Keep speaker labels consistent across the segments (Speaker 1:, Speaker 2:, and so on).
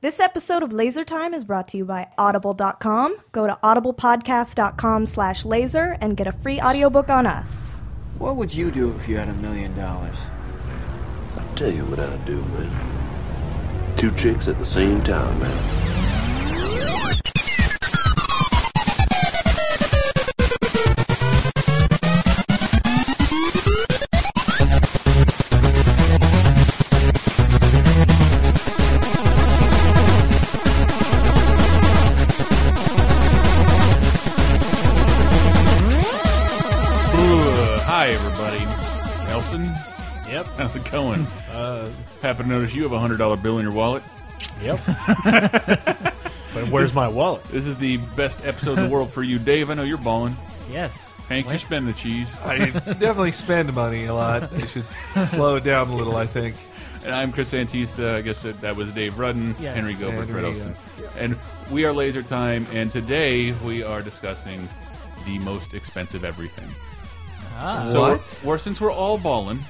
Speaker 1: This episode of Laser Time is brought to you by Audible.com. Go to audiblepodcast.com slash laser and get a free audiobook on us.
Speaker 2: What would you do if you had a million dollars?
Speaker 3: I'll tell you what I'd do, man. Two chicks at the same time, man.
Speaker 4: Ooh, hi, everybody. Nelson,
Speaker 5: Yep.
Speaker 4: how's it going? Uh, Happen to notice you have a hundred dollar bill in your wallet.
Speaker 5: Yep. but where's my wallet?
Speaker 4: This is the best episode in the world for you, Dave. I know you're balling.
Speaker 5: Yes.
Speaker 4: Hank, you spend the cheese,
Speaker 6: I definitely spend money a lot. I should slow it down a little, I think.
Speaker 4: and I'm Chris Antista. I guess that, that was Dave Rudden,
Speaker 5: Yes.
Speaker 4: Henry Gilbert,
Speaker 6: And
Speaker 4: Fred
Speaker 6: we, uh,
Speaker 4: Olson, and we are Laser Time. And today we are discussing the most expensive everything. So
Speaker 6: What?
Speaker 4: We're, we're- since we're all balling,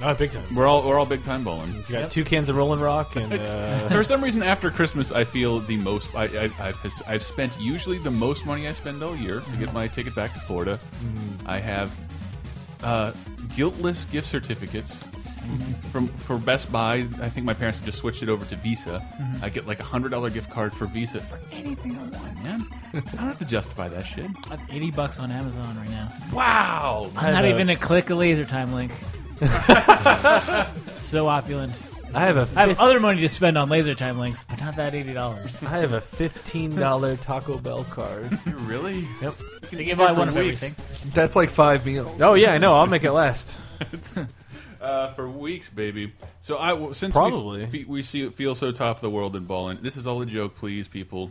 Speaker 5: Not big time.
Speaker 4: we're all we're all big time balling.
Speaker 5: You got two cans of Rolling Rock and uh,
Speaker 4: For some reason, after Christmas, I feel the most. I, I, I've, I've spent usually the most money I spend all year to get my ticket back to Florida. I have uh, guiltless gift certificates from for Best Buy. I think my parents just switched it over to Visa. I get like a hundred dollar gift card for Visa for anything I want, man. I don't have to justify that shit.
Speaker 7: I'm 80 bucks on Amazon right now.
Speaker 4: Wow,
Speaker 5: I
Speaker 7: Not
Speaker 5: have a-
Speaker 7: even a click a laser time link. so opulent.
Speaker 5: I have a
Speaker 7: I have
Speaker 5: fif-
Speaker 7: other money to spend on laser time links, but not that $80.
Speaker 5: I have a fifteen dollar Taco Bell card.
Speaker 4: really?
Speaker 5: Yep.
Speaker 7: They give out one of
Speaker 4: Weeks.
Speaker 7: everything.
Speaker 6: That's like five meals.
Speaker 5: Oh yeah, I know. I'll make it last.
Speaker 4: Uh, for weeks, baby. So I w- since
Speaker 5: Probably.
Speaker 4: we, fe- we see feel so top of the world in balling. This is all a joke, please, people.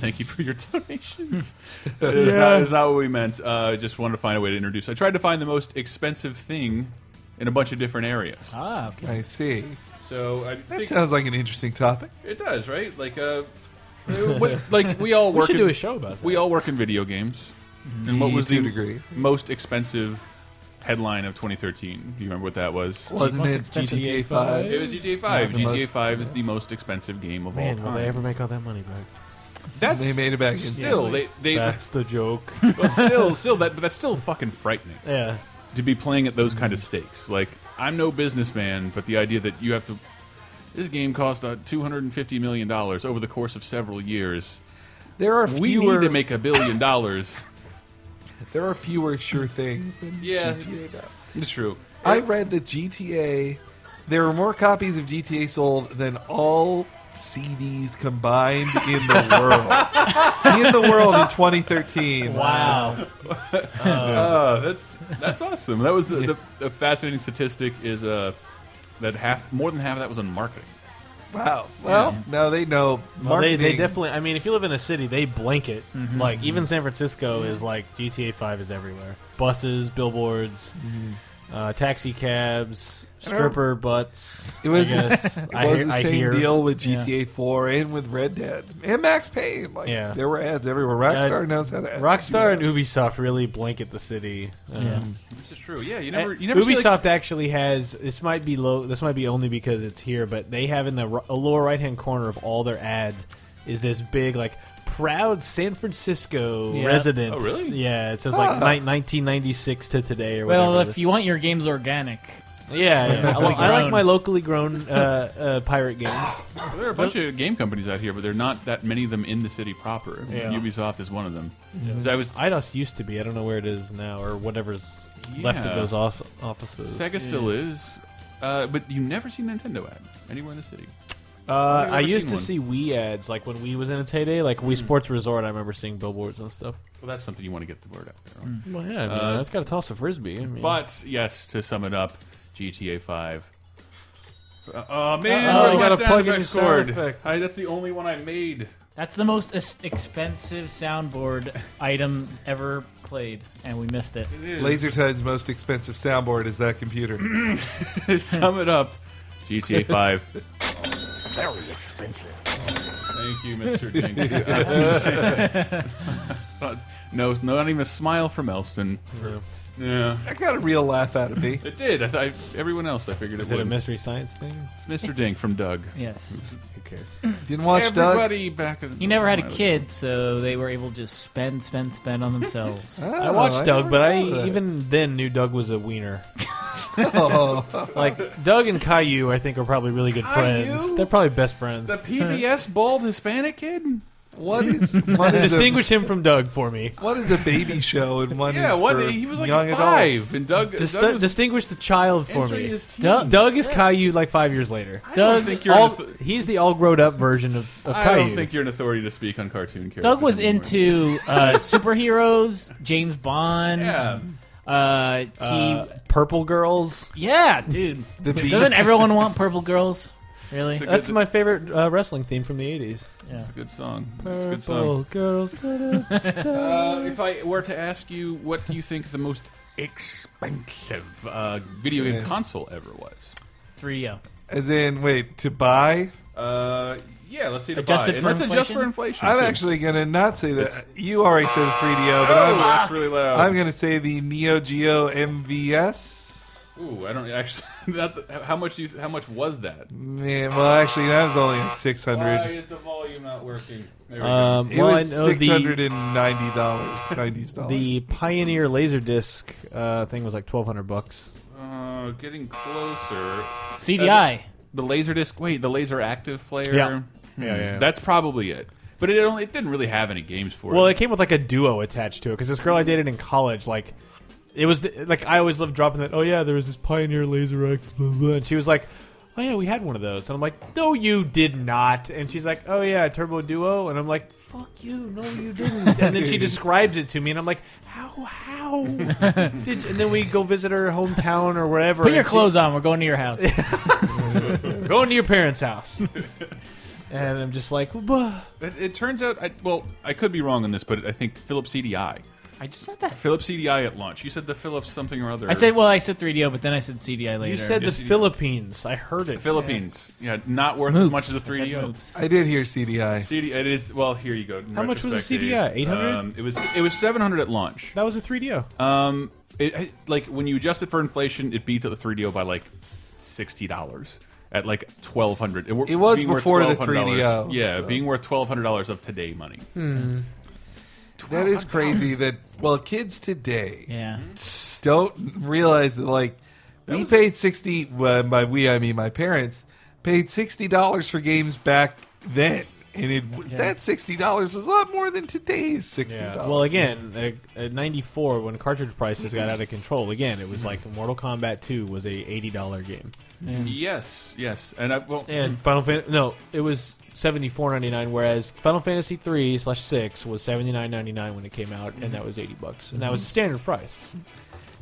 Speaker 4: Thank you for your donations. it's, not, it's not what we meant. Uh, I just wanted to find a way to introduce. I tried to find the most expensive thing in a bunch of different areas.
Speaker 7: Ah, okay.
Speaker 6: I see.
Speaker 4: So I
Speaker 6: That
Speaker 4: think
Speaker 6: sounds like an interesting topic.
Speaker 4: it does, right? Like, uh, what, like we all
Speaker 5: We
Speaker 4: work.
Speaker 5: should
Speaker 4: in,
Speaker 5: do a show about that.
Speaker 4: We all work in video games. And what was
Speaker 6: to
Speaker 4: the
Speaker 6: a degree.
Speaker 4: most expensive headline of 2013? Do you remember what that was?
Speaker 6: Wasn't
Speaker 7: most
Speaker 6: it
Speaker 7: expensive GTA
Speaker 6: GTA 5?
Speaker 4: It was GTA 5.
Speaker 6: the
Speaker 4: GTA
Speaker 6: most-
Speaker 4: 5 is the most expensive game of all
Speaker 5: Man, will
Speaker 4: time.
Speaker 5: they ever make all that money back?
Speaker 4: That's
Speaker 6: They made it back in.
Speaker 4: still they they
Speaker 5: That's the joke.
Speaker 4: well, still still that but that's still fucking frightening
Speaker 5: yeah.
Speaker 4: to be playing at those kind of stakes. Like I'm no businessman, but the idea that you have to this game cost uh, 250 million dollars over the course of several years.
Speaker 6: There are
Speaker 4: We need
Speaker 6: fewer.
Speaker 4: to make a billion dollars.
Speaker 6: there are fewer sure things than
Speaker 4: Yeah.
Speaker 6: GTA. does.
Speaker 4: It's true.
Speaker 6: I read that GTA. There were more copies of GTA sold than all CDs combined in the world. in the world in 2013.
Speaker 7: Wow.
Speaker 4: Uh, that's that's awesome. That was the, the, the fascinating statistic is uh, that half more than half of that was on marketing.
Speaker 6: Wow. Well, now they know marketing.
Speaker 5: Well, they, they definitely. I mean, if you live in a city, they blanket. Like even San Francisco is like GTA Five is everywhere. Buses, billboards, uh, taxi cabs, stripper butts.
Speaker 6: It was,
Speaker 5: I
Speaker 6: the-
Speaker 5: guess.
Speaker 6: it
Speaker 5: I
Speaker 6: was
Speaker 5: hear-
Speaker 6: the
Speaker 5: I
Speaker 6: same
Speaker 5: hear.
Speaker 6: deal with GTA 4 and with Red Dead and Max Payne. Like
Speaker 5: Yeah.
Speaker 6: there were ads everywhere.
Speaker 5: Yeah,
Speaker 6: Rockstar knows how to.
Speaker 5: Rockstar and
Speaker 6: do ads.
Speaker 5: Ubisoft really blanket the city. Um,
Speaker 7: Yeah.
Speaker 4: This is true. Yeah, you
Speaker 5: and
Speaker 4: never you never see,
Speaker 5: Eh, Ubisoft
Speaker 4: like,
Speaker 5: actually has this might be low. This might be only because it's here, but they have in the r- lower right hand corner of all their ads is this big like proud San Francisco
Speaker 7: Yeah.
Speaker 5: resident.
Speaker 4: Oh, really?
Speaker 5: Yeah, it says like
Speaker 6: Ah.
Speaker 5: ni- 1996 to today or
Speaker 7: Well,
Speaker 5: whatever.
Speaker 7: if you want your games organic,
Speaker 5: yeah, yeah. I, like, I
Speaker 7: Your
Speaker 5: like
Speaker 7: own.
Speaker 5: my locally grown uh, uh, pirate games.
Speaker 4: There are a bunch of game companies out here, but there are not that many of them in the city proper.
Speaker 5: Yeah.
Speaker 4: Ubisoft is one of them. 'Cause I was
Speaker 5: IDOS used to be. I don't know where it is now or whatever's left
Speaker 4: Yeah.
Speaker 5: of those off- offices.
Speaker 4: Sega still is, uh, but you never see Nintendo ad anywhere in the city.
Speaker 5: Uh,
Speaker 4: Have you
Speaker 5: I
Speaker 4: ever
Speaker 5: used
Speaker 4: seen
Speaker 5: to
Speaker 4: one?
Speaker 5: see Wii ads, like when Wii was in its heyday, like Wii
Speaker 4: Hmm.
Speaker 5: Sports Resort. I remember seeing billboards and stuff.
Speaker 4: Well, that's something you want to get the word out there. on.
Speaker 5: Well, yeah, I mean,
Speaker 4: Uh,
Speaker 5: that's got to toss a frisbee. I mean,
Speaker 4: But yes, to sum it up, GTA Five. Uh, oh man,
Speaker 5: Uh-oh,
Speaker 4: where's
Speaker 5: you
Speaker 4: my
Speaker 5: gotta
Speaker 4: sound
Speaker 5: plug in
Speaker 4: effects
Speaker 5: your sound
Speaker 4: cord?
Speaker 5: effect.
Speaker 4: I, that's the only one I made.
Speaker 7: that's the most es- expensive soundboard item ever played, and we missed it.
Speaker 6: Laser Time's most expensive soundboard is that computer.
Speaker 4: To sum it up, GTA Five.
Speaker 3: Very expensive.
Speaker 4: Thank you, Mr. Jenkins. no, not even a smile from Elston.
Speaker 5: Yeah.
Speaker 4: Yeah,
Speaker 6: That got a real laugh out of me.
Speaker 4: it did. I, I, everyone else, I figured it
Speaker 5: Is it a
Speaker 4: would.
Speaker 5: mystery science thing?
Speaker 4: It's Mr. Dink from Doug.
Speaker 7: Yes.
Speaker 5: Who cares?
Speaker 6: Didn't watch Doug.
Speaker 4: Everybody back. In
Speaker 7: He never had a kid, so they were able to just spend, spend, spend on themselves.
Speaker 5: Oh, I watched Doug,
Speaker 6: never
Speaker 5: but I
Speaker 6: thought of that.
Speaker 5: even then knew Doug was a wiener.
Speaker 6: Oh,
Speaker 5: Like Doug and Caillou, I think are probably really good
Speaker 4: Caillou?
Speaker 5: friends. They're probably best friends.
Speaker 4: The PBS bald Hispanic kid?
Speaker 6: what is what is a,
Speaker 5: Distinguish him from Doug for me.
Speaker 6: what is a baby show and one
Speaker 4: Yeah,
Speaker 6: is
Speaker 4: what?
Speaker 6: for
Speaker 4: He was like
Speaker 6: young
Speaker 4: five,
Speaker 6: adults.
Speaker 4: and Doug.
Speaker 5: Dis-
Speaker 4: Doug was
Speaker 5: distinguish the child for
Speaker 4: entering
Speaker 5: me.
Speaker 4: his teens.
Speaker 5: Doug, Doug is Caillou like five years later.
Speaker 4: don't
Speaker 7: Doug,
Speaker 4: think you're
Speaker 5: All,
Speaker 4: an auth-
Speaker 5: he's the all grown up version of, of
Speaker 4: I
Speaker 5: Caillou.
Speaker 4: don't think you're an authority to speak on cartoon characters.
Speaker 7: Doug was
Speaker 4: anymore.
Speaker 7: into uh, superheroes, James Bond.
Speaker 4: Yeah.
Speaker 7: Uh, he,
Speaker 5: Uh, purple girls.
Speaker 7: yeah, dude.
Speaker 6: The beats.
Speaker 7: Doesn't everyone want purple girls? Really?
Speaker 4: It's a
Speaker 5: That's
Speaker 4: good-
Speaker 5: my favorite uh, wrestling theme from the '80s.
Speaker 7: Yeah.
Speaker 4: Good song. It's a good song.
Speaker 5: Purple girls. da-da.
Speaker 4: Uh, if I were to ask you, what do you think the most expensive uh, video game
Speaker 6: Yeah.
Speaker 4: console ever was?
Speaker 7: 3-0.
Speaker 6: As in, wait to buy.
Speaker 4: Uh, yeah, let's see. To
Speaker 7: Adjusted
Speaker 4: buy.
Speaker 7: for
Speaker 4: and let's adjust
Speaker 7: inflation?
Speaker 4: for inflation.
Speaker 6: I'm
Speaker 4: too.
Speaker 6: actually gonna not say that. you already said 3DO, but
Speaker 4: Oh,
Speaker 6: I'm,
Speaker 4: that's really loud.
Speaker 6: I'm gonna say the Neo Geo MVS.
Speaker 4: Ooh, I don't actually. Not the, how much? You, how much was that?
Speaker 6: Man, well, actually, that was only six
Speaker 4: Why
Speaker 6: hundred.
Speaker 4: is the volume not working? There we
Speaker 5: um,
Speaker 6: It
Speaker 5: well, I
Speaker 6: was
Speaker 5: know
Speaker 6: six hundred
Speaker 5: the
Speaker 6: and ninety dollars, ninety dollars.
Speaker 5: the Pioneer Laserdisc uh, thing was like twelve hundred bucks.
Speaker 4: go. Uh, getting closer.
Speaker 7: CDI.
Speaker 4: The Laserdisc. Wait, the Laser Active player. Hmm.
Speaker 5: Yeah. Yeah, yeah, yeah.
Speaker 4: That's probably it. But it only, it didn't really have any games for
Speaker 5: Well,
Speaker 4: it.
Speaker 5: it came with like a duo attached to it because this girl I dated in college, like, it was the, like I always loved dropping that. Oh yeah, there was this Pioneer Laser X, blah, blah," and she was like, "Oh yeah, we had one of those." And I'm like, "No, you did not." And she's like, "Oh yeah, Turbo Duo," and I'm like, "Fuck you, no, you didn't." and then she describes it to me, and I'm like, "How? How?" did, and then we go visit her hometown or wherever.
Speaker 7: Put your
Speaker 5: and she-
Speaker 7: clothes on. We're going to your house.
Speaker 5: Going to your parents' house. and I'm just like, "Bah."
Speaker 4: It, it turns out, I, well, I could be wrong on this, but I think Philips CDI.
Speaker 7: I just said that.
Speaker 4: Philips CDI at lunch. You said the Philips something or other.
Speaker 7: I said, well, I said 3DO, but then I said CDI later.
Speaker 5: You said the
Speaker 4: Just-
Speaker 5: Philippines. I heard it.
Speaker 4: Philippines. Yeah, not worth as
Speaker 7: Moops.
Speaker 4: much as a
Speaker 7: I said
Speaker 4: 3DO.
Speaker 7: moops.
Speaker 6: I did hear CDI.
Speaker 4: CD, it is well. Here you go. in
Speaker 5: How much was the
Speaker 4: retrospect,
Speaker 5: CDI?
Speaker 4: Dave.
Speaker 5: 800?
Speaker 4: Um, it was it was seven hundred at launch.
Speaker 5: That was a 3DO.
Speaker 4: Um, it, I- like when you adjust it for inflation, it beat the 3DO by like sixty dollars at like twelve hundred. It, were-
Speaker 6: It was
Speaker 4: being worth
Speaker 6: before the
Speaker 4: $1,200.
Speaker 6: 3DO,
Speaker 4: Yeah,
Speaker 6: so. Hmm.
Speaker 4: being worth twelve hundred dollars of today money.
Speaker 6: That is crazy. That well, kids today
Speaker 7: Yeah.
Speaker 6: don't realize that like we paid sixty. Well, by we I mean my parents paid sixty dollars for games back then, and it that sixty dollars was a lot more than today's sixty dollars.
Speaker 5: Well, again, uh, at 94, when cartridge prices got out of control, again, it was like Mortal Kombat 2 was a $80 game.
Speaker 4: Yes, yes, and I well,
Speaker 5: And Final Fantasy, no, it was 74.99, whereas Final Fantasy 3 slash 6 was 79.99 when it came out, and that was 80 bucks, And that was the standard price.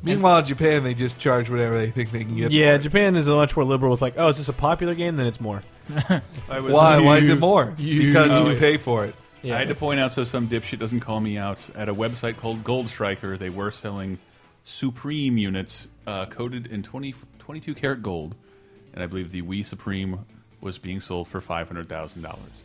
Speaker 6: Meanwhile, in Japan they just charge whatever they think they can get.
Speaker 5: Yeah, Japan is a much more liberal with like, oh, is this a popular game? Then it's more.
Speaker 4: I was
Speaker 6: Why? Why is it more?
Speaker 5: you-
Speaker 6: because
Speaker 4: Oh,
Speaker 6: you
Speaker 4: yeah.
Speaker 6: pay for it.
Speaker 5: Yeah.
Speaker 4: I had to point out so some dipshit doesn't call me out at a website called Gold Striker. They were selling Supreme units uh, coated in 20, 22 karat gold, and I believe the Wii Supreme was being sold for five hundred thousand dollars.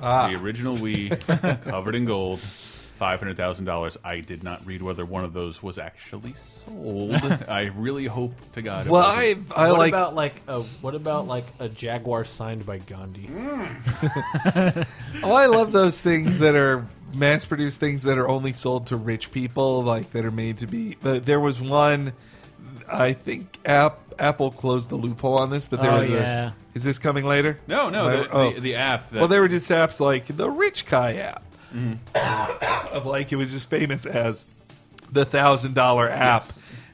Speaker 6: Ah.
Speaker 4: The original Wii, covered in gold, five hundred thousand dollars. I did not read whether one of those was actually sold. I really hope to God. it
Speaker 6: Well, I
Speaker 4: wasn't.
Speaker 6: I
Speaker 5: what
Speaker 6: like
Speaker 5: about like a what about like a Jaguar signed by Gandhi?
Speaker 6: Oh, I love those things that are mass produced things that are only sold to rich people, like that are made to be. but There was one, I think App, Apple closed the loophole on this, but there
Speaker 7: Oh,
Speaker 6: was
Speaker 7: yeah.
Speaker 6: a. Is this coming later?
Speaker 4: no, no,
Speaker 6: Am I-
Speaker 4: the, the, the app. That,
Speaker 6: oh. well, there were just apps like the Rich Guy app,
Speaker 4: Mm-hmm.
Speaker 6: of like it was just famous as the thousand dollar app,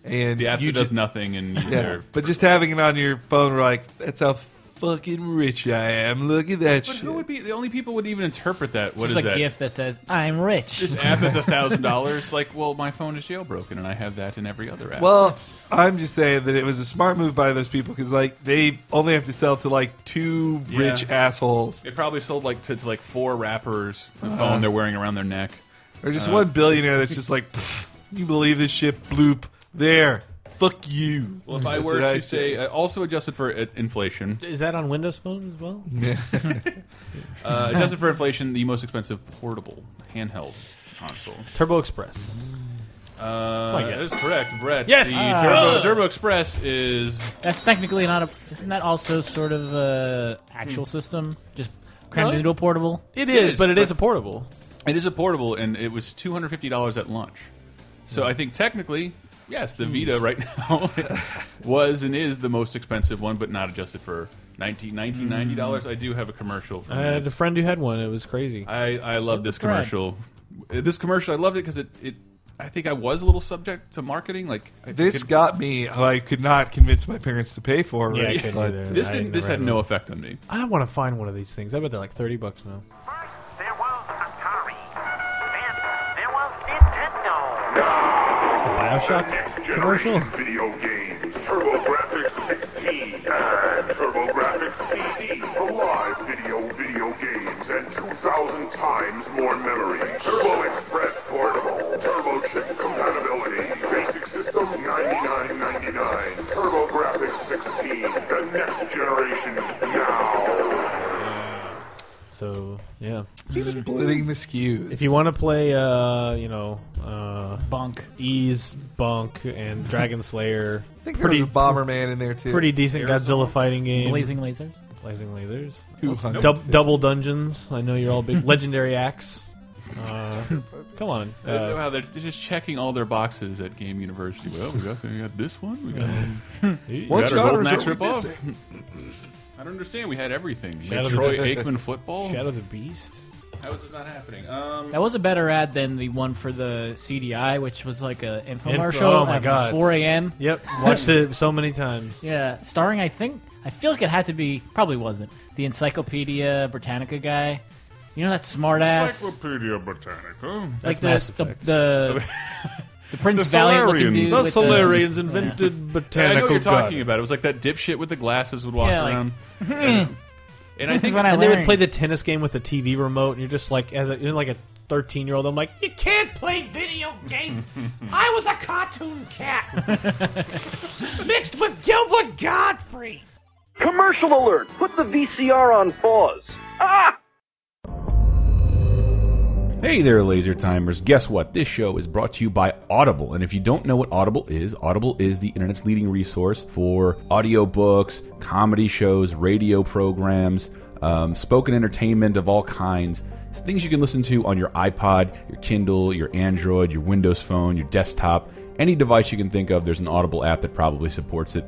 Speaker 6: and
Speaker 4: the app
Speaker 6: you
Speaker 4: that does
Speaker 6: just
Speaker 4: nothing, and you
Speaker 6: yeah.
Speaker 4: serve.
Speaker 6: But just having it on your phone, we're like, that's how fucking rich I am. Look at that
Speaker 4: But
Speaker 6: shit.
Speaker 4: who would be the only people would even interpret that? What
Speaker 7: It's
Speaker 4: is
Speaker 7: just a
Speaker 4: that?
Speaker 7: gift that says, I'm rich.
Speaker 4: This app that's a thousand dollars. Like, well, my phone is jailbroken, and I have that in every other app.
Speaker 6: Well, I'm just saying that it was a smart move by those people because like they only have to sell to like two rich
Speaker 4: Yeah.
Speaker 6: assholes
Speaker 4: it probably sold like to, to like four rappers the phone they're wearing around their neck.
Speaker 6: or just one billionaire that's just like, "Pfft, you believe this shit? Bloop. There. Fuck you.
Speaker 4: Well, if I
Speaker 6: Mm, That's
Speaker 4: were to
Speaker 6: what I
Speaker 4: say, uh, also adjusted for uh, inflation,
Speaker 5: Is that on Windows Phone as well?
Speaker 4: uh, adjusted for inflation, the most expensive portable handheld console.
Speaker 5: Turbo Express.
Speaker 8: Uh,
Speaker 5: my guess.
Speaker 8: that is correct, Brett.
Speaker 5: Yes!
Speaker 8: the
Speaker 5: Ah.
Speaker 8: Turbo, Turbo Express is
Speaker 7: That's technically not a. Isn't that also sort of a actual system? Just crammed
Speaker 5: Really?
Speaker 7: into a portable.
Speaker 5: It
Speaker 8: is,
Speaker 5: is, but it
Speaker 8: but-
Speaker 5: is a portable.
Speaker 8: it is a portable, and it was two hundred fifty dollars at launch. So
Speaker 5: Hmm.
Speaker 8: I think technically, yes, the Vita right now was and is the most expensive one, but not adjusted for 19 $19.90. dollars. I do have a commercial. From
Speaker 5: Hmm. I had a
Speaker 8: this.
Speaker 5: friend who had one. It was crazy.
Speaker 8: I, I love this
Speaker 7: Brad.
Speaker 8: commercial. This commercial, I loved it because it, it. I think I was a little subject to marketing. Like I
Speaker 6: This
Speaker 8: could-
Speaker 6: got me. I could not convince my parents to pay for it.
Speaker 5: Yeah, I couldn't
Speaker 6: but-
Speaker 5: either.
Speaker 8: This
Speaker 5: I
Speaker 8: didn't.
Speaker 5: never
Speaker 8: This had
Speaker 5: had
Speaker 8: no
Speaker 5: one.
Speaker 8: effect on me.
Speaker 5: I want to find one of these things. I bet they're like thirty bucks now.
Speaker 9: First, there was Atari. Then, there was Nintendo.
Speaker 5: Bioshock
Speaker 10: Next
Speaker 5: commercial.
Speaker 10: generation video games, TurboGrafx 16, and TurboGrafx CD for live video video games and 2,000 times more memory. Turbo Express Portable, TurboChip compatibility, basic system 99.99. TurboGrafx 16, the next generation now.
Speaker 5: So yeah,
Speaker 6: Splitting the skews.
Speaker 5: if you want to play, uh, you know, uh,
Speaker 7: Bunk.
Speaker 5: Ease Bunk and Dragon Slayer,
Speaker 6: I think
Speaker 5: pretty-
Speaker 6: there was a Bomberman in there too.
Speaker 5: pretty decent Godzilla fighting game.
Speaker 7: Blazing lasers.
Speaker 5: Blazing lasers.
Speaker 6: Two hundred.
Speaker 5: Dub- double dungeons. I know you're all big legendary axe. Uh, come on. Uh,
Speaker 8: wow, they're they're just checking all their boxes at Game University. Well, we got, we got this one. We got.
Speaker 5: you-
Speaker 6: What
Speaker 8: Better Golden
Speaker 6: genres
Speaker 8: Axe
Speaker 6: are we
Speaker 8: ripoff.
Speaker 6: missing?
Speaker 8: I don't understand. We had everything. We
Speaker 5: Shadow
Speaker 8: had
Speaker 5: of
Speaker 8: Troy
Speaker 5: the-
Speaker 8: Aikman football.
Speaker 5: Shadow the Beast.
Speaker 8: How is this not happening? Um,
Speaker 7: That was a better ad than the one for the CDI, which was like a infomercial
Speaker 5: Info- oh my
Speaker 7: at
Speaker 5: god.
Speaker 7: 4 a.m.
Speaker 5: Yep. Watched it so many times.
Speaker 7: Yeah, starring I think I feel like it had to be probably wasn't the Encyclopedia Britannica guy. You know that smart ass
Speaker 10: Encyclopedia Britannica.
Speaker 7: like the
Speaker 5: Mass
Speaker 7: the,
Speaker 5: Effect.
Speaker 7: the the Prince
Speaker 10: The
Speaker 7: Valiant looking
Speaker 10: Solarians.
Speaker 7: dude.
Speaker 10: The
Speaker 7: with
Speaker 5: invented
Speaker 8: yeah, I
Speaker 5: botanical
Speaker 8: know what you're talking about. It was like that dipshit with the glasses would walk
Speaker 7: Yeah, like-
Speaker 8: around. and, and I
Speaker 7: This is
Speaker 8: think
Speaker 7: when I
Speaker 5: And they would
Speaker 7: learned.
Speaker 5: play the tennis game with the TV remote, and you're just like, as a, you're like a 13 year old, I'm like, you can't play video game. I was a cartoon cat mixed with Gilbert Godfrey.
Speaker 11: Commercial alert! Put the VCR on pause. Ah!
Speaker 4: Hey there, laser timers. Guess what? This show is brought to you by Audible. And if you don't know what Audible is, Audible is the internet's leading resource for audiobooks, comedy shows, radio programs, um, spoken entertainment of all kinds. It's things you can listen to on your iPod, your Kindle, your Android, your Windows phone, your desktop, any device you can think of. There's an Audible app that probably supports it.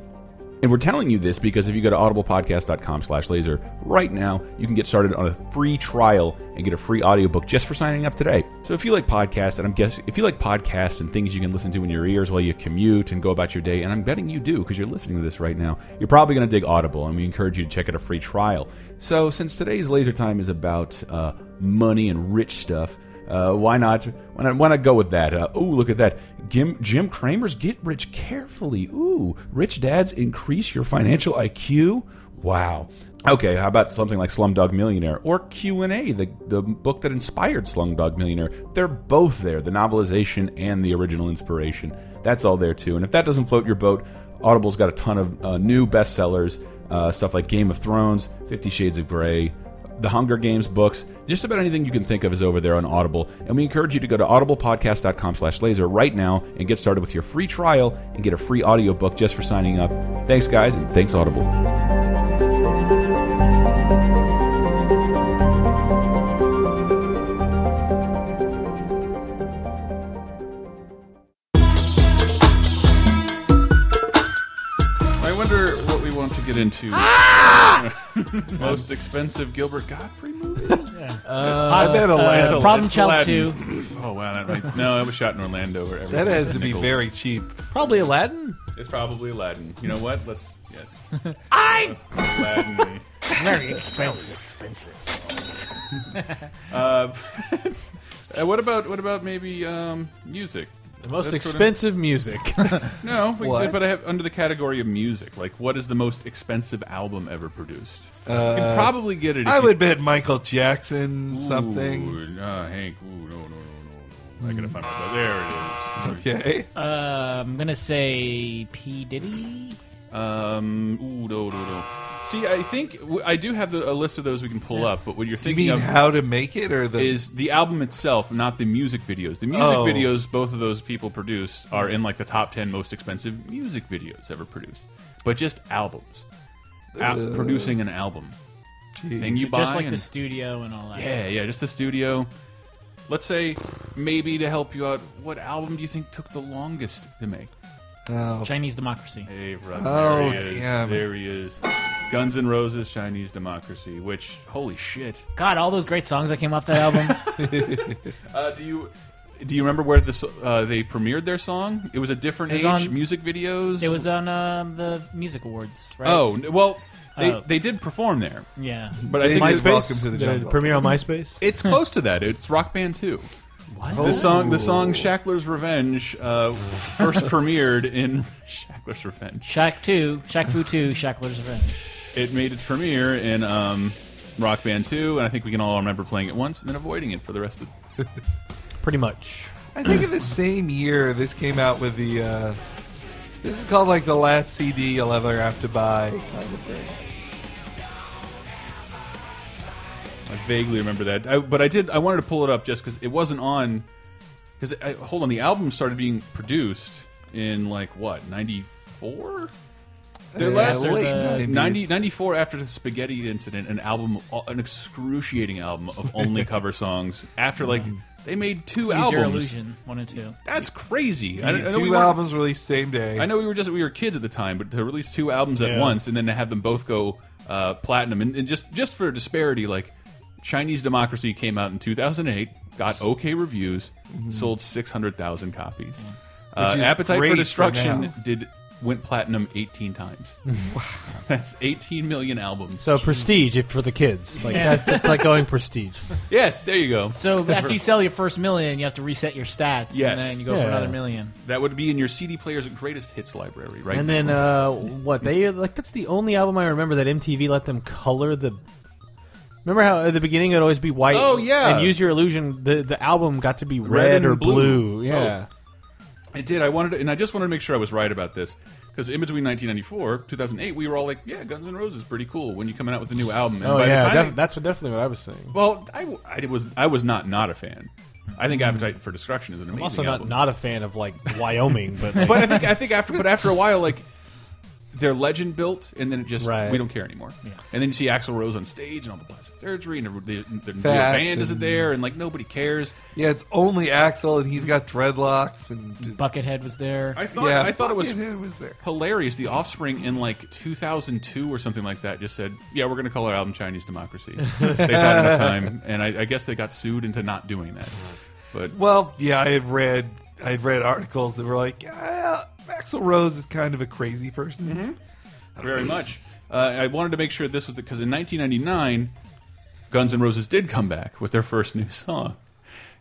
Speaker 4: And we're telling you this because if you go to audiblepodcast.com slash laser right now, you can get started on a free trial and get a free audiobook just for signing up today. So if you like podcasts, and I'm guessing if you like podcasts and things you can listen to in your ears while you commute and go about your day, and I'm betting you do because you're listening to this right now, you're probably going to dig Audible, and we encourage you to check out a free trial. So since today's laser time is about uh, money and rich stuff, uh, why not? Why not? Why not go with that? Uh, ooh, look at that! Jim, Jim Cramer's "Get Rich Carefully." Ooh, rich dads increase your financial IQ. Wow. Okay, how about something like Slumdog Millionaire or Q and A, the the book that inspired Slumdog Millionaire? They're both there, the novelization and the original inspiration. That's all there too. And if that doesn't float your boat, Audible's got a ton of uh, new bestsellers, uh, stuff like Game of Thrones, Fifty Shades of Grey the Hunger Games books, just about anything you can think of is over there on Audible. And we encourage you to go to audiblepodcast.com slash laser right now and get started with your free trial and get a free audiobook just for signing up. Thanks, guys, and thanks, Audible.
Speaker 8: I wonder what we want to get into. Most expensive Gilbert Godfrey movie?
Speaker 6: I bet
Speaker 7: uh,
Speaker 6: Aladdin.
Speaker 7: Problem
Speaker 8: it's
Speaker 7: Child Two.
Speaker 8: Aladdin. Oh wow, that might, no, it was shot in Orlando. Where
Speaker 6: that
Speaker 8: everything
Speaker 6: has
Speaker 8: was
Speaker 6: to be
Speaker 8: nickel.
Speaker 6: very cheap.
Speaker 5: Probably Aladdin.
Speaker 8: It's probably Aladdin. You know what? Let's yes. I Aladdin.
Speaker 7: Very expensive.
Speaker 8: Uh, uh, what about what about maybe um, music?
Speaker 5: The most
Speaker 8: That's sort of-
Speaker 5: expensive music.
Speaker 8: No, we-
Speaker 6: What?
Speaker 8: but I have under the category of music. Like, what is the most expensive album ever produced? you can probably get it. If
Speaker 6: I
Speaker 8: you-
Speaker 6: would bet Michael Jackson
Speaker 8: Ooh,
Speaker 6: something.
Speaker 4: Ah,
Speaker 8: Uh, Hank. Ooh, no, no, no, no, no. I gotta find my. There it is.
Speaker 6: Okay.
Speaker 7: Uh, I'm gonna say P Diddy.
Speaker 8: Um. Ooh, no, no, no.
Speaker 4: See, I think w- I do have the, a list of those we can pull up. But what you're
Speaker 6: you
Speaker 4: thinking
Speaker 6: mean
Speaker 4: of
Speaker 6: how to make it, or the-
Speaker 4: is the album itself, not the music videos. The music
Speaker 6: Oh.
Speaker 4: videos both of those people produced are in like the top ten most expensive music videos ever produced. But just albums, Al-
Speaker 7: Uh.
Speaker 4: producing an album, thing you buy,
Speaker 7: just like the
Speaker 4: and-
Speaker 7: studio and all that.
Speaker 4: yeah, yeah, just the studio. Let's say maybe to help you out, what album do you think took the longest to make?
Speaker 6: Oh.
Speaker 7: Chinese Democracy.
Speaker 4: Hey, Rod,
Speaker 6: Oh,
Speaker 4: there he is.
Speaker 6: damn.
Speaker 4: There he is. Guns N' Roses, Chinese Democracy, which, holy shit.
Speaker 7: God, all those great songs that came off that album.
Speaker 4: Uh, do you do you remember where this uh, they premiered their song? It was a different
Speaker 7: It was
Speaker 4: age
Speaker 7: on-
Speaker 4: music videos.
Speaker 7: it was on um, the Music Awards, right?
Speaker 4: Oh n- well, they,
Speaker 7: Oh.
Speaker 4: they did perform there.
Speaker 7: Yeah.
Speaker 4: but I
Speaker 5: They
Speaker 4: think
Speaker 5: did
Speaker 4: it-
Speaker 5: Welcome to the The Jungle. premiere on MySpace?
Speaker 4: It's close to that. It's Rock Band Two.
Speaker 7: What? Oh.
Speaker 4: The song, the song "Shackler's Revenge" uh, first premiered in "Shackler's Revenge."
Speaker 7: Shack Two, Shack Fu Two, Shackler's Revenge.
Speaker 4: It made its premiere in um, Rock Band Two, and I think we can all remember playing it once and then avoiding it for the rest of.
Speaker 5: Pretty much.
Speaker 6: I think in the same year this came out with the. Uh, this is called like the last CD you'll ever have to buy kind of thing.
Speaker 4: I vaguely remember that, I, but I did. I wanted to pull it up just because it wasn't on. Because hold on, the album started being produced in like what ninety four. Their
Speaker 6: Yeah,
Speaker 4: last
Speaker 6: late
Speaker 4: their-
Speaker 6: 90s.
Speaker 4: 90, 94 after the Spaghetti Incident, an album, an excruciating album of only cover songs. After like
Speaker 6: Mm-hmm.
Speaker 4: they made two
Speaker 7: Use
Speaker 4: albums.
Speaker 7: Your Illusion, one and two.
Speaker 4: That's crazy.
Speaker 6: Yeah,
Speaker 4: know
Speaker 6: two
Speaker 4: weren't-
Speaker 6: albums released same day.
Speaker 4: I know we were just we were kids at the time, but to release two albums at
Speaker 6: Yeah.
Speaker 4: once and then to have them both go uh, platinum and, and just just for disparity, like Chinese Democracy came out in 2008, got okay reviews, sold 600,000 copies. Uh,
Speaker 6: Which is
Speaker 4: Appetite
Speaker 6: great
Speaker 4: for
Speaker 6: for
Speaker 4: Destruction
Speaker 6: now.
Speaker 4: did went platinum 18 times. That's 18 million albums.
Speaker 5: So prestige if for the kids. Like that's, that's like going prestige.
Speaker 4: Yes, there you go.
Speaker 7: So after you sell your first million, you have to reset your stats,
Speaker 4: Yes.
Speaker 7: and then you go for another million.
Speaker 4: That would be in your CD player's greatest hits library, right?
Speaker 5: and
Speaker 4: now.
Speaker 5: then uh, what they like? That's the only album I remember that MTV let them color the. Remember how at the beginning it'd always be white.
Speaker 4: Oh, yeah.
Speaker 5: And Use Your Illusion. The the album got to be red,
Speaker 4: and Oh.
Speaker 5: or blue. Yeah.
Speaker 4: Both. I did. I wanted, to, and I just wanted to make sure I was right about this because in between 1994, 2008, we were all like, "Yeah, Guns N' Roses is pretty cool." When you coming out with a new album, and
Speaker 5: Oh
Speaker 4: by the
Speaker 5: yeah,
Speaker 4: time
Speaker 5: def- that's what definitely what I was saying.
Speaker 4: they- well, I, w- I was I was not not a fan. I think Appetite for Destruction is an amazing
Speaker 5: I'm also
Speaker 4: album.
Speaker 5: not, not a fan of like Wyoming, but like,
Speaker 4: but I think I think after but after a while, like their legend built, and then it just
Speaker 5: Right.
Speaker 4: we don't care anymore.
Speaker 5: Yeah.
Speaker 4: And then you see Axl Rose on stage and all the plastic surgery, and the, the, the real
Speaker 6: Fat
Speaker 4: band isn't
Speaker 6: and-
Speaker 4: there, and like nobody cares.
Speaker 6: Yeah, it's only Axel, and he's got dreadlocks and
Speaker 7: Buckethead was there.
Speaker 4: Oh, I thought
Speaker 6: Yeah,
Speaker 4: I thought it was,
Speaker 6: Buckethead was there.
Speaker 4: hilarious. The Offspring in like 2002 or something like that just said, "Yeah, we're going to call our album Chinese Democracy." They've had enough time, and I, I guess they got sued into not doing that. But
Speaker 6: Well, yeah, I had read I had read articles that were like, ah, Axel Rose is kind of a crazy person.
Speaker 4: Mm-hmm. very much, uh, I wanted to make sure this was because in 1999, Guns N' Roses did come back with their first new song.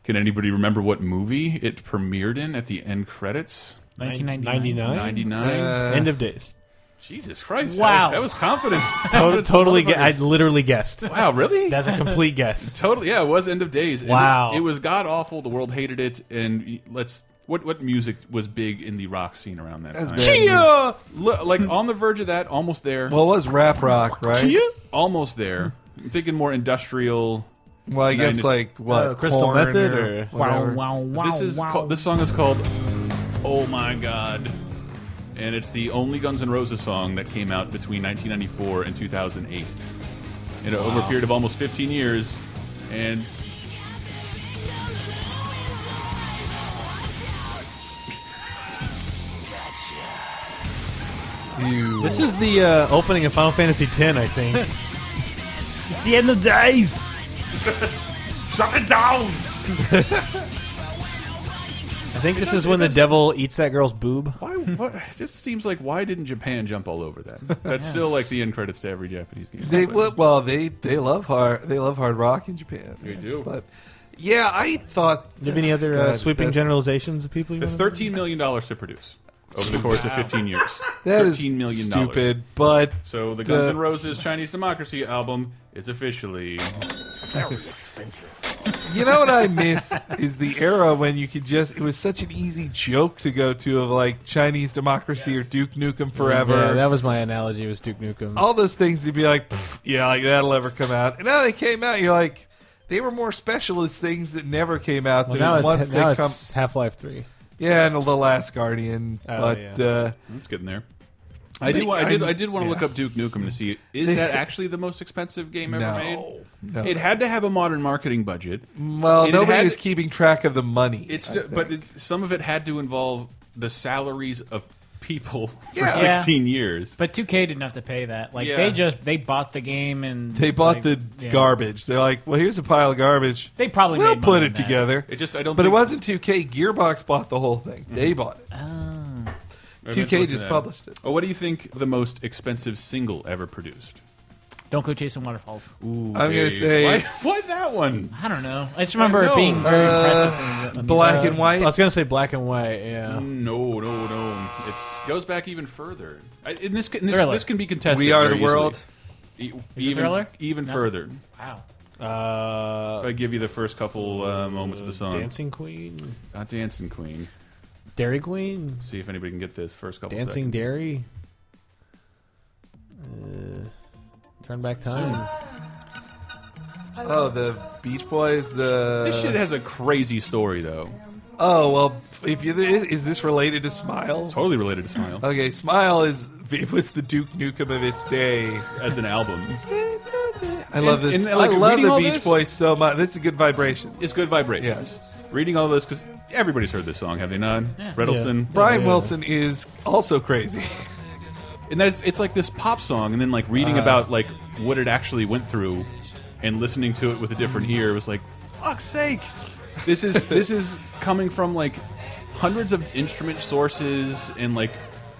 Speaker 4: Can anybody remember what movie it premiered in at the end credits?
Speaker 7: 1999?
Speaker 4: 99.
Speaker 5: Uh, End of days.
Speaker 4: Jesus Christ!
Speaker 7: Wow.
Speaker 4: that was, that was confidence.
Speaker 5: Tot-
Speaker 4: Confidence
Speaker 5: totally, gue-
Speaker 4: motherfucker.
Speaker 5: I literally guessed.
Speaker 4: Wow, really?
Speaker 5: That's a complete guess.
Speaker 4: Totally, yeah. It was End of Days. And
Speaker 5: Wow.
Speaker 4: it, it was god awful. The world hated it. And let's what what music was big in the rock scene around that
Speaker 6: That's
Speaker 4: time?
Speaker 6: bad. Chia!
Speaker 4: Lo- like on the verge of that, almost there.
Speaker 6: Well, it was rap rock, right?
Speaker 4: almost there. I'm thinking more industrial.
Speaker 6: Well, I guess
Speaker 4: 90s.
Speaker 6: like
Speaker 4: Uh,
Speaker 6: what Korn or whatever.
Speaker 7: wow, wow,
Speaker 4: This is
Speaker 7: Oh, wow.
Speaker 4: called- this song is called "Oh My God," and it's the only Guns N' Roses song that came out between 1994 and 2008. And over a period of almost 15 years, and
Speaker 5: This is the uh, opening of Final Fantasy X, I think.
Speaker 7: It's the end of days.
Speaker 4: shut it down.
Speaker 5: I think
Speaker 4: It
Speaker 5: this
Speaker 4: does-
Speaker 5: is when
Speaker 4: it
Speaker 5: the
Speaker 4: does-
Speaker 5: devil eats that girl's boob.
Speaker 4: Why? What? It just seems like why didn't Japan jump all over that? That's still like the end credits to every Japanese game.
Speaker 6: They
Speaker 4: But-
Speaker 6: well, well, they they love hard they love hard rock in Japan.
Speaker 4: They do.
Speaker 6: but yeah, I thought.
Speaker 5: Do you have any other uh,
Speaker 6: God,
Speaker 5: sweeping
Speaker 6: that's-
Speaker 5: generalizations of people? You
Speaker 4: The
Speaker 5: wanna-
Speaker 4: thirteen million dollars to produce. over the course of 15 years.
Speaker 6: That is
Speaker 4: $13 million
Speaker 6: stupid, but
Speaker 4: so the
Speaker 6: the-
Speaker 4: Guns N' Roses Chinese Democracy album is officially very expensive.
Speaker 6: you know what I miss is the era when you could just it was such an easy joke to go to of like Chinese democracy or Duke Nukem forever.
Speaker 5: Yeah, that was my analogy. Was Duke Nukem?
Speaker 6: all those things you'd be like, "Pfft, yeah, like that'll ever come out. And now they came out, you're like, they were more specialist things that never came out.
Speaker 5: Well,
Speaker 6: than
Speaker 5: now
Speaker 6: is
Speaker 5: it's,
Speaker 6: once
Speaker 5: now
Speaker 6: they
Speaker 5: it's
Speaker 4: Um,
Speaker 6: come,
Speaker 5: Half Life Three.
Speaker 6: yeah, and the Last Guardian,
Speaker 5: Oh,
Speaker 6: but
Speaker 5: yeah.
Speaker 6: uh,
Speaker 4: That's getting there. I do. I did. I did want to look
Speaker 6: yeah.
Speaker 4: up Duke Nukem to see is that actually the most expensive game ever
Speaker 6: No.
Speaker 4: made?
Speaker 6: No.
Speaker 4: It had to have a modern marketing budget.
Speaker 6: Well,
Speaker 4: It
Speaker 6: nobody
Speaker 4: had-
Speaker 6: was keeping track of the money.
Speaker 4: It's
Speaker 6: I
Speaker 4: but
Speaker 6: think.
Speaker 4: it, some of it had to involve the salaries of people for
Speaker 7: Yeah.
Speaker 4: 16 years.
Speaker 7: But 2K didn't have to pay that. Like
Speaker 4: Yeah.
Speaker 7: they just they bought the game and
Speaker 6: they
Speaker 7: like,
Speaker 6: bought the
Speaker 7: yeah.
Speaker 6: garbage. They're like, well, here's a pile of garbage.
Speaker 7: They probably
Speaker 6: we'll
Speaker 7: made
Speaker 6: put
Speaker 7: money
Speaker 6: it
Speaker 7: on that.
Speaker 6: together.
Speaker 4: It just- I don't
Speaker 6: But
Speaker 4: think- Mm-hmm.
Speaker 6: it wasn't 2K. Gearbox bought the whole thing. They bought it.
Speaker 4: Ah. I meant
Speaker 6: 2K
Speaker 4: look
Speaker 6: just
Speaker 4: at that.
Speaker 6: published it.
Speaker 4: Oh, what do you think the most expensive single ever produced?
Speaker 7: Don't go chasing waterfalls.
Speaker 4: Ooh,
Speaker 6: I'm gonna
Speaker 4: Dave.
Speaker 6: say-
Speaker 4: why, why that one?
Speaker 7: I don't know. I just remember
Speaker 4: I know.
Speaker 7: it being very
Speaker 6: Uh,
Speaker 7: impressive. in the-
Speaker 6: Black
Speaker 4: Uh,
Speaker 6: and white.
Speaker 5: Uh, I was gonna say Black and White. Yeah.
Speaker 4: No, no, no. It goes back even further. I, in this, in this,
Speaker 7: Thriller.
Speaker 4: this can be contested.
Speaker 6: We Are
Speaker 4: very
Speaker 6: the World.
Speaker 4: easily. E-
Speaker 7: it
Speaker 4: even
Speaker 7: Thriller?
Speaker 4: even
Speaker 7: No.
Speaker 4: further.
Speaker 7: Wow.
Speaker 4: Mm-hmm.
Speaker 5: Uh,
Speaker 4: If I give you the first couple uh, moments of the song,
Speaker 5: Dancing Queen,
Speaker 4: not Dancing Queen.
Speaker 5: Dairy Queen,
Speaker 4: See if anybody can get this first couple. seconds.
Speaker 5: Dancing Dairy. Uh, turn back time.
Speaker 6: Oh, the Beach Boys. Uh,
Speaker 4: This shit has a crazy story though.
Speaker 6: Oh well, if you is this related to Smile?
Speaker 4: Totally related to Smile
Speaker 6: Okay, Smile is it was the Duke Nukem of its day.
Speaker 4: as an album.
Speaker 6: I love this.
Speaker 4: and, like,
Speaker 6: I love
Speaker 4: reading
Speaker 6: the
Speaker 4: all
Speaker 6: Beach
Speaker 4: this-
Speaker 6: Boys so much. That's a good vibration.
Speaker 4: It's good vibrations.
Speaker 6: Yes.
Speaker 4: Reading all this because everybody's heard this song, have they not? Reddleston.
Speaker 6: Brian Wilson is also crazy.
Speaker 4: and that's it's like this pop song and then like reading about like what it actually went through and listening to it with a different ear was like fuck's sake this is this is coming from like hundreds of instrument sources and like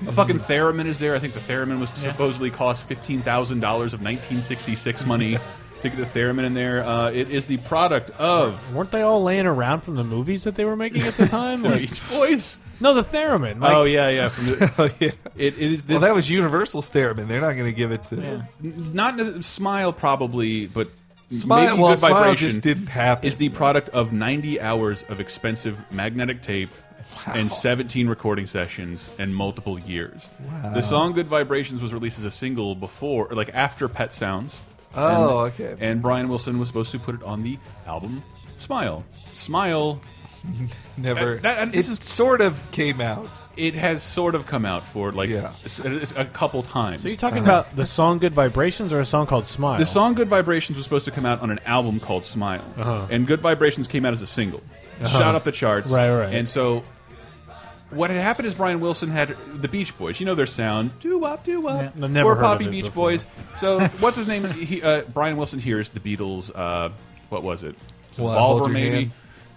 Speaker 4: a fucking theremin is there. I think the theremin was supposedly cost fifteen thousand dollars of nineteen sixty six money to get the theremin in there. Uh, it is the product of
Speaker 5: Weren't they all laying around from the movies that they were making at the time? Like-
Speaker 4: Beach Boys.
Speaker 5: no, the theremin. Like,
Speaker 4: oh yeah, yeah. From the,
Speaker 6: oh yeah.
Speaker 4: it, it,
Speaker 6: Well,
Speaker 4: this,
Speaker 6: that was Universal's theremin. They're not going to give it to
Speaker 4: not nec- smile probably, but
Speaker 6: Smile.
Speaker 4: Maybe
Speaker 6: well,
Speaker 4: good
Speaker 6: Smile
Speaker 4: vibration
Speaker 6: just didn't happen.
Speaker 4: is the product of 90 hours of expensive magnetic tape and 17 recording sessions and multiple years. The song Good Vibrations was released as a single before, or like after Pet Sounds.
Speaker 6: Oh,
Speaker 4: And-
Speaker 6: okay.
Speaker 4: And Brian Wilson was supposed to put it on the album Smile. Smile,
Speaker 6: never.
Speaker 4: that- that-
Speaker 6: it
Speaker 4: this is-
Speaker 6: sort of came out.
Speaker 4: it has sort of come out for like
Speaker 6: Yeah.
Speaker 4: s- a, couple times.
Speaker 5: So you're talking
Speaker 4: Uh-huh.
Speaker 5: about the song "Good Vibrations" or a song called "Smile"?
Speaker 4: The song Good Vibrations was supposed to come out on an album called Smile.
Speaker 5: Uh-huh.
Speaker 4: And Good Vibrations came out as a single. Shot up the charts.
Speaker 5: Right, right.
Speaker 4: And so what had happened is Brian Wilson had the Beach Boys. You know their sound. Doo wop, doo wop.
Speaker 5: Yeah, I've never
Speaker 4: or
Speaker 5: heard
Speaker 4: Poppy
Speaker 5: of it
Speaker 4: Beach
Speaker 5: before.
Speaker 4: Boys. So what's his name? He, uh, Brian Wilson hears the Beatles. Uh, what was it?
Speaker 6: What,
Speaker 4: Revolver,
Speaker 6: Hold Your
Speaker 4: maybe?
Speaker 6: Hand?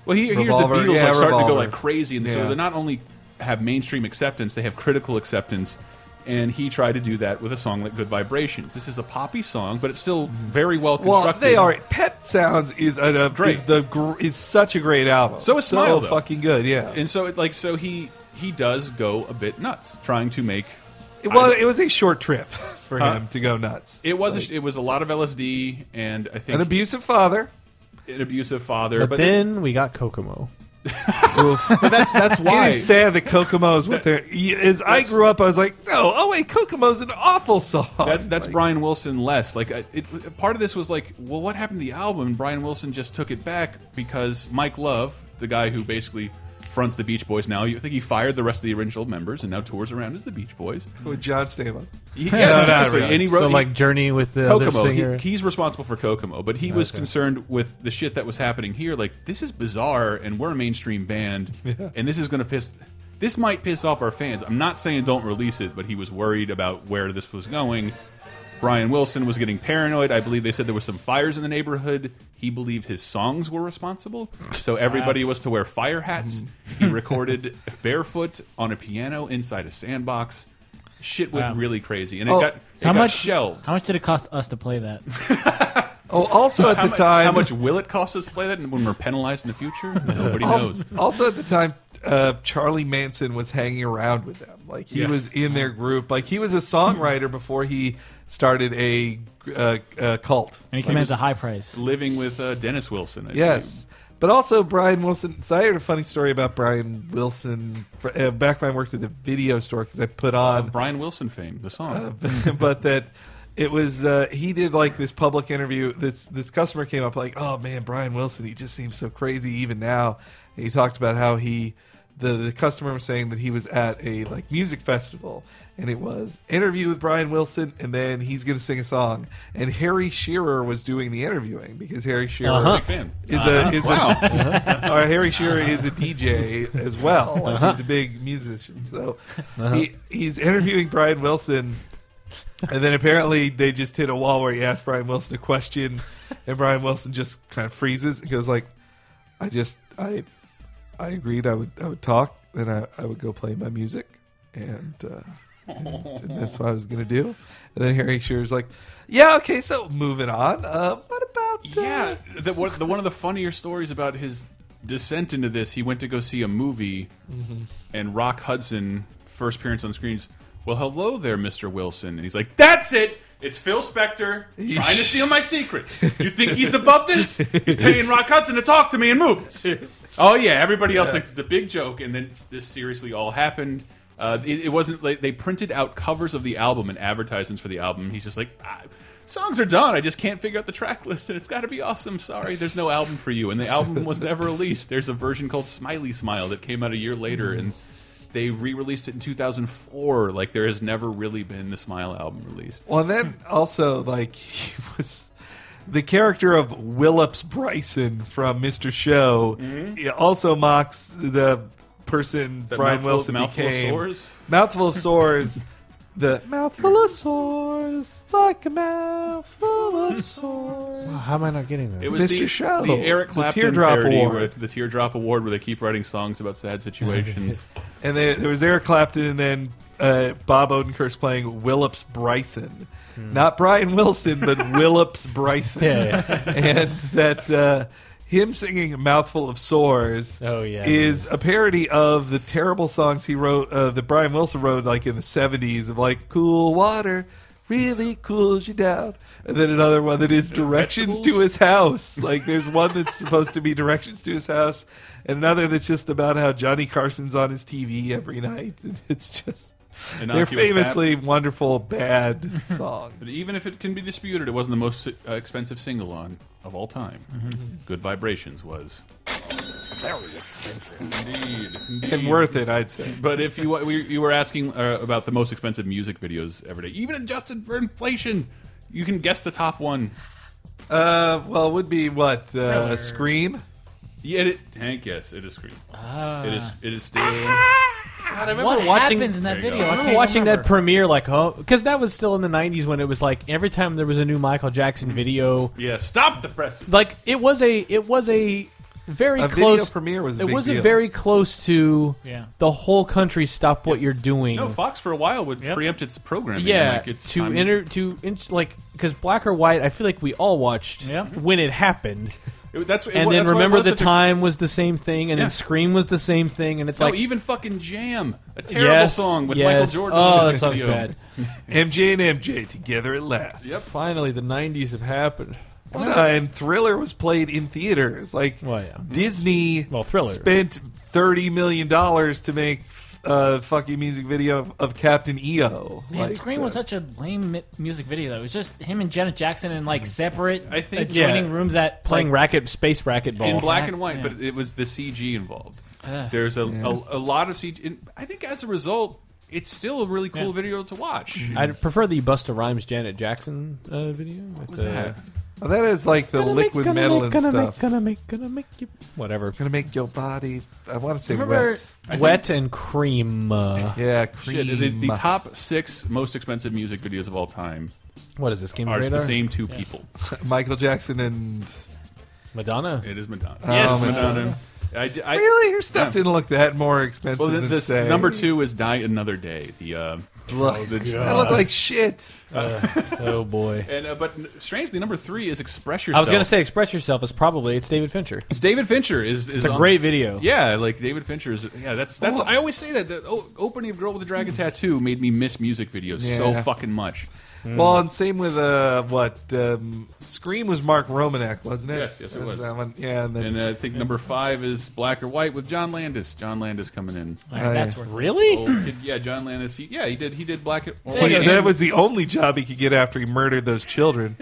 Speaker 4: Well, he hears the
Speaker 6: Revolver,
Speaker 4: Beatles
Speaker 6: yeah,
Speaker 4: like, starting to go
Speaker 6: Revolver.
Speaker 4: like crazy. And so
Speaker 6: Yeah.
Speaker 4: they're not only have mainstream acceptance, they have critical acceptance. And he tried to do that with a song like Good Vibrations. This is a poppy song, but it's still very well constructed.
Speaker 6: Well, they are. Pet Sounds is an, uh,
Speaker 4: Great.
Speaker 6: Is the gr is such a great album.
Speaker 4: So is Smile, though.
Speaker 6: fucking good. Yeah.
Speaker 4: And so it like so he he does go a bit nuts trying to make
Speaker 6: It was,
Speaker 4: I-
Speaker 6: it was a short trip for him
Speaker 4: Huh?
Speaker 6: to go nuts.
Speaker 4: it was a, it was a lot of LSD and I think
Speaker 6: An abusive father.
Speaker 4: an abusive father,
Speaker 5: but,
Speaker 4: but,
Speaker 5: then we got Kokomo.
Speaker 4: but that's that's why
Speaker 6: It is sad that Kokomo's with their. As I grew up, I was like, no, oh wait, Kokomo's an awful song.
Speaker 4: that's that's
Speaker 6: Like,
Speaker 4: Brian Wilson less like I- it, part of this was like well what happened to the album and Brian Wilson just took it back because Mike Love the guy who basically fronts the Beach Boys now you think he fired the rest of the original members and now tours around as the Beach Boys
Speaker 6: with John Stamos.
Speaker 4: He-
Speaker 5: No,
Speaker 4: yeah,
Speaker 5: no,
Speaker 4: seriously.
Speaker 5: really.
Speaker 4: and he wrote
Speaker 5: so
Speaker 4: he-
Speaker 5: like Journey with the other
Speaker 4: Kokomo.
Speaker 5: singer.
Speaker 4: He, he's responsible for Kokomo, but he was concerned with the shit that was happening here. Like this is bizarre, and we're a mainstream band, and this is going to piss. This might piss off our fans. I'm not saying don't release it, but he was worried about where this was going. Brian Wilson was getting paranoid. I believe they said there were some fires in the neighborhood. He believed his songs were responsible, so everybody was to wear fire hats. He recorded barefoot on a piano inside a sandbox. Shit went
Speaker 7: Wow.
Speaker 4: really crazy, and it
Speaker 6: Oh.
Speaker 4: got it
Speaker 7: how
Speaker 4: got
Speaker 7: much
Speaker 4: shelved.
Speaker 7: How much did it cost us to play that?
Speaker 6: Oh, also at the
Speaker 4: How mu-
Speaker 6: time,
Speaker 4: How much will it cost us to play that when we're penalized in the future? Nobody
Speaker 6: also,
Speaker 4: knows.
Speaker 6: also at the time, uh, Charlie Manson was hanging around with them. Like he
Speaker 12: Yes.
Speaker 6: was in their group. Like he was a songwriter before he started a, uh uh cult.
Speaker 7: And he
Speaker 6: Like,
Speaker 7: commands a high price.
Speaker 4: Living with uh, Dennis Wilson. I
Speaker 6: Yes. But also Brian Wilson. So I heard a funny story about Brian Wilson fr- uh, back when I worked at the video store because I put on
Speaker 4: Brian Wilson fame, the song.
Speaker 6: Uh, but that it was uh, he did like this public interview. This this customer came up like, oh man, Brian Wilson, he just seems so crazy even now. And he talked about how he the the customer was saying that he was at a like music festival and it was interview with Brian Wilson and then he's going to sing a song and Harry Shearer was doing the interviewing because Harry Shearer
Speaker 4: Uh-huh. Big fan.
Speaker 6: is
Speaker 4: Uh-huh.
Speaker 6: a is
Speaker 4: Wow.
Speaker 6: a or Harry Shearer is a DJ as well Like,
Speaker 4: Uh-huh.
Speaker 6: he's a big musician so
Speaker 5: Uh-huh.
Speaker 6: he, he's interviewing Brian Wilson, and then apparently they just hit a wall where he asked Brian Wilson a question, and Brian Wilson just kind of freezes and goes like, "I just I I agreed I would I would talk and I, I would go play my music, and, uh, and, and that's what I was gonna do." And then Harry Shearer's like, "Yeah, okay, so moving on. Uh, what about
Speaker 4: yeah, the, one- the, one of the funnier stories about his descent into this, he went to go see a movie,
Speaker 6: Mhm.
Speaker 4: and Rock Hudson first appearance on screens. Well, hello there, Mr. Wilson, and he's like, "That's it. It's Phil Spector trying to steal my secrets. You think he's above this? He's paying Rock Hudson to talk to me in movies. Oh yeah, everybody else
Speaker 12: Yeah.
Speaker 4: thinks it's a big joke, and then this seriously all happened." Uh, it, it wasn't like they printed out covers of the album and advertisements for the album. He's just like, "Ah, songs are done. I just can't figure out the track list, and it's got to be awesome. Sorry, there's no album for you, and the album was never released. There's a version called Smiley Smile that came out a year later, and they re-released it in 2004. Like there has never really been the Smile album released.
Speaker 6: Well, and then also like he was the character of Willops Bryson from Mr. Show.
Speaker 4: Mm-hmm.
Speaker 6: he Also mocks the person
Speaker 4: That
Speaker 6: Brian
Speaker 4: mouthful-
Speaker 6: Wilson
Speaker 4: mouthful of
Speaker 6: became.
Speaker 4: sores?
Speaker 6: Mouthful of sores. the mouthful of sores. It's like a mouthful of sores.
Speaker 5: How am I not getting that?
Speaker 4: It was
Speaker 6: Mr.
Speaker 4: The,
Speaker 6: Show,
Speaker 4: the Eric
Speaker 6: the
Speaker 4: Clapton
Speaker 6: Teardrop
Speaker 4: parody
Speaker 6: Award.
Speaker 4: where- the Teardrop Award, where they keep writing songs about sad situations.
Speaker 6: And there, there was Eric Clapton, and then uh, Bob Odenkirk's playing Willops Bryson, not Brian Wilson, but Willops Bryson.
Speaker 5: Hmm. Yeah,
Speaker 6: and that uh, him singing "A "Mouthful of Sores"
Speaker 5: Oh, yeah.
Speaker 6: is a parody of the terrible songs he wrote uh, that Brian Wilson wrote like in the seventies of like "Cool Water." Really cools you down, and then another one that is directions to his house. Like there's one that's supposed to be directions to his house, and another that's just about how Johnny Carson's on his TV every night. And It's just they're
Speaker 4: Innocuous
Speaker 6: famously wonderful bad songs.
Speaker 4: But even if it can be disputed, it wasn't the most uh, expensive single on of all time.
Speaker 6: Mm-hmm.
Speaker 4: Good Vibrations was.
Speaker 13: Very expensive.
Speaker 4: Indeed,
Speaker 6: And worth it, I'd say.
Speaker 4: But if you we- you were asking uh, about the most expensive music videos ever day, even adjusted for inflation, you can guess the top one.
Speaker 6: Uh, well, it would be what uh, Scream.
Speaker 4: Yeah, it, tank. Yes, it is Scream.
Speaker 7: Ah.
Speaker 4: It is. It is still.
Speaker 6: Ah.
Speaker 7: God, I
Speaker 5: remember
Speaker 7: what
Speaker 5: watching-
Speaker 7: happens in that
Speaker 4: There you
Speaker 7: video?
Speaker 4: go.
Speaker 7: I
Speaker 5: I remember
Speaker 7: can't
Speaker 5: watching
Speaker 7: remember.
Speaker 5: that premiere, like, oh, because that was still in the '90s when it was like every time there was a new Michael
Speaker 4: Mm-hmm.
Speaker 5: Jackson video,
Speaker 4: yeah, stop the press.
Speaker 5: like it was a, it was a very
Speaker 6: A video
Speaker 5: close
Speaker 6: premiere was a
Speaker 5: it
Speaker 6: big
Speaker 5: was
Speaker 6: deal.
Speaker 5: a very close to
Speaker 4: Yeah.
Speaker 5: the whole country stop what you're doing.
Speaker 4: No, Fox for a while would preempt its programming.
Speaker 5: yeah,
Speaker 4: like it's
Speaker 5: to
Speaker 4: time-
Speaker 5: enter to in, like because black or white, I feel like we all watched when it happened.
Speaker 4: It- that's- it
Speaker 5: and
Speaker 4: wa-
Speaker 5: then
Speaker 4: that's why it
Speaker 5: remember
Speaker 4: was
Speaker 5: the
Speaker 4: such a-
Speaker 5: time was the same thing, and
Speaker 4: Yeah.
Speaker 5: then Scream was the same thing, and it's
Speaker 4: No,
Speaker 5: like
Speaker 4: even fucking Jam, a terrible
Speaker 5: Yes,
Speaker 4: song with
Speaker 5: yes.
Speaker 4: Michael Jordan.
Speaker 5: Oh,
Speaker 4: in
Speaker 5: that
Speaker 4: his
Speaker 5: sounds
Speaker 4: video.
Speaker 5: bad.
Speaker 6: MJ and MJ together at last.
Speaker 4: Yep.
Speaker 5: Finally, the '90s have happened.
Speaker 6: One time, Thriller was played in theaters. Like Disney, well,
Speaker 5: Thriller.
Speaker 6: spent thirty million dollars to make a fucking music video of, of Captain EO.
Speaker 7: Man,
Speaker 6: Like,
Speaker 7: Scream was such a lame mi- music video though. It was just him and Janet Jackson in like separate I
Speaker 4: think-
Speaker 7: adjoining
Speaker 4: Yeah.
Speaker 7: rooms at
Speaker 5: playing
Speaker 7: like,
Speaker 5: racket space racquetball
Speaker 4: in black and white, but it was the CG involved.
Speaker 7: Ugh.
Speaker 4: There's a,
Speaker 5: Yeah.
Speaker 4: a a lot of CG. And I think as a result, it's still a really cool video to watch.
Speaker 5: I prefer the Busta Rhymes Janet Jackson uh, video. With,
Speaker 4: was that?
Speaker 6: Oh, that is like the
Speaker 5: Gonna make,
Speaker 6: liquid
Speaker 5: gonna
Speaker 6: metal
Speaker 5: make,
Speaker 6: and
Speaker 5: gonna
Speaker 6: stuff.
Speaker 5: Make, gonna make, gonna make you whatever.
Speaker 6: Gonna make your body. I want to say
Speaker 5: Remember-
Speaker 6: wet.
Speaker 5: I think- Wet and cream. uh,
Speaker 6: yeah,
Speaker 4: Shit,
Speaker 6: cream.
Speaker 4: the, the top six most expensive music videos of all time.
Speaker 5: What is this, Game of
Speaker 4: Are the
Speaker 5: Radar?
Speaker 4: same two
Speaker 5: Yeah.
Speaker 4: people.
Speaker 6: Michael Jackson and
Speaker 5: Madonna.
Speaker 4: It is Madonna.
Speaker 6: Oh,
Speaker 4: yes,
Speaker 6: Madonna.
Speaker 4: Madonna. I, d- I-
Speaker 6: Really? Her stuff
Speaker 4: Yeah.
Speaker 6: didn't look that more expensive
Speaker 4: Well,
Speaker 6: than
Speaker 4: this,
Speaker 6: say.
Speaker 4: number two is Die Another Day. The, uh,
Speaker 6: Look, that looked like shit.
Speaker 4: Uh,
Speaker 5: oh boy.
Speaker 4: and uh, but n- strangely, number three is Express Yourself.
Speaker 5: I was gonna say "Express Yourself" is probably it's David Fincher.
Speaker 4: It's David Fincher is, is
Speaker 5: It's a
Speaker 4: on-
Speaker 5: great video.
Speaker 4: Yeah, like David Fincher is. Yeah, that's that's.
Speaker 5: Oh.
Speaker 4: I always say that the o- opening of Girl with a Dragon Tattoo made me miss music videos
Speaker 6: Yeah.
Speaker 4: so fucking much.
Speaker 6: Well, and same with uh, what um, Scream was Mark Romanek, wasn't it?
Speaker 4: Yes, yes, it
Speaker 6: That
Speaker 4: was.
Speaker 6: That one. Yeah, and then
Speaker 4: And uh, I think number five is Black or White with John Landis. John Landis coming in.
Speaker 6: Like, Oh, that's yeah. worth it.
Speaker 5: Really?
Speaker 4: Old kid- yeah, John Landis. He, yeah, he did. He did Black or
Speaker 6: But that was the only job he could get after he murdered those children.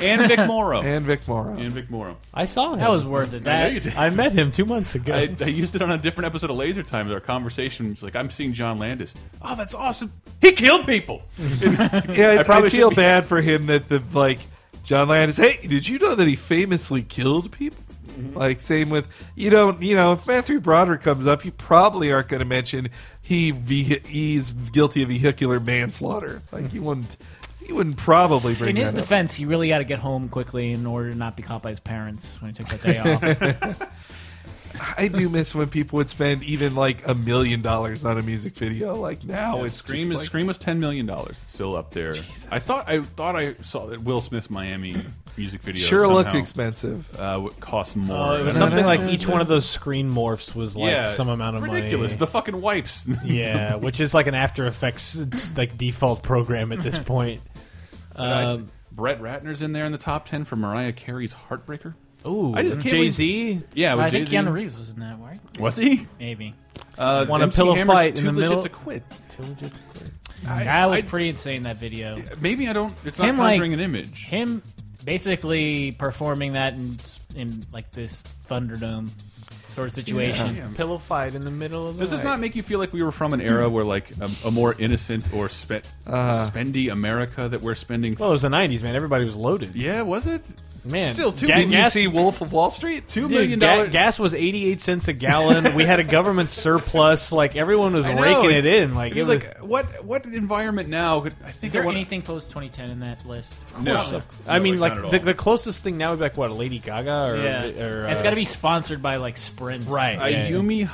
Speaker 4: And Vic Morrow.
Speaker 6: and Vic Morrow.
Speaker 4: And Vic Morrow.
Speaker 5: I saw him.
Speaker 7: That was worth it.
Speaker 4: I know
Speaker 7: That
Speaker 4: you did.
Speaker 5: I met him two months ago.
Speaker 4: I, I used it on a different episode of Laser Time. Our conversation was like, "I'm seeing John Landis. Oh, that's awesome. He killed people."
Speaker 6: yeah, I,
Speaker 4: I
Speaker 6: probably
Speaker 4: probably
Speaker 6: feel
Speaker 4: should be-
Speaker 6: bad for him that the like John Landis. Hey, did you know that he famously killed people?
Speaker 4: Mm-hmm.
Speaker 6: Like same with you don't you know if Matthew Broderick comes up, you probably aren't going to mention he ve- he's guilty of vehicular manslaughter. Like you wouldn't you wouldn't probably bring
Speaker 7: In his
Speaker 6: that up.
Speaker 7: defense, he really got to get home quickly in order to not be caught by his parents when he took that day off.
Speaker 6: I do miss when people would spend even like a million dollars on a music video. Like now,
Speaker 4: Yeah,
Speaker 6: it's
Speaker 4: Scream
Speaker 6: just
Speaker 4: is
Speaker 6: like-
Speaker 4: Scream was ten million dollars. It's still up there. I thought I thought I saw that Will Smith's Miami music video
Speaker 6: Sure
Speaker 4: somehow,
Speaker 6: looked expensive.
Speaker 4: Uh, would cost more.
Speaker 5: Oh, it was
Speaker 4: I don't
Speaker 5: something
Speaker 4: know.
Speaker 5: like each one of those screen morphs was like
Speaker 4: Yeah,
Speaker 5: some amount of
Speaker 4: ridiculous.
Speaker 5: money.
Speaker 4: The fucking wipes.
Speaker 5: yeah, which is like an After Effects it's like default program at this point. Um,
Speaker 4: Brett Ratner's in there in the top ten for Mariah Carey's Heartbreaker.
Speaker 5: Ooh,
Speaker 4: I just can't
Speaker 5: Jay Z.
Speaker 4: believe- Yeah, with
Speaker 7: I think
Speaker 4: Jay-Z.
Speaker 7: Keanu Reeves was in that, right?
Speaker 4: Was he?
Speaker 7: Maybe.
Speaker 4: Uh,
Speaker 5: Want a
Speaker 4: MC
Speaker 5: pillow
Speaker 4: Hammer's
Speaker 5: fight in
Speaker 4: Too
Speaker 5: the
Speaker 4: Legit
Speaker 5: middle?
Speaker 4: to quit.
Speaker 5: Too legit to quit.
Speaker 7: That was pretty insane. That video.
Speaker 4: Maybe I don't. It's
Speaker 7: him
Speaker 4: not
Speaker 7: like
Speaker 4: conjuring an image.
Speaker 7: him basically performing that in in like this Thunderdome sort of situation.
Speaker 5: Yeah. Pillow fight in the middle of the
Speaker 4: Does this
Speaker 5: night.
Speaker 4: not make you feel like we were from an era where like a, a more innocent or spe
Speaker 5: Uh.
Speaker 4: spendy America that we're spending?
Speaker 5: Well, it was the '90s, man. Everybody was loaded.
Speaker 4: Yeah, was it?
Speaker 5: Man,
Speaker 4: Still, two
Speaker 5: ga-
Speaker 4: million-
Speaker 5: gas-
Speaker 6: see Wolf of Wall Street.
Speaker 4: Two
Speaker 5: Dude,
Speaker 4: million
Speaker 5: ga-
Speaker 4: dollars.
Speaker 5: gas was 88 cents a gallon. we had a government surplus. Like everyone was
Speaker 4: I know,
Speaker 5: raking it
Speaker 4: it's-
Speaker 5: in. Like it,
Speaker 4: was
Speaker 5: was.
Speaker 4: like what what environment now? could- I think
Speaker 7: Is there
Speaker 4: I wanna-
Speaker 7: anything post 2010 in that list? Of
Speaker 4: No.
Speaker 7: course.
Speaker 5: I mean,
Speaker 4: No,
Speaker 5: like
Speaker 4: not at
Speaker 5: the,
Speaker 4: all.
Speaker 5: the closest thing now would be like what Lady Gaga or,
Speaker 7: yeah.
Speaker 5: or,
Speaker 7: it's
Speaker 5: uh,
Speaker 7: got to be sponsored by like Sprint,
Speaker 5: Right,
Speaker 4: Uh,
Speaker 5: yeah, yeah.
Speaker 4: Yumi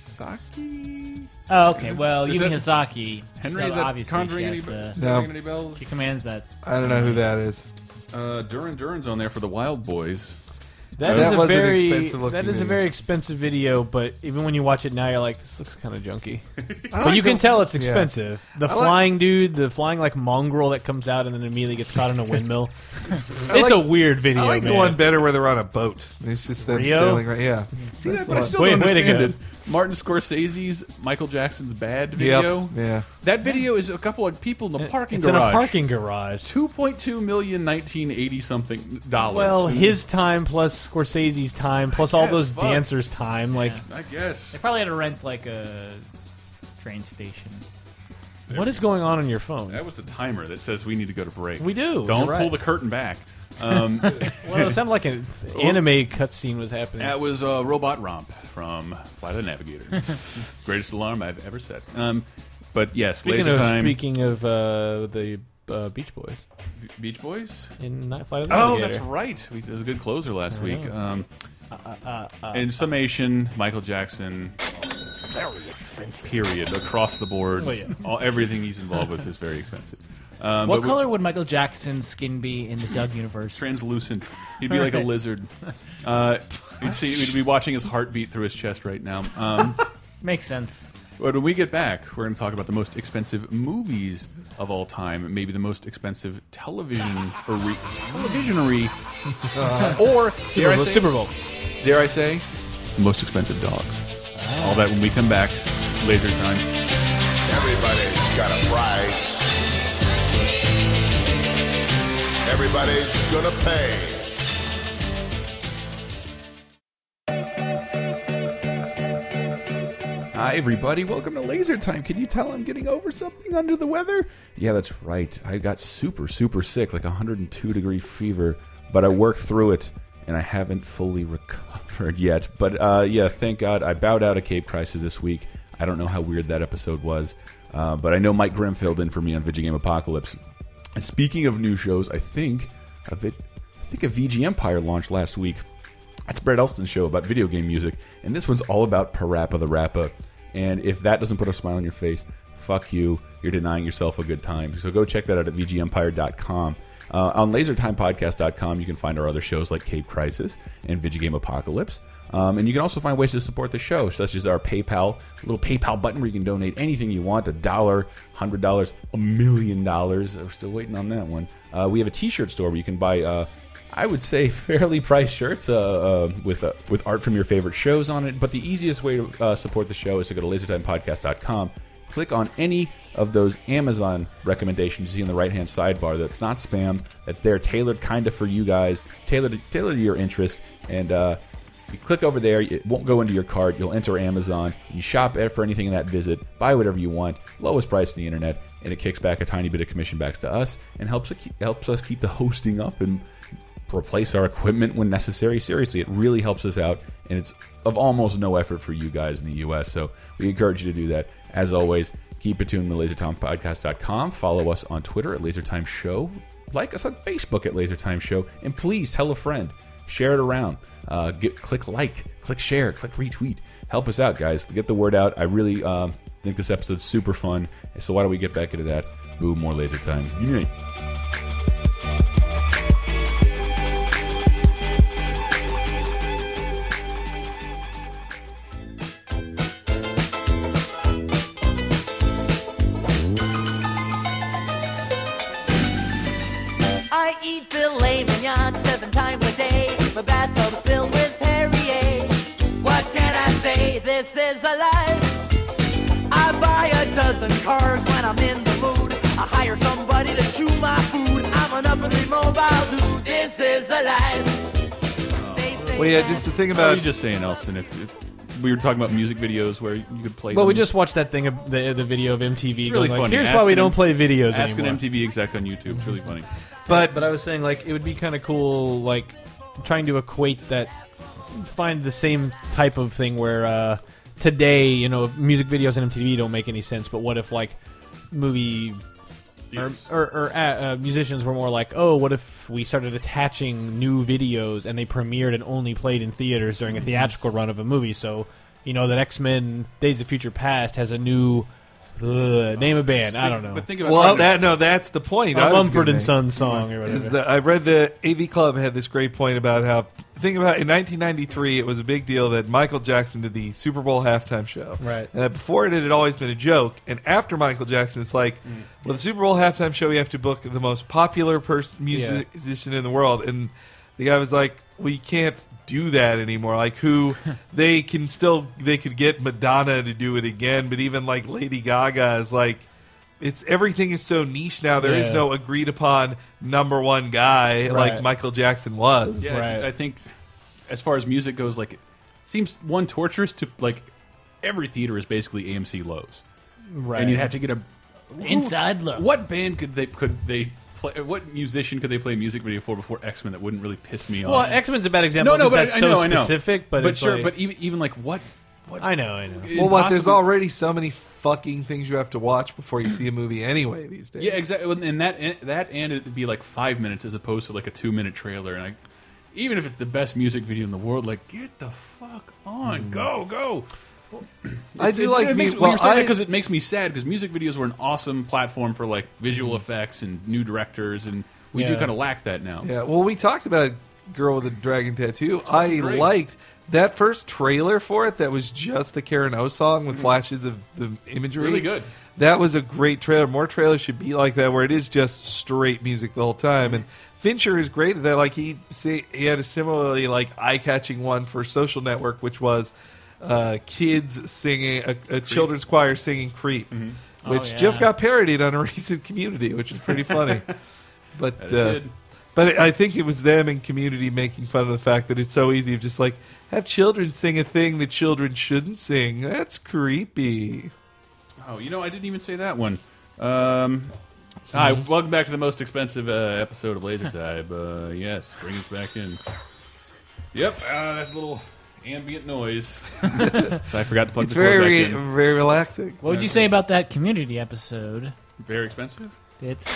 Speaker 4: Hamasaki.
Speaker 7: Oh, okay. Well,
Speaker 4: Is
Speaker 7: Yumi
Speaker 4: that-
Speaker 7: Hisaki.
Speaker 4: Henry, is
Speaker 7: well,
Speaker 4: that
Speaker 7: obviously,
Speaker 4: conjuring
Speaker 7: she has,
Speaker 4: any-
Speaker 7: uh,
Speaker 6: No.
Speaker 4: any bells?
Speaker 7: She commands that.
Speaker 6: I don't know who that is.
Speaker 4: Uh, Duran Duran's on there for the Wild Boys.
Speaker 5: That
Speaker 6: That
Speaker 5: is a
Speaker 6: was an
Speaker 5: very
Speaker 6: expensive-looking
Speaker 5: that is a
Speaker 6: video.
Speaker 5: very expensive video, but even when you watch it now, you're like, this looks kind of junky. but
Speaker 6: like
Speaker 5: you can
Speaker 6: the-
Speaker 5: tell it's
Speaker 6: yeah.
Speaker 5: expensive. The
Speaker 6: I like-
Speaker 5: flying dude, the flying like mongrel that comes out and then immediately gets caught in a windmill. it's
Speaker 6: I like-
Speaker 5: a weird video.
Speaker 6: I like
Speaker 5: man.
Speaker 6: the one better where they're on a boat. It's just them
Speaker 5: Rio?
Speaker 6: sailing right. Yeah.
Speaker 4: See that, but I
Speaker 5: That's
Speaker 4: still
Speaker 5: the
Speaker 4: don't
Speaker 5: one. Way- way to
Speaker 4: understand
Speaker 5: go.
Speaker 4: it. Martin Scorsese's Michael Jackson's Bad
Speaker 6: Yep,
Speaker 4: video.
Speaker 6: yeah.
Speaker 4: That video is a couple of people in the parking
Speaker 5: It's in
Speaker 4: garage.
Speaker 5: a parking garage.
Speaker 4: 2.2 million 1980 something dollars.
Speaker 5: Well,
Speaker 4: And
Speaker 5: his time plus Scorsese's time plus all
Speaker 4: guess,
Speaker 5: those
Speaker 4: fuck.
Speaker 5: dancers' time, like
Speaker 4: I guess.
Speaker 7: They probably had to rent like a train station.
Speaker 5: what is going on on your phone?
Speaker 4: That was the timer that says we need to go to break.
Speaker 5: We do.
Speaker 4: Don't pull
Speaker 5: You're right.
Speaker 4: the curtain back. Um,
Speaker 5: Well, it sounded like an anime cutscene was happening.
Speaker 4: That was uh, Robot Romp from Flight of the Navigator. Greatest alarm I've ever set. Um, but yes,
Speaker 5: Speaking
Speaker 4: laser
Speaker 5: of
Speaker 4: time.
Speaker 5: speaking of uh, the uh, Beach Boys
Speaker 4: Beach Boys.
Speaker 5: in Night Flight of the
Speaker 4: Oh,
Speaker 5: Navigator.
Speaker 4: that's right. We, that was a good closer last week.
Speaker 5: know.
Speaker 4: Um,
Speaker 5: Uh, uh, uh,
Speaker 4: in summation, Michael Jackson,
Speaker 13: Very expensive.
Speaker 4: period, across the board,
Speaker 5: Well, Oh, yeah.
Speaker 4: all, everything he's involved with is very expensive. Um,
Speaker 7: What
Speaker 4: but we-
Speaker 7: color would Michael Jackson's skin be in the Doug universe?
Speaker 4: translucent. He'd be like a
Speaker 7: Right.
Speaker 4: lizard. Uh, we'd, see, we'd be watching his heartbeat through his chest right now. Um,
Speaker 7: Makes sense.
Speaker 4: But when we get back, we're going to talk about the most expensive movies of all time, maybe the most expensive television or televisionary, or dare
Speaker 5: Super,
Speaker 4: I
Speaker 5: Bowl,
Speaker 4: say-
Speaker 5: Super Bowl.
Speaker 4: Dare I say, the most expensive dogs. All that when we come back, laser time.
Speaker 13: Everybody's got a price. Everybody's gonna pay.
Speaker 12: Hi, everybody. Welcome to Laser Time. Can you tell I'm getting over something under the weather? Yeah, that's right. I got super, super sick, like 102 degree fever, but I worked through it and I haven't fully recovered yet. But uh, yeah, thank God I bowed out of Cape Crisis this week. I don't know how weird that episode was, uh, but I know Mike Grimm filled in for me on Video Game Apocalypse. And speaking of new shows, I think a vid- I think a VG Empire launched last week.
Speaker 4: That's Brad Elston's show about video game music, and this one's all about Parappa the Rappa. And if that doesn't put a smile on your face, fuck you. You're denying yourself a good time. So go check that out at VGEmpire.com. Uh, on LaserTimePodcast.com, you can find our other shows like Cape Crisis and Vigigame Apocalypse. Um, and you can also find ways to support the show, such as our PayPal, little PayPal button where you can donate anything you want a dollar, hundred dollars, a million dollars. We're still waiting on that one. Uh, we have a t shirt store where you can buy, uh, I would say, fairly priced shirts uh, uh, with, uh, with art from your favorite shows on it. But the easiest way to uh, support the show is to go to lasertimepodcast.com, click on any of those Amazon recommendations you see on the right hand sidebar. That's not spam, that's there, tailored kind of for you guys, tailored, tailored to your interests. And, uh, you click over there, it won't go into your cart. You'll enter Amazon. You shop for anything in that visit, buy whatever you want, lowest price on the internet, and it kicks back a tiny bit of commission back to us and helps helps us keep the hosting up and replace our equipment when necessary. Seriously, it really helps us out, and it's of almost no effort for you guys in the U.S. So we encourage you to do that. As always, keep it tuned to lasertimepodcast.com. Follow us on Twitter at Lasertime Show. Like us on Facebook at Lasertime Show, and please tell a friend share it around. Uh, get, click like, click share, click retweet. Help us out, guys. Get the word out. I really um, think this episode's super fun. So why don't we get back into that? Boo, more laser time. Unite.
Speaker 14: I eat filet mignon seven times a day. My bathrobe's filled with Perrier. What can I say? This is a life. I buy a dozen cars when I'm in the mood. I hire somebody to chew my food. I'm an up and mobile dude. This is a life.
Speaker 6: Well, yeah, just the thing
Speaker 15: I
Speaker 6: about
Speaker 15: was just saying, Elston, if, if we were talking about music videos where you could play.
Speaker 5: Well, we
Speaker 15: them,
Speaker 5: just watched that thing, of the, the video of MTV.
Speaker 15: It's really
Speaker 5: going, like,
Speaker 15: funny.
Speaker 5: Here's
Speaker 15: Ask
Speaker 5: why we
Speaker 15: an
Speaker 5: don't
Speaker 15: M-
Speaker 5: play videos
Speaker 15: Ask
Speaker 5: anymore.
Speaker 15: an MTV exec on YouTube. It's really funny.
Speaker 5: But but I was saying like it would be kind of cool like trying to equate that find the same type of thing where uh, today you know music videos and MTV don't make any sense. But what if like movie or or, or uh, uh, musicians were more like oh what if we started attaching new videos and they premiered and only played in theaters during a
Speaker 7: Mhm.
Speaker 5: theatrical run of a movie so. You know that X Men: Days of Future Past has a new uh, name a band. I don't know.
Speaker 6: well, that no, that's the point.
Speaker 5: A
Speaker 6: I was
Speaker 5: Mumford
Speaker 6: gonna
Speaker 5: and
Speaker 6: make,
Speaker 5: Sons song or
Speaker 6: Is
Speaker 5: whatever.
Speaker 6: that I read the AV Club had this great point about how think about in 1993 it was a big deal that Michael Jackson did the Super Bowl halftime show.
Speaker 5: Right.
Speaker 6: And that before it it had always been a joke, and after Michael Jackson, it's like,
Speaker 5: Mm.
Speaker 6: well, the Super Bowl halftime show, you have to book the most popular person
Speaker 5: Yeah.
Speaker 6: music, musician in the world, and the guy was like, "We can't do that anymore." Like, who they can still they could get Madonna to do it again, but even like Lady Gaga is like, it's everything is so niche now. There is
Speaker 15: Yeah.
Speaker 6: no agreed upon number one guy like
Speaker 15: Right.
Speaker 6: Michael Jackson was.
Speaker 15: Yeah, I- I think as far as music goes, like it seems one torturous to like every theater is basically AMC Lowe's,
Speaker 7: Right.
Speaker 15: And you'd have to get a
Speaker 7: Inside look.
Speaker 15: What band could they could they play? What musician could they play a music video for before X Men that wouldn't really piss me
Speaker 5: Well,
Speaker 15: off?
Speaker 5: X-Men's a bad example
Speaker 15: No, no,
Speaker 5: because
Speaker 15: but
Speaker 5: that's
Speaker 15: I, I
Speaker 5: so
Speaker 15: know, I know.
Speaker 5: specific, but
Speaker 15: but
Speaker 5: it's
Speaker 15: sure,
Speaker 5: like-
Speaker 15: but even even like what. What?
Speaker 5: I know, I know.
Speaker 6: Well, what? There's
Speaker 15: impossible-
Speaker 6: already so many fucking things you have to watch before you see a movie anyway these days.
Speaker 15: Yeah, exactly. And- And that and that and it'd be like five minutes as opposed to like a two minute trailer. And I, even if it's the best music video in the world, like get the fuck on,
Speaker 6: Mm.
Speaker 15: go go.
Speaker 6: I
Speaker 15: It's-
Speaker 6: do
Speaker 15: it,
Speaker 6: like
Speaker 15: it makes, well,
Speaker 6: mu- well,
Speaker 15: you're saying
Speaker 6: I-
Speaker 15: because it makes me sad because music videos were an awesome platform for like visual effects and new directors, and we do
Speaker 6: Mm-hmm. Yeah.
Speaker 15: kind of lack that now.
Speaker 6: Yeah, well, we talked about Girl with a Dragon Tattoo. I
Speaker 15: great.
Speaker 6: liked that first trailer for it that was just the Karen O song with flashes of the imagery.
Speaker 15: Hmm. Really good.
Speaker 6: That was a great trailer. More trailers should be like that, where it is just straight music the whole time. And Fincher is great at that. Like he say, he had a similarly like eye catching one for Social Network, which was uh, kids singing a, a children's choir singing "Creep,"
Speaker 15: Mm-hmm.
Speaker 5: Oh,
Speaker 6: which
Speaker 5: yeah.
Speaker 6: just got parodied on a recent Community, which is pretty funny. but
Speaker 5: That it
Speaker 6: uh,
Speaker 5: did.
Speaker 6: but I think it was them in community making fun of the fact that it's so easy to just like have children sing a thing that children shouldn't sing. That's creepy.
Speaker 15: Oh, you know, I didn't even say that one. Um, Hi, welcome back to the most expensive uh, episode of Laser Time. uh, yes, bring us back in. Yep, uh, that's a little ambient noise. So I forgot to plug the cord back in.
Speaker 6: very relaxing.
Speaker 7: What would you say about that community episode?
Speaker 15: Very expensive.
Speaker 7: It's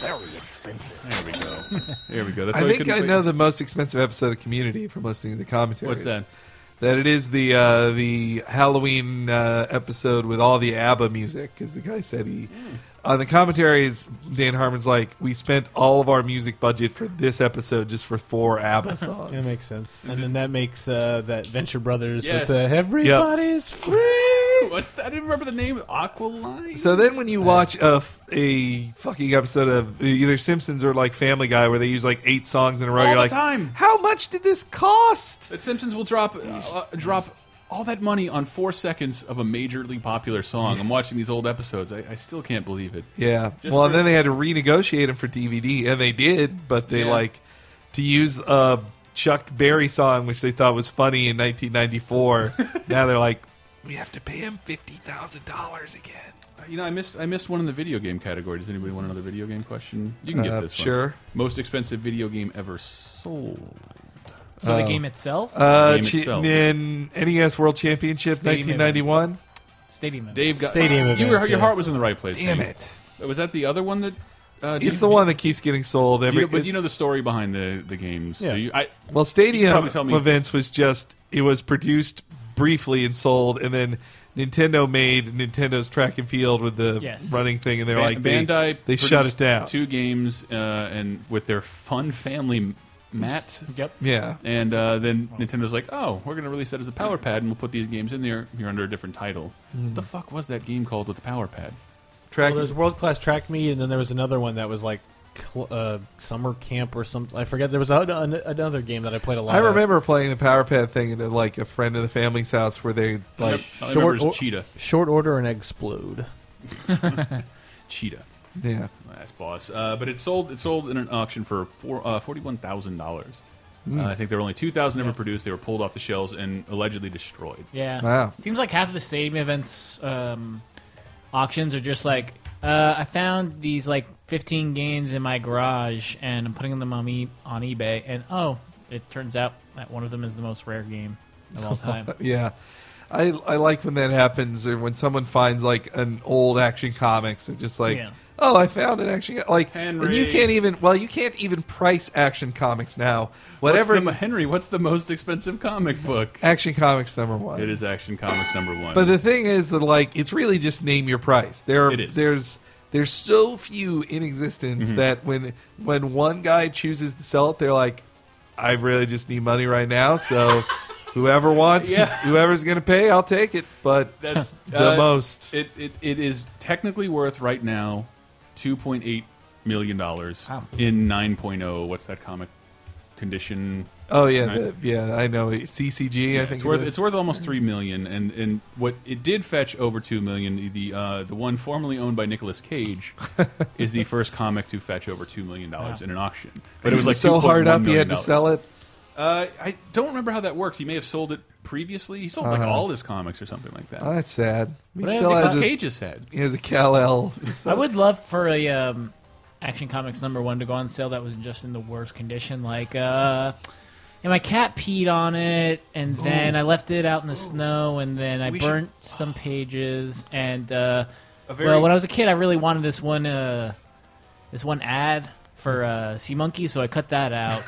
Speaker 13: Very expensive.
Speaker 4: There we go. There we go. That's
Speaker 6: I
Speaker 4: why
Speaker 6: think
Speaker 4: couldn't
Speaker 6: I
Speaker 4: play-
Speaker 6: know the most expensive episode of Community from listening to the commentaries.
Speaker 4: What's that?
Speaker 6: That it is the uh, the Halloween uh, episode with all the ABBA music, because the guy said he on the commentaries. Dan Harmon's like, we spent all of our music budget for this episode just for four ABBA songs.
Speaker 5: That makes sense. And then that makes uh, that Venture Brothers
Speaker 4: Yes.
Speaker 5: with the Everybody's Free.
Speaker 4: What's that? I didn't remember the name. Aqualine.
Speaker 6: So then, when you watch a, f- a fucking episode of either Simpsons or like Family Guy, where they use like eight songs in a row,
Speaker 4: All
Speaker 6: you're
Speaker 4: the
Speaker 6: like,
Speaker 4: time.
Speaker 6: How much did this cost?
Speaker 4: That Simpsons will drop uh, uh, drop all that money on four seconds of a majorly popular song. I'm watching these old episodes. I, I still can't believe it.
Speaker 6: Yeah.
Speaker 4: Just
Speaker 6: well,
Speaker 4: for-
Speaker 6: and then they had to renegotiate them for DVD, and they did, but they
Speaker 4: Yeah.
Speaker 6: like to use a Chuck Berry song, which they thought was funny in 1994. now they're like, we have to pay him fifty thousand dollars again.
Speaker 4: Uh, You know, I missed I missed one in the video game category. Does anybody want another video game question? You can get
Speaker 6: Uh,
Speaker 4: this one.
Speaker 6: sure.
Speaker 4: Most expensive video game ever sold.
Speaker 7: So
Speaker 4: Oh.
Speaker 7: the game itself?
Speaker 6: Uh,
Speaker 4: The game
Speaker 6: chi-
Speaker 4: itself.
Speaker 6: in NES World Championship,
Speaker 4: E
Speaker 7: Stadium
Speaker 6: 1991.
Speaker 7: Stadium. events.
Speaker 4: Dave got
Speaker 5: Stadium
Speaker 4: You were,
Speaker 5: events,
Speaker 4: your
Speaker 5: yeah.
Speaker 4: heart was in the right place.
Speaker 6: Damn
Speaker 4: Dave. Was that the other one that? Uh, do
Speaker 6: It's
Speaker 4: you-
Speaker 6: the one that keeps getting sold.
Speaker 4: do you
Speaker 6: Every
Speaker 4: know- but you know the story behind the the games.
Speaker 6: Yeah.
Speaker 4: Do you? I,
Speaker 6: Well,
Speaker 4: you could
Speaker 6: Stadium
Speaker 4: probably tell me.
Speaker 6: Events was just it was produced briefly and sold, and then Nintendo made Nintendo's Track and Field with the
Speaker 4: Yes.
Speaker 6: running thing, and they're
Speaker 4: Ban-
Speaker 6: like they-
Speaker 4: Bandai.
Speaker 6: They, shut it
Speaker 4: produced
Speaker 6: down.
Speaker 4: Two games, uh, and with their fun family Matt.
Speaker 7: Yep.
Speaker 6: Yeah.
Speaker 4: And uh, then Nintendo's like, "Oh, we're going to release that as a Power Pad, and we'll put these games in there. You're under a different title. What
Speaker 6: Mm-hmm.
Speaker 5: Mm.
Speaker 4: the fuck was that game called with the Power Pad?
Speaker 5: Well, there's world class track meet, and then there was another one that was like cl- uh, summer camp or something. I forget. There was a, an- another game that I played a lot.
Speaker 6: I
Speaker 5: of.
Speaker 6: remember playing the Power Pad thing at like a friend of the family's house where they like
Speaker 4: I remember it was Cheetah.
Speaker 5: Short order and explode.
Speaker 4: Cheetah.
Speaker 6: Yeah.
Speaker 4: Last boss. Uh, but it sold. It sold in an auction for four, uh, forty-one thousand dollars.
Speaker 7: Mm.
Speaker 6: Hmm.
Speaker 4: Uh, I think there were only two thousand ever produced. They were pulled off the shelves and allegedly destroyed.
Speaker 7: Yeah.
Speaker 4: Wow.
Speaker 7: Seems like half of the stadium events um, auctions are just like uh, I found these like 15 games in my garage and I'm putting them on e- on eBay and oh, it turns out that one of them is the most rare game of all time.
Speaker 6: yeah. I, I like when that happens or when someone finds like an old action comics and just like
Speaker 4: Yeah.
Speaker 6: oh I found an action like and you
Speaker 4: Henry.
Speaker 6: can't even well you can't even price action comics now whatever
Speaker 4: What's the, Henry, what's the most expensive comic book?
Speaker 6: Action Comics number one.
Speaker 4: It is Action Comics number one.
Speaker 6: But the thing is that like it's really just name your price. There are,
Speaker 4: It is.
Speaker 6: there's there's so few in existence
Speaker 4: Mhm.
Speaker 6: that when when one guy chooses to sell it, they're like, I really just need money right now, so whoever wants,
Speaker 4: Yeah.
Speaker 6: whoever's gonna pay, I'll take it. But
Speaker 4: That's
Speaker 6: the
Speaker 4: uh,
Speaker 6: most.
Speaker 4: It, it it is technically worth right now two point eight million dollars in 9.0 what's that comic condition
Speaker 6: Oh yeah,
Speaker 4: Nine-
Speaker 6: the, yeah, I know CCG. I
Speaker 4: Yeah,
Speaker 6: think
Speaker 4: it's
Speaker 6: it
Speaker 4: worth
Speaker 6: is.
Speaker 4: it's worth almost three million, and and what it did fetch over two million. The uh, the one formerly owned by Nicolas Cage is the first comic to fetch over two million dollars
Speaker 6: Wow.
Speaker 4: in an auction. But it was like
Speaker 6: so hard up,
Speaker 4: you
Speaker 6: you had to sell it.
Speaker 4: Uh, I don't remember how that worked. He may have sold it previously. He sold like
Speaker 6: Uh-huh.
Speaker 4: all his comics or something like that.
Speaker 6: Oh, that's sad. He
Speaker 7: But I
Speaker 6: still
Speaker 7: think
Speaker 6: has
Speaker 7: Nick
Speaker 6: a,
Speaker 4: Cage is sad.
Speaker 6: He has a Cal El.
Speaker 7: I would love for a um, Action Comics number one to go on sale that was just in the worst condition. Like, uh, and my cat peed on it, and then I left it out in the snow, and then I
Speaker 5: We should-
Speaker 7: burnt some pages. And uh,
Speaker 5: A very-
Speaker 7: well, when I was a kid, I really wanted this one, uh, this one ad for uh, Sea Monkey, so I cut that out.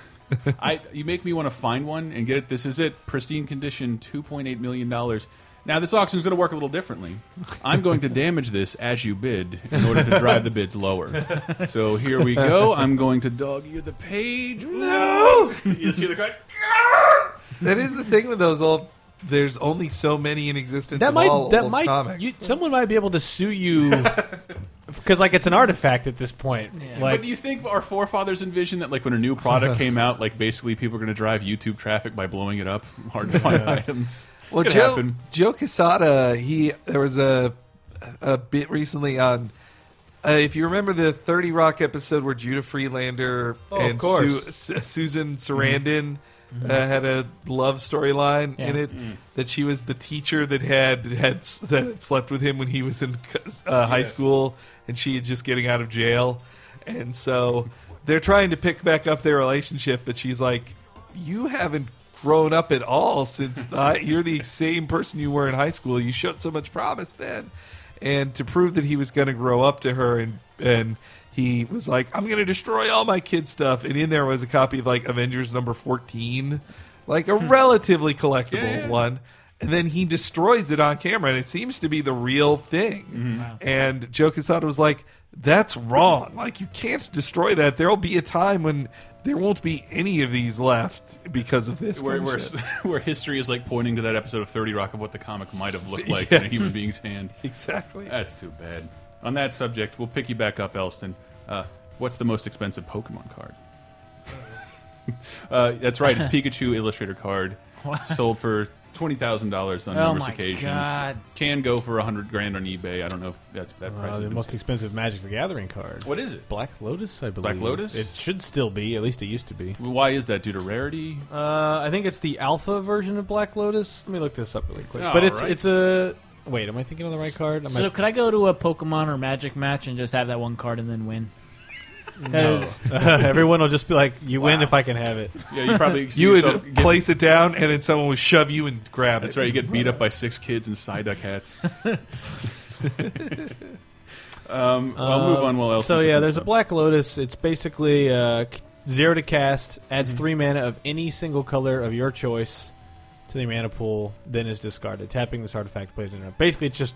Speaker 4: I you make me want to find one and get it. This is it, pristine condition, two point eight million dollars. Now this auction is going to work a little differently. I'm going to damage this as you bid in order to drive the bids lower. So here we go. I'm going to dog you the page. No, you see the crowd.
Speaker 6: That is the thing with those old. There's only so many in existence.
Speaker 5: That
Speaker 6: of all
Speaker 5: might that
Speaker 6: old
Speaker 5: might
Speaker 6: comics.
Speaker 5: you, someone might be able to sue you because like it's an artifact at this point. Like
Speaker 4: but do you think our forefathers envisioned that, like, when a new product came out, like, basically people are going to drive YouTube traffic by blowing it up, hard to find items?
Speaker 6: Well,
Speaker 4: Could
Speaker 6: Joe
Speaker 4: happen.
Speaker 6: Joe Casada, he there was a a bit recently on. Uh, if you remember the Thirty Rock episode where Judah Freelander
Speaker 5: Oh, of
Speaker 6: and
Speaker 5: course.
Speaker 6: Su- S- Susan Sarandon
Speaker 5: Mhm.
Speaker 6: uh, had a love storyline in
Speaker 5: Yeah. Mm.
Speaker 6: it that she was the teacher that had had, s- that had slept with him when he was in uh, high
Speaker 5: Yes.
Speaker 6: school, and she is just getting out of jail, and so they're trying to pick back up their relationship, but she's like, "You haven't grown up at all since I, you're the same person you were in high school. You showed so much promise then." And to prove that he was going to grow up to her and and he was like, "I'm going to destroy all my kids' stuff," and in there was a copy of like Avengers number fourteen, like a relatively collectible
Speaker 12: Yeah, yeah.
Speaker 6: one. And then he destroys it on camera, and it seems to be the real thing.
Speaker 5: Mm-hmm.
Speaker 6: And Joe Quesada was like, "That's wrong. Like you can't destroy that. There'll be a time when." There won't be any of these left because of this.
Speaker 4: where
Speaker 6: kind of
Speaker 4: where,
Speaker 6: shit."
Speaker 4: where history is like pointing to that episode of Thirty Rock of what the comic might have looked like in a
Speaker 6: Yes.
Speaker 4: human being's hand.
Speaker 6: Exactly.
Speaker 4: That's too bad. On that subject, we'll pick you back up, Elston. Uh, what's the most expensive Pokemon card? uh, that's right. It's Pikachu Illustrator card,
Speaker 7: What?
Speaker 4: sold for twenty thousand dollars on
Speaker 7: Oh
Speaker 4: numerous
Speaker 7: my
Speaker 4: occasions.
Speaker 7: God.
Speaker 4: Can go for a hundred grand on eBay. I don't know if that's that price.
Speaker 5: Uh,
Speaker 4: has
Speaker 5: the
Speaker 4: been
Speaker 5: most expensive Magic the Gathering card.
Speaker 4: What is it?
Speaker 5: Black Lotus, I believe.
Speaker 4: Black Lotus?
Speaker 5: It should still be. At least it used to be.
Speaker 4: Why is that? Due to rarity?
Speaker 5: Uh, I think it's the alpha version of Black Lotus. Let me look this up really quick.
Speaker 7: All
Speaker 5: but it's
Speaker 7: right.
Speaker 5: it's a wait. Am I thinking of the right card? Am
Speaker 7: So
Speaker 5: I,
Speaker 7: could I go to a Pokemon or Magic match and just have that one card and then win? That
Speaker 5: No.
Speaker 7: is-
Speaker 5: Everyone will just be like, "You win if I can have it."
Speaker 6: you would place it down, and then someone would shove you and grab
Speaker 4: That's
Speaker 6: it.
Speaker 4: right. You get beat up by six kids in Psyduck hats. um, I'll move on. While else,
Speaker 5: so yeah, there's a Black Lotus. It's basically uh, c- zero to cast, adds three mana of any single color of your choice to the mana pool, then is discarded. Tapping this artifact plays in Basically, it's just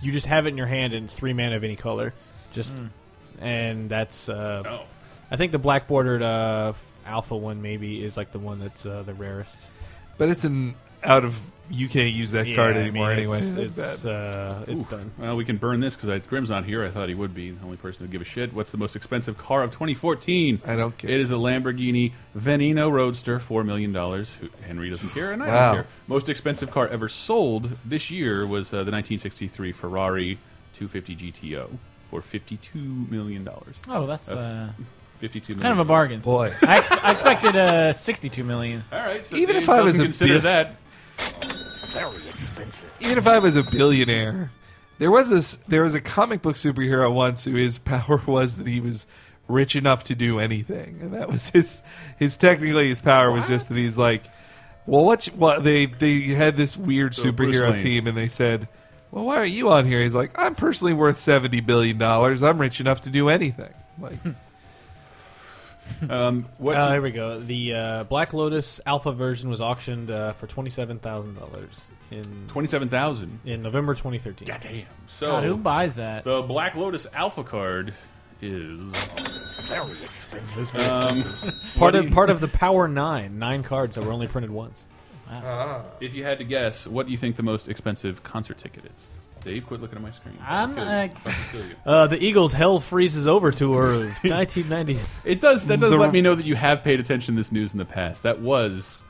Speaker 5: you just have it in your hand and three mana of any color, just
Speaker 7: Mm.
Speaker 5: and that's. Uh, I think the black bordered uh, alpha one maybe is like the one that's uh, the rarest.
Speaker 6: But it's an out of you can't use that
Speaker 5: Yeah,
Speaker 6: card
Speaker 5: I mean,
Speaker 6: anymore anyway.
Speaker 5: it's- it's, uh, it's
Speaker 4: Ooh.
Speaker 5: done.
Speaker 4: Well, we can burn this because Grim's not here. I thought he would be the only person who'd give a shit. What's the most expensive car of 2014? I
Speaker 6: don't care.
Speaker 4: It is a Lamborghini Veneno Roadster, four million dollars. Henry doesn't care, and I
Speaker 6: Wow.
Speaker 4: don't care. Most expensive car ever sold this year was uh, the 1963 Ferrari 250 GTO for 52 million dollars.
Speaker 7: Oh, that's, uh,
Speaker 4: 52 million.
Speaker 7: kind of a bargain.
Speaker 4: Boy.
Speaker 7: I, ex- I expected uh, 62 million.
Speaker 4: All right, so
Speaker 7: even
Speaker 4: Dave
Speaker 7: if I was
Speaker 4: doesn't
Speaker 7: a
Speaker 4: consider
Speaker 6: beer-
Speaker 4: that.
Speaker 13: Very expensive.
Speaker 6: Even if I was a billionaire, there was this. There was a comic book superhero once who his power was that he was rich enough to do anything, and that was his. His technically his power was just that he's like, well, what? Well, they they had this weird
Speaker 12: So Bruce
Speaker 6: superhero
Speaker 12: Wayne.
Speaker 6: team, and they said. Well, why are you on here? He's like, I'm personally worth seventy billion dollars. I'm rich enough to do anything. Like,
Speaker 12: Hmm.
Speaker 4: Um, what
Speaker 5: Uh,
Speaker 4: do-
Speaker 5: here we go. The uh, Black Lotus Alpha version was auctioned uh, for twenty seven thousand dollars in
Speaker 4: twenty seven thousand
Speaker 5: in November twenty thirteen.
Speaker 4: Goddamn! So
Speaker 7: God,
Speaker 5: Oh.
Speaker 7: who buys that?
Speaker 4: The Black Lotus Alpha card is
Speaker 13: very expensive.
Speaker 5: It's very expensive. part of part of the Power Nine, nine cards that were only printed once.
Speaker 4: If you had to guess, what do you think the most expensive concert ticket is? Dave, quit looking at my screen.
Speaker 7: I'm,
Speaker 4: Kill you.
Speaker 7: uh,
Speaker 4: Kill you.
Speaker 5: Uh, the Eagles' Hell Freezes Over tour of nineteen ninety.
Speaker 4: It does. That does
Speaker 5: The-
Speaker 4: let me know that you have paid attention to this news in the past. That was,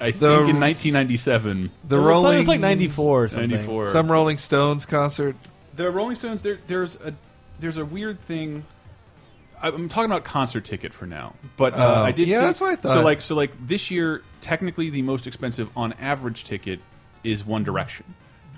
Speaker 4: I think, in 1997.
Speaker 6: The Rolling Some
Speaker 4: Some
Speaker 6: Rolling Stones concert.
Speaker 4: the Rolling Stones. There, there's a there's a weird thing. I- I'm talking about concert ticket for now, but uh,
Speaker 6: Oh.
Speaker 4: I did.
Speaker 6: Yeah,
Speaker 4: see-
Speaker 6: that's what I
Speaker 4: So
Speaker 6: thought.
Speaker 4: like, so like this year, technically the most expensive on average ticket is One Direction,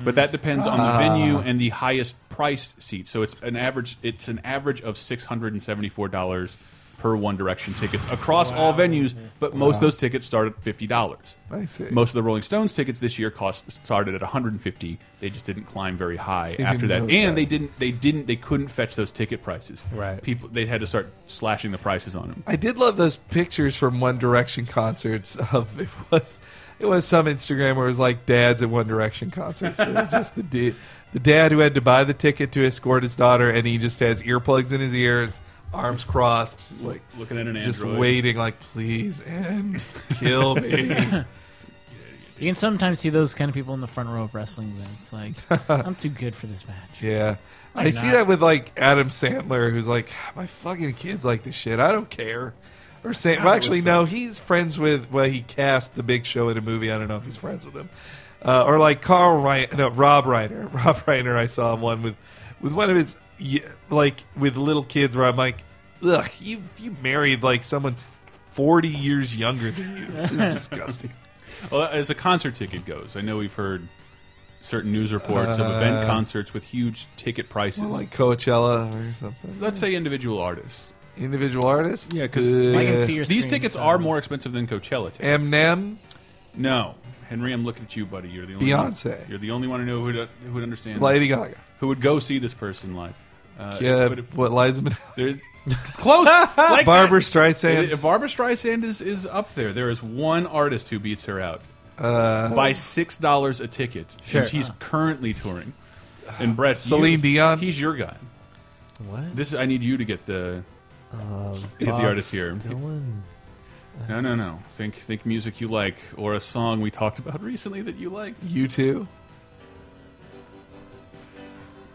Speaker 4: but that depends on the
Speaker 12: Ah.
Speaker 4: venue and the highest priced seat. So it's an average. It's an average of six hundred and seventy four dollars per One Direction tickets across all venues, but most of
Speaker 12: Wow.
Speaker 4: those tickets start at fifty dollars.
Speaker 6: I see.
Speaker 4: Most of the Rolling Stones tickets this year cost started at 150. They just didn't climb very high
Speaker 12: They
Speaker 4: after
Speaker 12: didn't
Speaker 4: that, and
Speaker 12: notice that.
Speaker 4: they didn't. They didn't. They couldn't fetch those ticket prices.
Speaker 6: Right.
Speaker 4: People. They had to start slashing the prices on them.
Speaker 6: I did love those pictures from One Direction concerts. Of it was, it was some Instagram where it was like dads at One Direction concerts. It was just the da- the dad who had to buy the ticket to escort his daughter, and he just has earplugs in his ears, arms crossed, just
Speaker 4: Look-
Speaker 6: like
Speaker 4: looking at an
Speaker 6: just
Speaker 4: Android.
Speaker 6: waiting, like please end, kill me.
Speaker 7: You can sometimes see those kind of people in the front row of wrestling events. Like, I'm too good for this match.
Speaker 6: Yeah.
Speaker 7: I'm
Speaker 6: I see
Speaker 7: not.
Speaker 6: that with like Adam Sandler, who's like, my fucking kids like this shit. I don't care. Or Sam,
Speaker 12: God,
Speaker 6: well, actually,
Speaker 12: Wilson.
Speaker 6: no, he's friends with. Well, he cast the Big Show in a movie. I don't know if he's friends with him. Uh, or like Carl Reiner, no, Rob Reiner. Rob Reiner, I saw him one with, with one of his, y- like with little kids, where I'm like, ugh, you you married like someone 40 years younger than you. This is disgusting.
Speaker 4: Well, as a concert ticket goes, I know we've heard certain news reports of event
Speaker 6: Uh,
Speaker 4: concerts with huge ticket prices.
Speaker 6: Well, like Coachella or something.
Speaker 4: Let's say individual artists.
Speaker 6: Individual Uh, artists.
Speaker 4: Yeah, because these tickets are more expensive than Coachella tickets.
Speaker 6: Eminem?
Speaker 4: No, Henry, I'm looking at you, buddy. You're the only
Speaker 6: Beyonce.
Speaker 4: One, you're the only one I know who would, who would understand.
Speaker 6: Lady
Speaker 4: this.
Speaker 6: Gaga.
Speaker 4: Who would go see this person live? Uh,
Speaker 6: Yeah,
Speaker 4: but it-
Speaker 6: what Liza Minnelli-
Speaker 4: They're- Close. like
Speaker 6: Barbra
Speaker 4: that.
Speaker 6: Streisand.
Speaker 4: It- Barbra Streisand is is up there. There is one artist who beats her out
Speaker 6: Uh,
Speaker 4: by six dollars a ticket,
Speaker 6: Sure.
Speaker 4: and
Speaker 5: Uh.
Speaker 4: she's currently touring. And Brett,
Speaker 6: Celine
Speaker 4: Dion, he's your guy.
Speaker 5: What? Uh,
Speaker 4: This I need you to get the get
Speaker 5: Bob
Speaker 4: the artist here.
Speaker 5: Dylan.
Speaker 4: No, no, no. Think think music you like or a song we talked about recently that you liked.
Speaker 6: You too.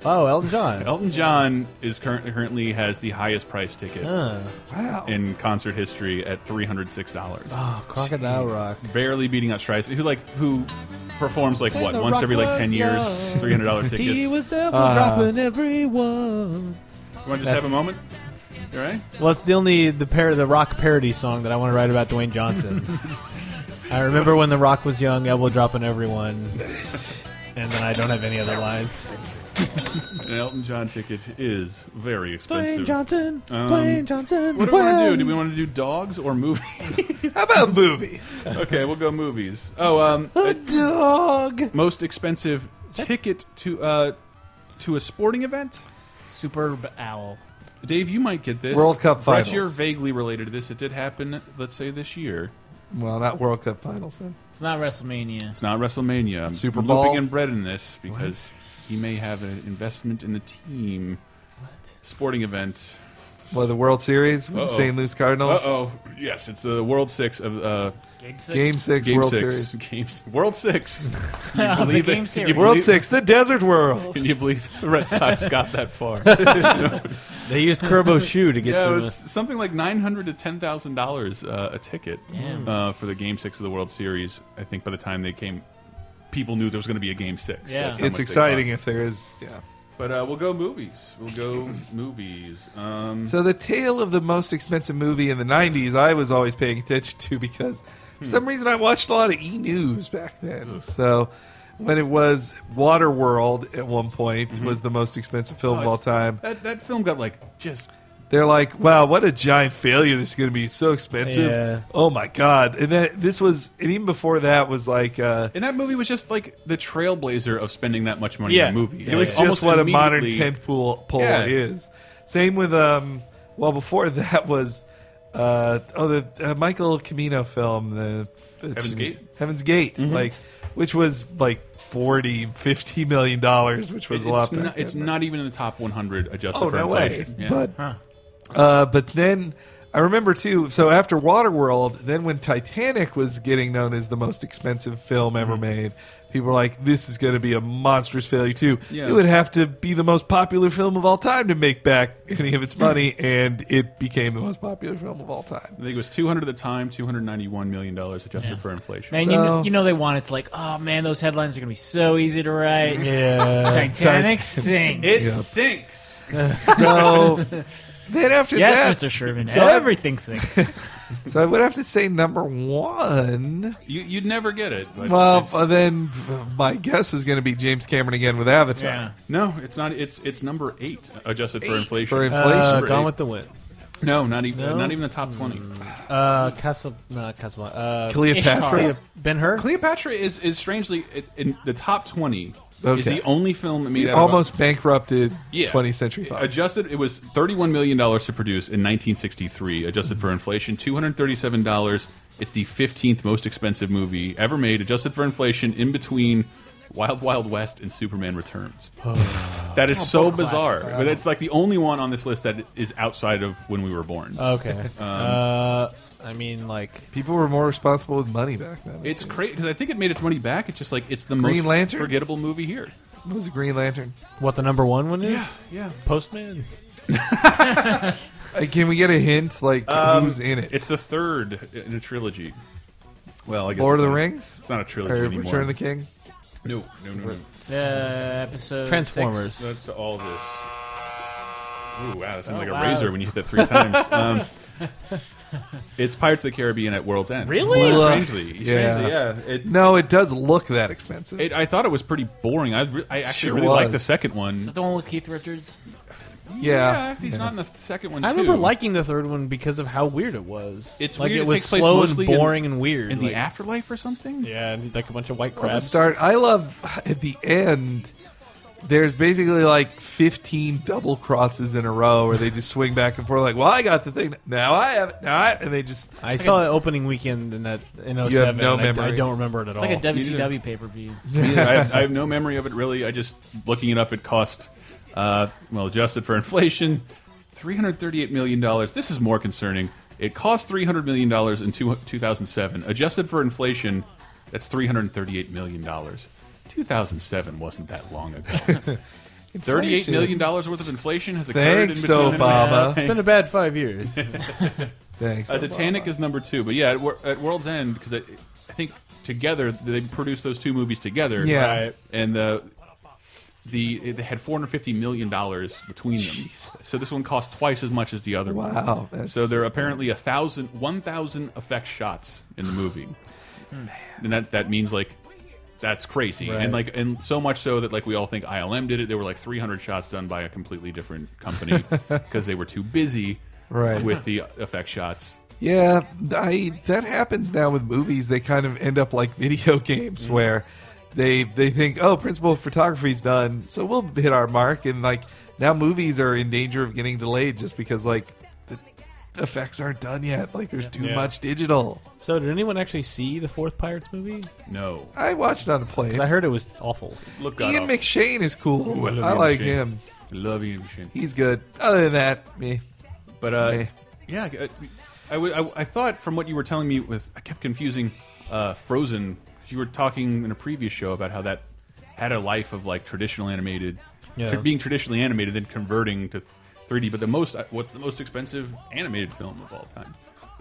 Speaker 5: Oh, Elton John.
Speaker 4: Elton John is current, currently has the highest price ticket
Speaker 5: Huh. Wow.
Speaker 4: in concert history at three hundred six dollars.
Speaker 5: Oh, Crocodile Rock.
Speaker 4: barely beating out Streisand, who like who performs like
Speaker 5: When
Speaker 4: what
Speaker 5: the
Speaker 4: once
Speaker 5: rock
Speaker 4: every like
Speaker 5: was
Speaker 4: ten years,
Speaker 5: young,
Speaker 4: three hundred dollar tickets.
Speaker 5: He was ever dropping everyone.
Speaker 4: You want to just
Speaker 5: That's-
Speaker 4: have a moment? You all right?
Speaker 5: Well, it's the only the par- the rock parody song that I want to write about Dwayne Johnson. I remember when the Rock was young, elbow dropping everyone, and then I don't have any other lines.
Speaker 4: An Elton John ticket is very expensive.
Speaker 5: Johnson,
Speaker 4: Um,
Speaker 5: Dwayne Johnson,
Speaker 4: What do we want to do?
Speaker 5: when-
Speaker 4: Do we want to do dogs or movies?
Speaker 6: How about movies?
Speaker 4: okay, we'll go movies. Oh, um,
Speaker 6: a dog.
Speaker 4: Most expensive ticket to uh to a sporting event.
Speaker 7: Superb owl.
Speaker 4: Dave, you might get this.
Speaker 6: World Cup
Speaker 4: Brett,
Speaker 6: finals.
Speaker 4: You're vaguely related to this. It did happen. Let's say this year.
Speaker 6: Well, not World Cup finals then.
Speaker 7: It's not WrestleMania.
Speaker 4: It's not WrestleMania. I'm
Speaker 6: Super Bowl?
Speaker 4: Looping in Brett in this because he may have an investment in the team. What sporting event?
Speaker 6: Well, the World Series with the
Speaker 4: Uh-oh.
Speaker 6: St. Louis Cardinals.
Speaker 4: Uh-oh. Yes, it's the World Six of uh,
Speaker 7: Game
Speaker 6: Six? Game Six, World Series.
Speaker 4: Games World Six. Can
Speaker 7: Of the
Speaker 4: believe it?
Speaker 7: Game
Speaker 4: Can you
Speaker 7: Series.
Speaker 6: World
Speaker 4: believe-
Speaker 6: Six, the Desert World.
Speaker 4: Can you believe the Red Sox got that far?
Speaker 5: They used Curbo shoe to get
Speaker 4: yeah,
Speaker 5: to
Speaker 4: it was something like nine hundred to ten thousand uh, dollars a ticket
Speaker 7: Damn.
Speaker 4: uh, for the Game Six of the World Series. I think by the time they came, people knew there was going to be a Game Six.
Speaker 7: Yeah.
Speaker 4: That's how
Speaker 6: It's
Speaker 4: much they
Speaker 6: exciting
Speaker 4: cost.
Speaker 6: if there is. Yeah.
Speaker 4: But uh, we'll go movies. We'll go movies. Um,
Speaker 6: So the tale of the most expensive movie in the '90s, I was always paying attention to because for some reason I watched a lot of E News back then. So when it was Waterworld at one point was the most expensive film of all time.
Speaker 4: That that film got like just
Speaker 6: They're like, wow, what a giant failure! This is going to be so expensive.
Speaker 5: Yeah.
Speaker 6: Oh my god! And that this was, and even before that was like, uh,
Speaker 4: and that movie was just like the trailblazer of spending that much money
Speaker 5: Yeah.
Speaker 4: on a movie.
Speaker 6: it was just what a modern tent pool, pool
Speaker 4: Yeah.
Speaker 6: is. Same with um. Well, before that was uh oh the uh, Michael Camino film the
Speaker 4: Heaven's Gate?
Speaker 6: Heaven's Gate like which was like 40 50 million dollars which was
Speaker 4: It's,
Speaker 6: a lot
Speaker 4: it's,
Speaker 6: back
Speaker 4: not,
Speaker 6: then.
Speaker 4: it's not even in the top 100 adjusted
Speaker 6: oh
Speaker 4: for
Speaker 6: no way
Speaker 4: inflation. Yeah.
Speaker 6: but uh but then I remember too so after Waterworld then when Titanic was getting known as the most expensive film
Speaker 4: Mm-hmm.
Speaker 6: ever made people were like this is going to be a monstrous failure too
Speaker 4: Yeah.
Speaker 6: it would have to be the most popular film of all time to make back any of its money and it became the most popular film of all time
Speaker 4: I think it was 200 at the time, 291 million dollars adjusted for inflation.
Speaker 7: Man, you, know,
Speaker 6: So-
Speaker 7: you know they want it's like, oh man, those headlines are gonna be so easy to write.
Speaker 5: Yeah.
Speaker 7: Titanic
Speaker 6: Titan-
Speaker 7: sinks.
Speaker 4: It
Speaker 6: Yeah.
Speaker 4: sinks.
Speaker 6: so then after
Speaker 7: yes,
Speaker 6: that
Speaker 7: Mr. Sherman,
Speaker 6: so-
Speaker 7: everything sinks.
Speaker 6: so I would have to say number one
Speaker 4: You, you'd never get it. but
Speaker 6: well
Speaker 4: it's-
Speaker 6: uh, then my guess is going to be James Cameron again with Avatar
Speaker 7: yeah.
Speaker 4: no, it's not. It's it's number eight adjusted for
Speaker 6: Eight
Speaker 4: inflation.
Speaker 6: for inflation.
Speaker 5: Uh,
Speaker 4: Number
Speaker 5: Gone
Speaker 4: eight.
Speaker 5: with the Wind.
Speaker 4: no, not even
Speaker 5: No?
Speaker 4: not even the top 20.
Speaker 5: Uh, Castle, not Castle. Uh,
Speaker 6: Cleopatra.
Speaker 7: Ishtar.
Speaker 5: Ben Hur.
Speaker 4: Cleopatra is is strangely it, in the top 20. Is
Speaker 6: Okay.
Speaker 4: the only film that made
Speaker 6: It
Speaker 4: out of a-
Speaker 6: almost bankrupted
Speaker 4: Yeah.
Speaker 6: 20th Century Fox.
Speaker 4: Adjusted, it was thirty-one million dollars to produce in 1963. Adjusted for inflation, two hundred thirty-seven dollars. It's the fifteenth most expensive movie ever made, adjusted for inflation, in between Wild Wild West and Superman Returns. that is so bizarre, but it's like the only one on this list that is outside of when we were born.
Speaker 5: Okay. uh, I mean, like,
Speaker 6: People were more responsible with money back then.
Speaker 4: it's crazy because I think it made its money back. It's just like it's the
Speaker 6: Green
Speaker 4: most
Speaker 6: Lantern?
Speaker 4: forgettable movie here.
Speaker 6: What was Green Lantern?
Speaker 5: what the number one one is?
Speaker 4: yeah.
Speaker 5: Postman.
Speaker 6: Uh, can we get a hint? Like
Speaker 4: Um,
Speaker 6: who's in it?
Speaker 4: It's the third in a trilogy. Well, I guess
Speaker 6: Lord of
Speaker 4: it's
Speaker 6: the
Speaker 4: not-
Speaker 6: Rings
Speaker 4: It's not a
Speaker 6: or
Speaker 4: trilogy anymore.
Speaker 6: Return of the King?
Speaker 4: No, no, no, no.
Speaker 7: Uh, episode
Speaker 5: Transformers.
Speaker 7: six.
Speaker 4: That's all this. Ooh, wow, that sounds
Speaker 7: Oh,
Speaker 4: like a
Speaker 7: wow.
Speaker 4: razor when you hit that three times. Um, it's Pirates of the Caribbean at World's End.
Speaker 7: Really?
Speaker 4: Well,
Speaker 6: Look.
Speaker 4: strangely,
Speaker 6: uh, Yeah.
Speaker 4: strangely, yeah. It,
Speaker 6: No, it does look that expensive.
Speaker 4: it, I thought it was pretty boring. I, re I actually
Speaker 6: Sure
Speaker 4: really liked the
Speaker 6: was.
Speaker 4: second
Speaker 7: Is
Speaker 4: one.
Speaker 7: that the one with Keith Richards?
Speaker 6: yeah.
Speaker 4: if he's not in the second one.
Speaker 5: I remember
Speaker 4: too.
Speaker 5: liking the third one because of how weird it was.
Speaker 4: It's
Speaker 5: like
Speaker 4: weird,
Speaker 5: it
Speaker 4: it
Speaker 5: was
Speaker 4: takes place
Speaker 5: slow and
Speaker 4: mostly in-
Speaker 5: boring and weird.
Speaker 4: in
Speaker 5: like-
Speaker 4: the afterlife or something.
Speaker 5: yeah, and like a bunch of white
Speaker 6: Well, the
Speaker 5: crabs.
Speaker 6: start. I love at the end there's basically like 15 double crosses in a row where they just swing back and forth like, well, I got the thing. Now I have it. Now I, and they just.
Speaker 5: I saw it opening weekend in that in
Speaker 6: You
Speaker 5: 07.
Speaker 6: have no
Speaker 5: and I-
Speaker 6: memory.
Speaker 5: I, don't remember it at
Speaker 4: Oh,
Speaker 5: all.
Speaker 7: WCW pay-per-view.
Speaker 4: Yeah, I, have, I have no memory of it really. I just looking it up. It cost, uh, well, adjusted for inflation, three hundred thirty-eight million dollars. This is more concerning. It cost three hundred million dollars in two, 2007. Adjusted for inflation, that's three hundred thirty-eight million dollars. 2007 wasn't that long ago. Thirty-eight million dollars worth of inflation has occurred
Speaker 6: Thanks,
Speaker 4: in between.
Speaker 6: Obama.
Speaker 5: It's been a bad five years.
Speaker 6: Thanks,
Speaker 4: Uh, Titanic is number two, but yeah, at, Wor- at World's End because I, I think together they produced those two movies together.
Speaker 6: Yeah. Right.
Speaker 4: and the the they had four hundred fifty million dollars between them. So this one cost twice as much as the other one.
Speaker 6: Wow, that's-
Speaker 4: So there are apparently a thousand, one thousand effect shots in the movie, and that that means like. That's crazy,
Speaker 5: Right.
Speaker 4: and like, and so much so that like we all think ILM did it. There were like 300 shots done by a completely different company because they were too busy
Speaker 6: Right.
Speaker 4: with the effect shots.
Speaker 6: Yeah, I that happens now with movies. They kind of end up like video games
Speaker 4: Mm-hmm.
Speaker 6: where they they think, "Oh, principal photography's done, so we'll hit our mark." And like now, movies are in danger of getting delayed just because like the effects aren't done yet. Like there's too
Speaker 5: Yeah.
Speaker 6: much digital.
Speaker 5: So, did anyone actually see the fourth Pirates movie?
Speaker 4: No.
Speaker 6: I watched it on a plane.
Speaker 5: 'Cause I heard it was awful.
Speaker 4: Look,
Speaker 6: Ian McShane is cool.
Speaker 4: Ooh, I love
Speaker 6: I
Speaker 4: Ian
Speaker 6: like
Speaker 4: McShane.
Speaker 6: him.
Speaker 4: Love Ian McShane.
Speaker 6: He's good. Other than that, me.
Speaker 4: But uh,
Speaker 6: Meh.
Speaker 4: yeah, I, I would- I- I thought from what you were telling me with I kept confusing uh, Frozen. 'cause You were talking in a previous show about how that had a life of like traditional animated,
Speaker 5: Yeah.
Speaker 4: tr- being traditionally animated, then converting to 3D. But the most, uh, what's the most expensive animated film of all time?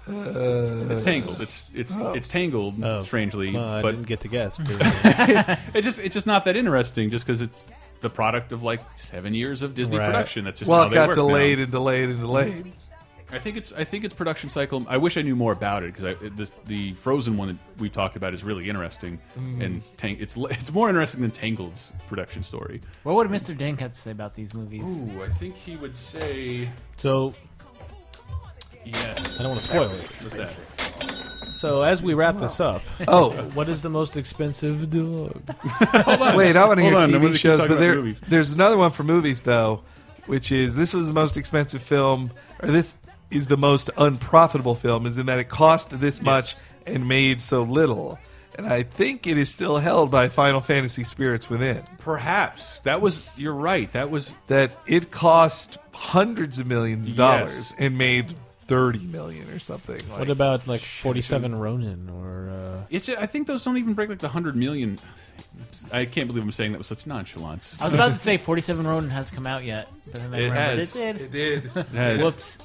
Speaker 5: Uh,
Speaker 4: it's Tangled. It's it's
Speaker 5: oh.
Speaker 4: it's Tangled.
Speaker 5: Oh.
Speaker 4: Strangely,
Speaker 5: Well, I
Speaker 4: but
Speaker 5: didn't get to guess.
Speaker 4: it just it's just not that interesting. Just because it's the product of like seven years of Disney
Speaker 6: Right.
Speaker 4: production. That's just
Speaker 6: Well,
Speaker 4: how
Speaker 6: it
Speaker 4: they
Speaker 6: got
Speaker 4: work
Speaker 6: delayed
Speaker 4: now.
Speaker 6: and delayed and delayed.
Speaker 4: I think it's I think it's production cycle. I wish I knew more about it because the the Frozen one that we've talked about is really interesting
Speaker 7: Mm.
Speaker 4: and tang it's li- it's more interesting than Tangled's production story.
Speaker 7: What would Mr. Dank have to say about these movies?
Speaker 4: Ooh, I think he would say
Speaker 5: So,
Speaker 4: yes.
Speaker 5: I don't want to spoil it.
Speaker 4: What's that?
Speaker 5: So, as we wrap this up,
Speaker 6: Oh.
Speaker 5: what is the most expensive dog?
Speaker 6: Wait, I want to hear
Speaker 5: Hold on, I wanna
Speaker 6: TV
Speaker 5: keep
Speaker 6: shows,
Speaker 5: talking
Speaker 6: but
Speaker 5: about
Speaker 6: there,
Speaker 5: movies.
Speaker 6: there's another one for movies though, which is this was the most expensive film, or this is the most unprofitable film, is in that it cost this much and made so little, and I think it is still held by Final Fantasy Spirits Within.
Speaker 4: Perhaps that was you're right. That was
Speaker 6: That it cost hundreds of millions of
Speaker 4: Yes.
Speaker 6: dollars and made thirty million or something.
Speaker 5: What about like forty-seven Ronin or? Uh,
Speaker 4: It's I think those don't even break like the hundred million. I can't believe I'm saying that with such nonchalance.
Speaker 7: I was about to say 47 Ronin hasn't come out yet. Doesn't that
Speaker 4: It
Speaker 7: remember?
Speaker 4: has.
Speaker 7: It did.
Speaker 6: It did. It
Speaker 4: has.
Speaker 7: Whoops.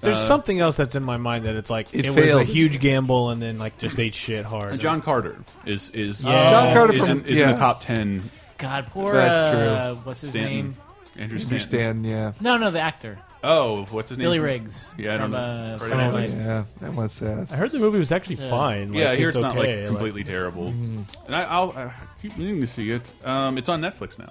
Speaker 5: There's
Speaker 4: Uh,
Speaker 5: something else that's in my mind that it's like
Speaker 6: It
Speaker 5: it,
Speaker 6: failed.
Speaker 5: was a huge gamble and then like just ate shit hard.
Speaker 4: John Carter is is uh,
Speaker 5: Yeah. John Carter
Speaker 4: is, in,
Speaker 5: from-
Speaker 4: is in
Speaker 6: yeah.
Speaker 4: the top ten.
Speaker 7: God, poor.
Speaker 6: That's
Speaker 7: uh,
Speaker 6: true.
Speaker 7: What's his
Speaker 4: Stanton.
Speaker 7: name?
Speaker 4: Andrew
Speaker 6: Understand?
Speaker 4: Stanton.
Speaker 6: yeah.
Speaker 7: No, no, the actor.
Speaker 4: Oh, what's his name?
Speaker 7: Billy Riggs.
Speaker 4: Yeah, I don't
Speaker 7: from,
Speaker 4: know.
Speaker 7: Uh,
Speaker 4: Friday
Speaker 7: Friday
Speaker 4: Night
Speaker 7: Night Lights.
Speaker 6: Yeah, that one's sad.
Speaker 5: I heard the movie was actually
Speaker 7: Yeah.
Speaker 5: fine.
Speaker 4: yeah,
Speaker 5: like,
Speaker 4: here
Speaker 5: it's
Speaker 4: it's, not
Speaker 5: okay,
Speaker 4: like completely terrible. And I, I'll I keep needing to see it. Um, it's on Netflix now.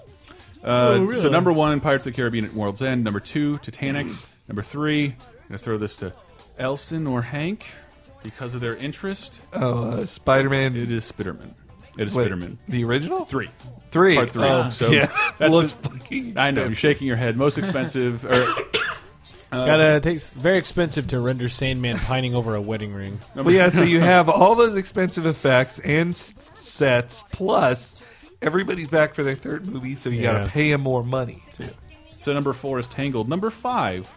Speaker 4: Uh,
Speaker 5: Oh, really?
Speaker 4: So number one, Pirates of the Caribbean at World's End. Number two, Titanic. number three, I'm gonna throw this to Elston or Hank because of their interest.
Speaker 6: Oh, uh, Spider Man.
Speaker 4: It is Spiderman. It is
Speaker 6: Wait,
Speaker 4: Spiderman.
Speaker 6: The original?
Speaker 4: Three.
Speaker 6: Three.
Speaker 4: Part three.
Speaker 6: Oh,
Speaker 4: so
Speaker 6: yeah.
Speaker 4: that's
Speaker 6: Looks
Speaker 4: the-
Speaker 6: fucking
Speaker 4: I know. You're
Speaker 6: expensive.
Speaker 4: shaking your head. Most expensive. or, uh,
Speaker 5: Gotta takes very expensive to render Sandman pining over a wedding ring.
Speaker 6: Well, yeah, so you have all those expensive effects and s- sets, plus everybody's back for their third movie, so you got
Speaker 5: Yeah.
Speaker 6: to pay them more money, too.
Speaker 4: So number four is Tangled. Number five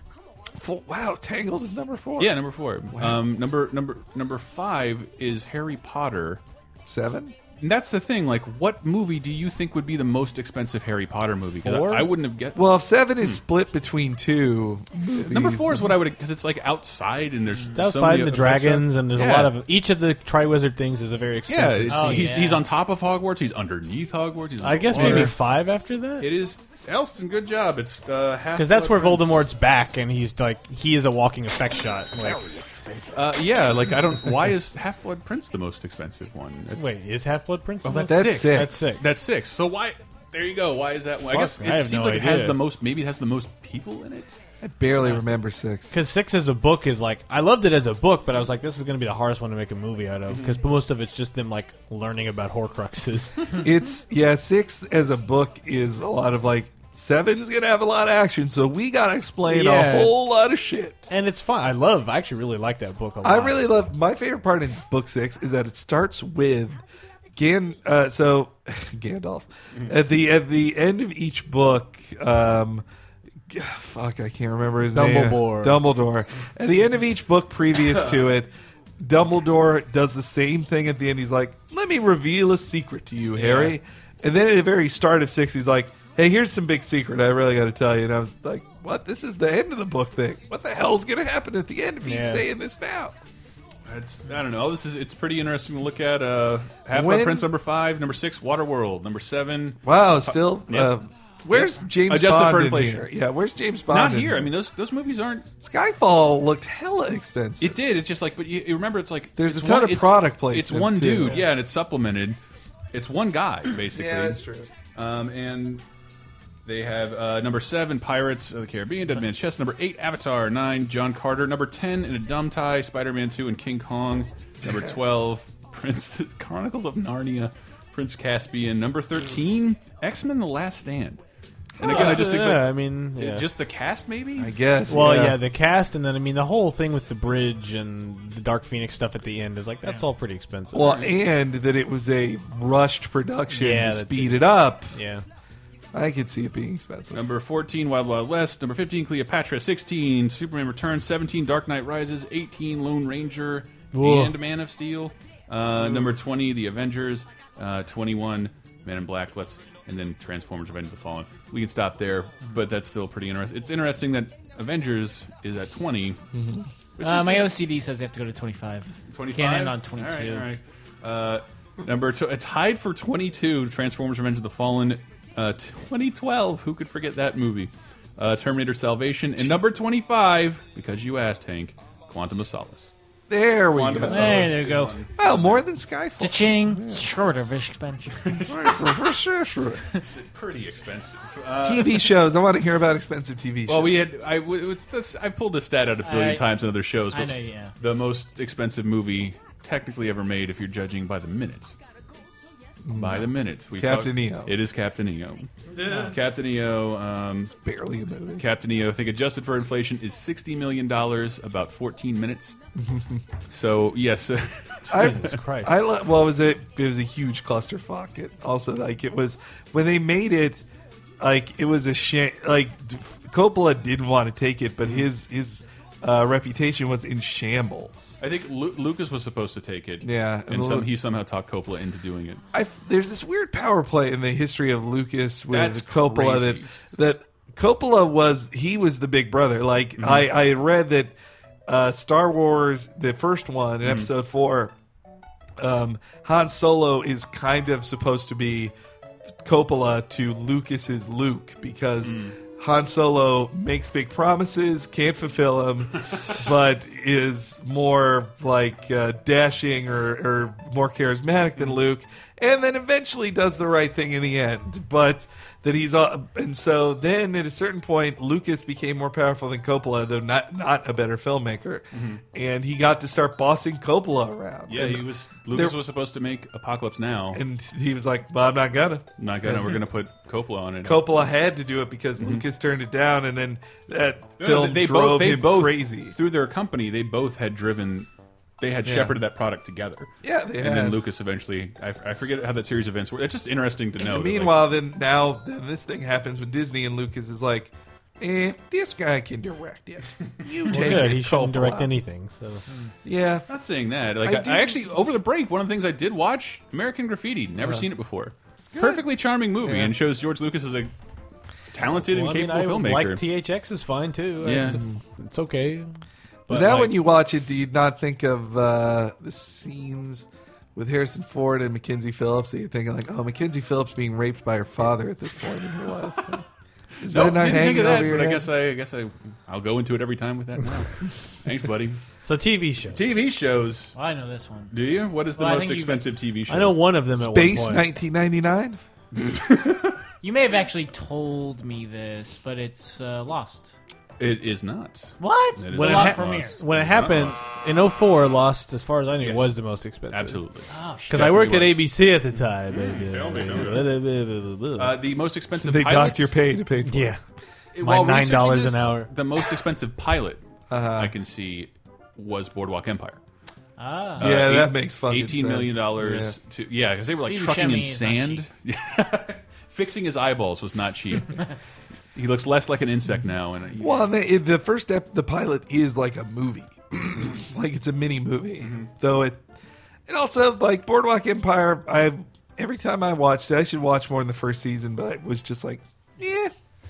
Speaker 6: Full, wow, Tangled is number four.
Speaker 4: Yeah, number four. Um, number number number five is Harry Potter.
Speaker 6: Seven?
Speaker 4: And that's the thing. Like, what movie do you think would be the most expensive Harry Potter movie? 'Cause I-
Speaker 5: Four?
Speaker 4: I, wouldn't have guessed.
Speaker 6: Well, if seven is split between two movies,
Speaker 4: Hmm. number four is what I would because it's like outside and there's
Speaker 5: It's
Speaker 4: so
Speaker 5: outside
Speaker 4: many
Speaker 5: the
Speaker 4: effects
Speaker 5: dragons,
Speaker 4: shots.
Speaker 5: and there's
Speaker 4: Yeah.
Speaker 5: a lot of each of the Triwizard things is a very
Speaker 4: Yeah,
Speaker 5: expensive.
Speaker 4: it's-
Speaker 5: scene.
Speaker 4: he's he's on top of Hogwarts. He's underneath Hogwarts. He's
Speaker 5: I guess
Speaker 4: underwater.
Speaker 5: maybe five after that,
Speaker 4: it is. Elston, good job. It's uh, half
Speaker 5: because that's where
Speaker 4: Blood Prince.
Speaker 5: Voldemort's back, and he's like he is a walking effect shot. Like,
Speaker 4: Uh, yeah, like I don't. Why is Half Blood Prince the most expensive one? It's-
Speaker 5: wait, is Half Blood Prince?
Speaker 4: Oh,
Speaker 5: in
Speaker 4: that's,
Speaker 5: that?
Speaker 6: That's
Speaker 4: six.
Speaker 6: six.
Speaker 5: That's six.
Speaker 4: That's six. So why? There you go. Why is that? one? I
Speaker 5: Fuck,
Speaker 4: guess it
Speaker 5: I have
Speaker 4: seems
Speaker 5: no
Speaker 4: like it has
Speaker 5: idea.
Speaker 4: the most. Maybe it has the most people in it.
Speaker 6: I barely remember six.
Speaker 5: Because six as a book is like I loved it as a book, but I was like, this is going to be the hardest one to make a movie out
Speaker 4: Mm-hmm.
Speaker 5: of because most of it's just them like learning about Horcruxes.
Speaker 6: it's yeah, six as a book is a lot of like seven's gonna have a lot of action, so we gotta explain
Speaker 5: Yeah.
Speaker 6: a whole lot of shit.
Speaker 5: and it's fun. I love. I actually really like that book a lot.
Speaker 6: I really love my favorite part in book six is that it starts with Gan. Uh, so Gandalf
Speaker 5: Mhm.
Speaker 6: at the at the end of each book. Um, g- fuck, I can't remember his
Speaker 5: Dumbledore.
Speaker 6: name. Dumbledore. At the end of each book previous to it, Dumbledore does the same thing. At the end, he's like, "Let me reveal a secret to you, Harry." And then at the very start of six, he's like, "Hey, here's some big secret I really got to tell you." And I was like, "What? This is the end of the book thing. What the hell's going to happen at the end if he's
Speaker 4: Yeah.
Speaker 6: saying this now?"
Speaker 4: It's, I don't know. This is it's pretty interesting to look at. Uh, Half Blood
Speaker 6: When-
Speaker 4: Prince number five, number six, Waterworld, number seven.
Speaker 6: Wow, still, uh, where's James
Speaker 4: Adjusted
Speaker 6: Bond
Speaker 4: for
Speaker 6: in
Speaker 4: inflation.
Speaker 6: here? Yeah, where's James
Speaker 4: Not
Speaker 6: Bond in
Speaker 4: here.
Speaker 6: here?
Speaker 4: I mean, those those movies aren't.
Speaker 6: Skyfall looked hella expensive.
Speaker 4: It did. It's just like, but you, you remember, it's like
Speaker 6: There's
Speaker 4: it's
Speaker 6: a ton
Speaker 4: one-
Speaker 6: of
Speaker 4: it's-
Speaker 6: product
Speaker 4: It's
Speaker 6: placement,
Speaker 4: one
Speaker 6: too.
Speaker 4: dude, yeah, and it's supplemented. It's one guy basically.
Speaker 6: Yeah, that's true.
Speaker 4: Um, and they have uh, number seven, Pirates of the Caribbean, Dead Man's Chest. Number eight, Avatar. Nine, John Carter. Number ten, In a Dumb Tie, Spider Man Two, and King Kong. Number twelve, Prince Chronicles of Narnia, Prince Caspian. Number thirteen, X Men: The Last Stand. And again,
Speaker 5: Oh,
Speaker 4: I just think,
Speaker 5: yeah,
Speaker 4: like,
Speaker 5: I mean, yeah.
Speaker 4: just the cast, maybe. I
Speaker 5: Well, yeah. the cast, and then I mean the whole thing with the bridge and the Dark Phoenix stuff at the end is like that's all pretty expensive.
Speaker 6: Well, and that it was a rushed production
Speaker 5: Yeah,
Speaker 6: to
Speaker 5: that's
Speaker 6: speed
Speaker 5: it.
Speaker 6: it. up.
Speaker 5: Yeah.
Speaker 6: I could see it being expensive.
Speaker 4: Number 14, Wild Wild West. Number 15, Cleopatra. 16, Superman Returns. 17, Dark Knight Rises. 18, Lone Ranger
Speaker 5: Whoa.
Speaker 4: and Man of Steel. Uh, number 20, The Avengers. Uh, 21, Men in Black. Let's and then Transformers: Revenge of the Fallen. We can stop there, but that's still pretty interesting. It's interesting that Avengers is at 20. which
Speaker 7: Uh,
Speaker 4: is-
Speaker 7: my OCD says I have to go to 25.
Speaker 4: 25?
Speaker 7: Can't end on 22.
Speaker 4: All right, all right. Uh, number two, uh, tied for 22, Transformers Revenge of the Fallen, uh, 2012. Who could forget that movie? Uh, Terminator Salvation. And number 25, because you asked, Hank, Quantum of Solace.
Speaker 6: There we
Speaker 4: Quantum
Speaker 6: go.
Speaker 4: of
Speaker 7: There
Speaker 4: Solace.
Speaker 7: you go.
Speaker 6: Oh, more than Skyfall.
Speaker 7: Cha-ching. Shorter fish expenditure.
Speaker 6: for sure, sure.
Speaker 4: It's pretty expensive. Uh,
Speaker 6: TV shows. I want to hear about expensive TV shows.
Speaker 4: Well, we had I, w- it's- that's- I pulled this stat out a billion
Speaker 6: I-
Speaker 4: times in other shows.
Speaker 6: I
Speaker 4: but
Speaker 6: know, yeah.
Speaker 4: The most expensive movie technically ever made, if you're judging by the minutes. By the minute,
Speaker 6: Captain E
Speaker 4: talked-
Speaker 6: EO.
Speaker 4: It is Captain EO.
Speaker 6: Yeah.
Speaker 4: Captain EO. Um,
Speaker 6: barely a movie.
Speaker 4: Captain EO. I think adjusted for inflation is sixty million dollars, about fourteen minutes. so yes,
Speaker 6: I, I lo- well, it was a it was a huge clusterfuck. It also like it was when they made it, like it was a shame. Like D- Coppola didn't want to take it, but his his uh, reputation was in shambles.
Speaker 4: I think Lu Lucas was supposed to take it.
Speaker 6: Yeah,
Speaker 4: and
Speaker 6: well,
Speaker 4: some, he somehow talked Coppola into doing it.
Speaker 6: I, there's this weird power play in the history of Lucas with
Speaker 4: That's
Speaker 6: Coppola
Speaker 4: crazy.
Speaker 6: that that Coppola was he was the big brother. Like
Speaker 4: Mhm.
Speaker 6: I I read that uh, Star Wars the first one in
Speaker 4: Mhm.
Speaker 6: Episode Four, um, Han Solo is kind of supposed to be Coppola to Lucas's Luke because.
Speaker 4: Hmm.
Speaker 6: Han Solo makes big promises, can't fulfill them, but is more like uh, dashing or, or more charismatic
Speaker 4: Hmm.
Speaker 6: than Luke, and then eventually does the right thing in the end. But that he's uh, and so then at a certain point, Lucas became more powerful than Coppola, though not not a better filmmaker,
Speaker 4: Mhm.
Speaker 6: and he got to start bossing Coppola around.
Speaker 4: Yeah,
Speaker 6: And
Speaker 4: he was. Lucas
Speaker 6: there-
Speaker 4: was supposed to make Apocalypse Now,
Speaker 6: and he was like, "Well, I'm not gonna,
Speaker 4: not gonna. We're gonna put Coppola on it.
Speaker 6: Coppola had to do it because Lucas turned it down, and then that
Speaker 4: Mm-hmm. No,
Speaker 6: film
Speaker 4: they
Speaker 6: drove
Speaker 4: both, they
Speaker 6: him
Speaker 4: both,
Speaker 6: crazy.
Speaker 4: through their company. They both had driven. They had
Speaker 6: Yeah.
Speaker 4: shepherded that product together.
Speaker 6: Yeah, they
Speaker 4: and
Speaker 6: had.
Speaker 4: then Lucas eventually. I, I forget how that series of events were. It's just interesting to know. that, like,
Speaker 6: Meanwhile, then now then this thing happens with Disney, and Lucas is like, "Eh, this guy can direct it. You
Speaker 5: Well,
Speaker 6: take
Speaker 5: good.
Speaker 6: it."
Speaker 5: He shouldn't direct
Speaker 6: Coppola."
Speaker 5: anything. So
Speaker 6: Yeah,
Speaker 4: not saying that. Like
Speaker 6: I
Speaker 4: I,
Speaker 6: do-
Speaker 4: I actually over the break, one of the things I did watch American Graffiti. Never
Speaker 6: Yeah.
Speaker 4: seen it before. Perfectly charming movie
Speaker 5: Yeah.
Speaker 4: and shows George Lucas as a talented
Speaker 5: Well,
Speaker 4: and capable
Speaker 5: I mean, I
Speaker 4: filmmaker.
Speaker 5: Like THX is fine too.
Speaker 4: Yeah.
Speaker 5: It's, it's okay.
Speaker 6: But
Speaker 5: But
Speaker 6: now,
Speaker 5: like-
Speaker 6: when you watch it, do you not think of uh, the scenes with Harrison Ford and Mackenzie Phillips? That you're thinking like, "Oh, Mackenzie Phillips being raped by her father at this point in her life." Is
Speaker 4: Nope,
Speaker 6: that not
Speaker 4: didn't
Speaker 6: hanging
Speaker 4: think of that,
Speaker 6: over your
Speaker 4: but I
Speaker 6: head?
Speaker 4: guess I, I guess I, I'll go into it every time with that. Now. Thanks, buddy.
Speaker 5: So TV shows.
Speaker 4: TV shows.
Speaker 7: I know this one.
Speaker 4: Do you? What is the
Speaker 7: Well, I
Speaker 4: most
Speaker 7: think you-
Speaker 4: expensive TV show?
Speaker 5: I know one of them.
Speaker 6: Space
Speaker 5: at one point.
Speaker 6: 1999.
Speaker 7: You may have actually told me this, but it's uh, Lost.
Speaker 4: It is not.
Speaker 7: What?
Speaker 4: It is Uh-huh.
Speaker 7: When it
Speaker 4: not
Speaker 7: hap-
Speaker 4: Lost.
Speaker 5: When it
Speaker 4: Not
Speaker 5: happened
Speaker 4: Lost.
Speaker 5: in 04, Lost, as far as I knew,
Speaker 4: Yes.
Speaker 5: was the most expensive.
Speaker 4: Absolutely. Oh, shit.
Speaker 5: Because I worked at
Speaker 4: Definitely Mm-hmm.
Speaker 5: ABC at the time.
Speaker 4: tell me, Uh, the most expensive.
Speaker 5: They
Speaker 4: pilots-
Speaker 5: docked your pay to pay for it. Yeah.
Speaker 4: It-
Speaker 5: My
Speaker 4: while researching
Speaker 5: $9
Speaker 4: this,
Speaker 5: an hour.
Speaker 4: The most expensive pilot I can see was Boardwalk Empire.
Speaker 7: Ah.
Speaker 6: Yeah, that
Speaker 4: Uh, eight-
Speaker 6: makes fucking
Speaker 4: eighteen million
Speaker 6: sense.
Speaker 4: dollars.
Speaker 6: Yeah.
Speaker 4: To, yeah, because they were like
Speaker 7: Steve
Speaker 4: trucking in
Speaker 7: Buscemi
Speaker 4: sand. Fixing his eyeballs was not cheap. he looks less like an insect now, and uh, he-
Speaker 6: Well, the, the first step, the pilot is like a movie, like it's a mini movie. Though it, and also like Boardwalk Empire. I every time I watched it, I should watch more in the first season, but it was just like Yeah,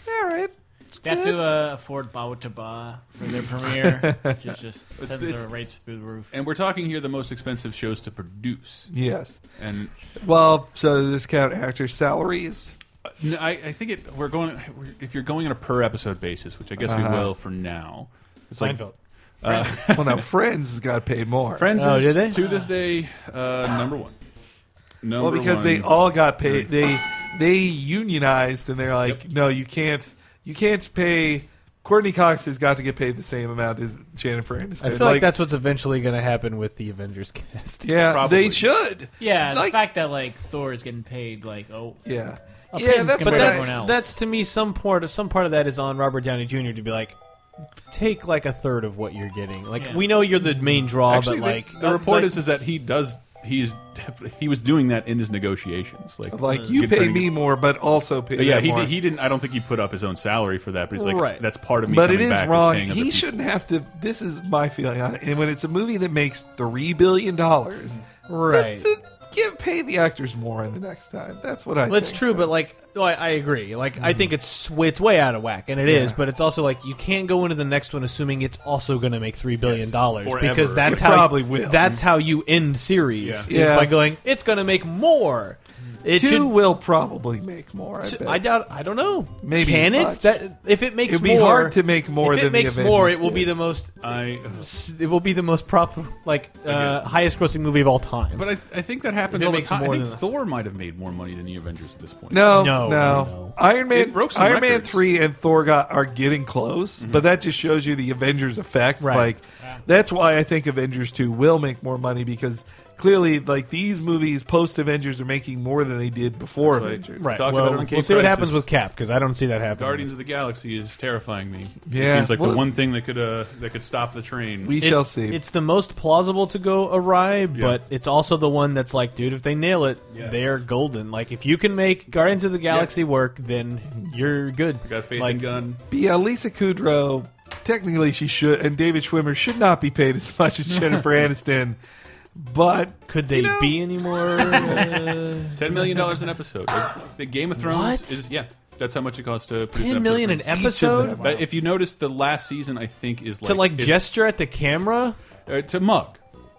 Speaker 6: all right.
Speaker 7: They have to uh, afford Bawa to Ba for their premiere, which is just
Speaker 4: It's-
Speaker 7: sends
Speaker 4: it's-
Speaker 7: their rates through the roof.
Speaker 4: and we're talking here the most expensive shows to produce.
Speaker 6: yes.
Speaker 4: and
Speaker 6: well, so does this count actor salaries?
Speaker 4: No, uh, I, I think it. We're going. We're, if you're going on a per episode basis, which I guess we
Speaker 6: Uh-huh.
Speaker 4: will for now.
Speaker 6: Seinfeld.
Speaker 4: uh,
Speaker 6: well, now Friends has got paid more.
Speaker 4: Friends is, to this day uh, number one. Number
Speaker 6: well, Oh, because
Speaker 4: one.
Speaker 6: they all got paid. They they unionized, and they're like, no, you can't, you can't pay. Courtney Cox has got to get paid the same amount as Jennifer Aniston.
Speaker 5: I feel like, that's what's eventually going to happen with the Avengers cast.
Speaker 6: Yeah, Probably. they should.
Speaker 7: Yeah, the
Speaker 6: Like-
Speaker 7: fact that like Thor is getting paid like oh
Speaker 6: Yeah.
Speaker 7: a
Speaker 6: Yeah,
Speaker 7: pen's
Speaker 6: that's
Speaker 7: compared
Speaker 6: what
Speaker 7: to
Speaker 6: I-
Speaker 7: everyone else.
Speaker 5: That's to me some part of some part of that is on Robert Downey Jr. to be like, take like a third of what you're getting. Like
Speaker 4: Yeah.
Speaker 5: we know you're the main draw,
Speaker 4: Actually,
Speaker 5: but
Speaker 4: the-
Speaker 5: like
Speaker 4: the,
Speaker 6: uh,
Speaker 4: report is is that he does. He is def- he was doing that in his negotiations. Like uh,
Speaker 6: Like, you pay
Speaker 4: concerning-
Speaker 6: me more, but also pay
Speaker 4: But yeah,
Speaker 6: them
Speaker 4: he
Speaker 6: more.
Speaker 4: did- he didn't. I don't think he put up his own salary for that. But he's like,
Speaker 6: Right.
Speaker 4: that's part of me.
Speaker 6: But it
Speaker 4: coming
Speaker 6: is
Speaker 4: back,
Speaker 6: wrong.
Speaker 4: paying other
Speaker 6: He
Speaker 4: people.
Speaker 6: shouldn't have to. This is my feeling. on it. And when it's a movie that makes three billion dollars, th-
Speaker 5: Right.
Speaker 6: th- give pay the actors more in the next time. That's what I.
Speaker 5: Well, it's
Speaker 6: think.
Speaker 5: true, but like, oh, I, I agree. Like, I think it's it's way out of whack, and it
Speaker 6: Mm-hmm.
Speaker 5: is.
Speaker 6: Yeah.
Speaker 5: But it's also like you can't go into the next one assuming it's also going to make three billion dollars
Speaker 6: Forever.
Speaker 5: because that's
Speaker 6: It
Speaker 5: how
Speaker 6: probably will.
Speaker 5: that's how you end series
Speaker 6: Yeah.
Speaker 5: is
Speaker 6: Yeah.
Speaker 5: by going it's going to make more. It
Speaker 6: Two
Speaker 5: should-
Speaker 6: will probably make more. I,
Speaker 5: Two-
Speaker 6: bet.
Speaker 5: I doubt. I don't know.
Speaker 6: Maybe
Speaker 5: can
Speaker 6: much.
Speaker 5: it? That if it makes
Speaker 6: It'd be
Speaker 5: more,
Speaker 6: hard to make more
Speaker 5: If it
Speaker 6: than the
Speaker 5: makes more,
Speaker 6: Avengers
Speaker 5: it will be
Speaker 6: did.
Speaker 5: the most.
Speaker 4: I. uh,
Speaker 5: It will be the most profit, like uh, highest grossing movie of all time.
Speaker 4: But I, I think that
Speaker 5: If
Speaker 4: happens
Speaker 5: it
Speaker 4: all the
Speaker 5: makes
Speaker 4: time.
Speaker 5: more
Speaker 4: I think
Speaker 5: than-
Speaker 4: Thor might have made more money than the Avengers at this point.
Speaker 6: No, no, Iron Man,
Speaker 4: It broke some
Speaker 6: Iron Man
Speaker 4: records.
Speaker 6: three and Thor got are getting close, but that just shows you the Avengers effect.
Speaker 5: Right.
Speaker 6: Like that's why I think Avengers two will make more money because clearly, like these movies post Avengers are making more than they did before
Speaker 4: That's right.
Speaker 6: Avengers.
Speaker 4: Right.
Speaker 5: Well,
Speaker 4: Talked about it on
Speaker 5: we'll
Speaker 4: Cape
Speaker 5: see what
Speaker 4: Crisis.
Speaker 5: happens with Cap because I don't see that happening.
Speaker 4: Guardians of the Galaxy is terrifying me.
Speaker 5: Yeah.
Speaker 4: it seems like
Speaker 5: Well-
Speaker 4: the one thing that could uh, that could stop the train.
Speaker 5: It's- It's the most plausible to go awry, but it's also the one that's like, dude, if they nail it, they are golden. Like, if you can make Guardians of the Galaxy work, then you're good.
Speaker 4: got faith
Speaker 5: like,
Speaker 4: in gun.
Speaker 6: But yeah, Lisa Kudrow. Technically, she should, and David Schwimmer should not be paid as much as Jennifer Aniston. But
Speaker 5: could they be anymore?
Speaker 4: Ten million dollars an episode. The Game of Thrones
Speaker 5: What?
Speaker 4: is yeah. That's how much it costs to produce.
Speaker 5: 10
Speaker 4: an
Speaker 5: million an
Speaker 4: episode. for-
Speaker 5: episode? Wow.
Speaker 4: But if you notice, the last season I think is like
Speaker 5: to like
Speaker 4: is-
Speaker 5: gesture at the camera,
Speaker 4: uh, to mug.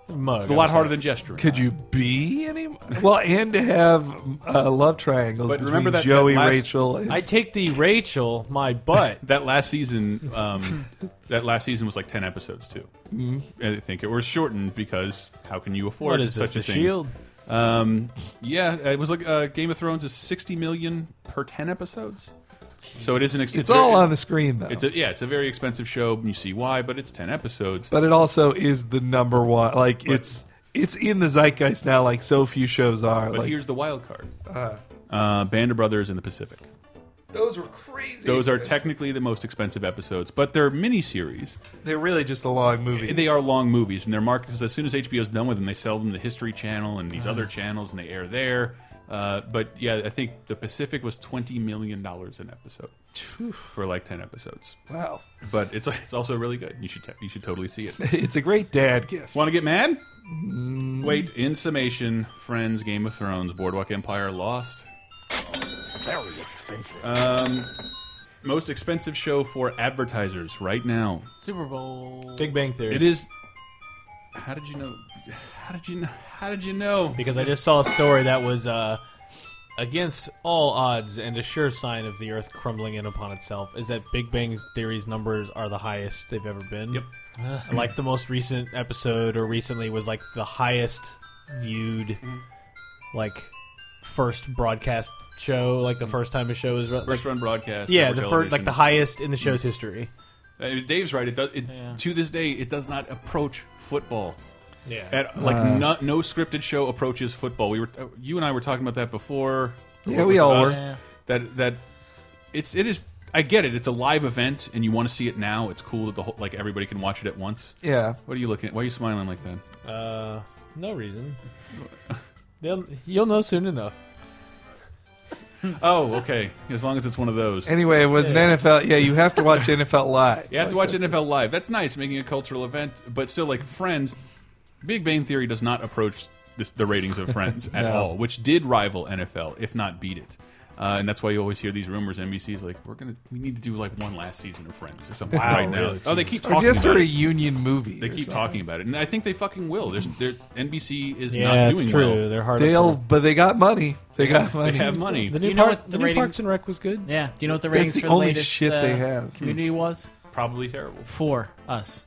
Speaker 5: mug.
Speaker 4: It's a lot harder than gesturing.
Speaker 6: Could you be any? Well, and to have uh, love triangles
Speaker 4: But
Speaker 6: between
Speaker 4: remember that- that
Speaker 6: Joey,
Speaker 4: last-
Speaker 6: Rachel, and
Speaker 5: I take the Rachel, my butt.
Speaker 4: that last season, um, that last season was like ten episodes too.
Speaker 5: Mhm.
Speaker 4: I think it was shortened because how can you afford
Speaker 5: What is
Speaker 4: such
Speaker 5: this,
Speaker 4: a
Speaker 5: The
Speaker 4: thing?
Speaker 5: Shield?
Speaker 4: Um, yeah, it was like uh, Game of Thrones is sixty million per ten episodes. So it is an. Ex
Speaker 6: It's all on the screen, though.
Speaker 4: It's a, yeah, it's a very expensive show. and You see why, but it's ten episodes.
Speaker 6: but it also is the number one. Like it's it's in the zeitgeist now. Like so few shows are.
Speaker 4: But
Speaker 6: like
Speaker 4: here's the wild card:
Speaker 6: Uh.
Speaker 4: uh, Band of Brothers in the Pacific.
Speaker 6: those were crazy.
Speaker 4: Those are technically the most expensive episodes, but they're miniseries.
Speaker 6: They're really just a long movie.
Speaker 4: They are long movies, and they're marked because as soon as HBO's done with them, they sell them to History Channel and these other channels, and they air there. Uh, but yeah, I think the Pacific was twenty million dollars an episode for like ten episodes.
Speaker 6: Wow.
Speaker 4: But it's it's also really good. You should te- you should totally see it.
Speaker 6: It's a great dad gift.
Speaker 4: Want to get mad?
Speaker 5: Mm.
Speaker 4: Wait. In summation, Friends, Game of Thrones, Boardwalk Empire, Lost.
Speaker 13: Very expensive.
Speaker 4: Um, most expensive show for advertisers right now.
Speaker 7: Super Bowl.
Speaker 5: Big Bang Theory.
Speaker 4: It is. How did you know? How did you know? How did you know?
Speaker 5: because I just saw a story that was uh, against all odds and a sure sign of the Earth crumbling in upon itself is that Big Bang Theory's numbers are the highest they've ever been. Yep. like the most recent
Speaker 4: Mm-hmm.
Speaker 5: episode or recently was like the highest viewed, like first broadcast show, like the first time a show is re-
Speaker 4: First
Speaker 5: like-
Speaker 4: run broadcast,
Speaker 5: Yeah,
Speaker 4: network
Speaker 5: the first, like
Speaker 4: television. Mm-hmm.
Speaker 5: the highest in the show's history.
Speaker 4: Uh, Dave's right. It does. It, To this day, it does not approach football.
Speaker 5: Yeah.
Speaker 4: At, like
Speaker 6: Uh.
Speaker 4: no, no scripted show approaches football. We were uh, you and I were talking about that before.
Speaker 6: Yeah,
Speaker 4: What
Speaker 6: we
Speaker 4: was
Speaker 6: all
Speaker 4: it
Speaker 6: were.
Speaker 4: us?
Speaker 6: Yeah.
Speaker 4: That that it's it is. I get it. It's a live event, and you want to see it now. It's cool that the whole, like everybody can watch it at once.
Speaker 6: Yeah.
Speaker 4: What are you looking at? Why are you smiling like that?
Speaker 5: Uh, no reason. They'll, you'll know soon enough.
Speaker 4: Oh, okay. As long as it's one of those.
Speaker 6: Anyway, it was an NFL. Yeah, you have to watch NFL live.
Speaker 4: You have to watch NFL live. That's nice, making a cultural event, but still, like Friends, Big Bang Theory does not approach this, the ratings of Friends at
Speaker 6: No.
Speaker 4: all, which did rival NFL, if not beat it. Uh, and that's why you always hear these rumors. NBC's like, we're gonna, we need to do like one last season of Friends or something
Speaker 6: Wow,
Speaker 4: right now.
Speaker 6: really?
Speaker 4: Oh, they keep
Speaker 6: Or
Speaker 4: talking
Speaker 6: just a
Speaker 4: about it.
Speaker 6: reunion movie
Speaker 4: They
Speaker 6: or
Speaker 4: keep
Speaker 6: something.
Speaker 4: talking about it, and I think they fucking will. There's, there, NBC is
Speaker 5: Yeah,
Speaker 4: not
Speaker 5: it's
Speaker 4: doing
Speaker 5: true.
Speaker 4: well.
Speaker 5: They're hard
Speaker 6: They'll, but they got money. They got money.
Speaker 4: They have money.
Speaker 5: The
Speaker 7: Do
Speaker 5: new,
Speaker 7: you know
Speaker 5: park-
Speaker 7: what
Speaker 5: the
Speaker 7: the
Speaker 5: new
Speaker 7: rating-
Speaker 5: Parks and Rec was good.
Speaker 7: Yeah. Do you know what the
Speaker 6: That's
Speaker 7: ratings
Speaker 6: the
Speaker 7: for the
Speaker 6: only
Speaker 7: latest
Speaker 6: shit they
Speaker 7: uh,
Speaker 6: have.
Speaker 7: Community was?
Speaker 4: Probably terrible.
Speaker 7: Four us.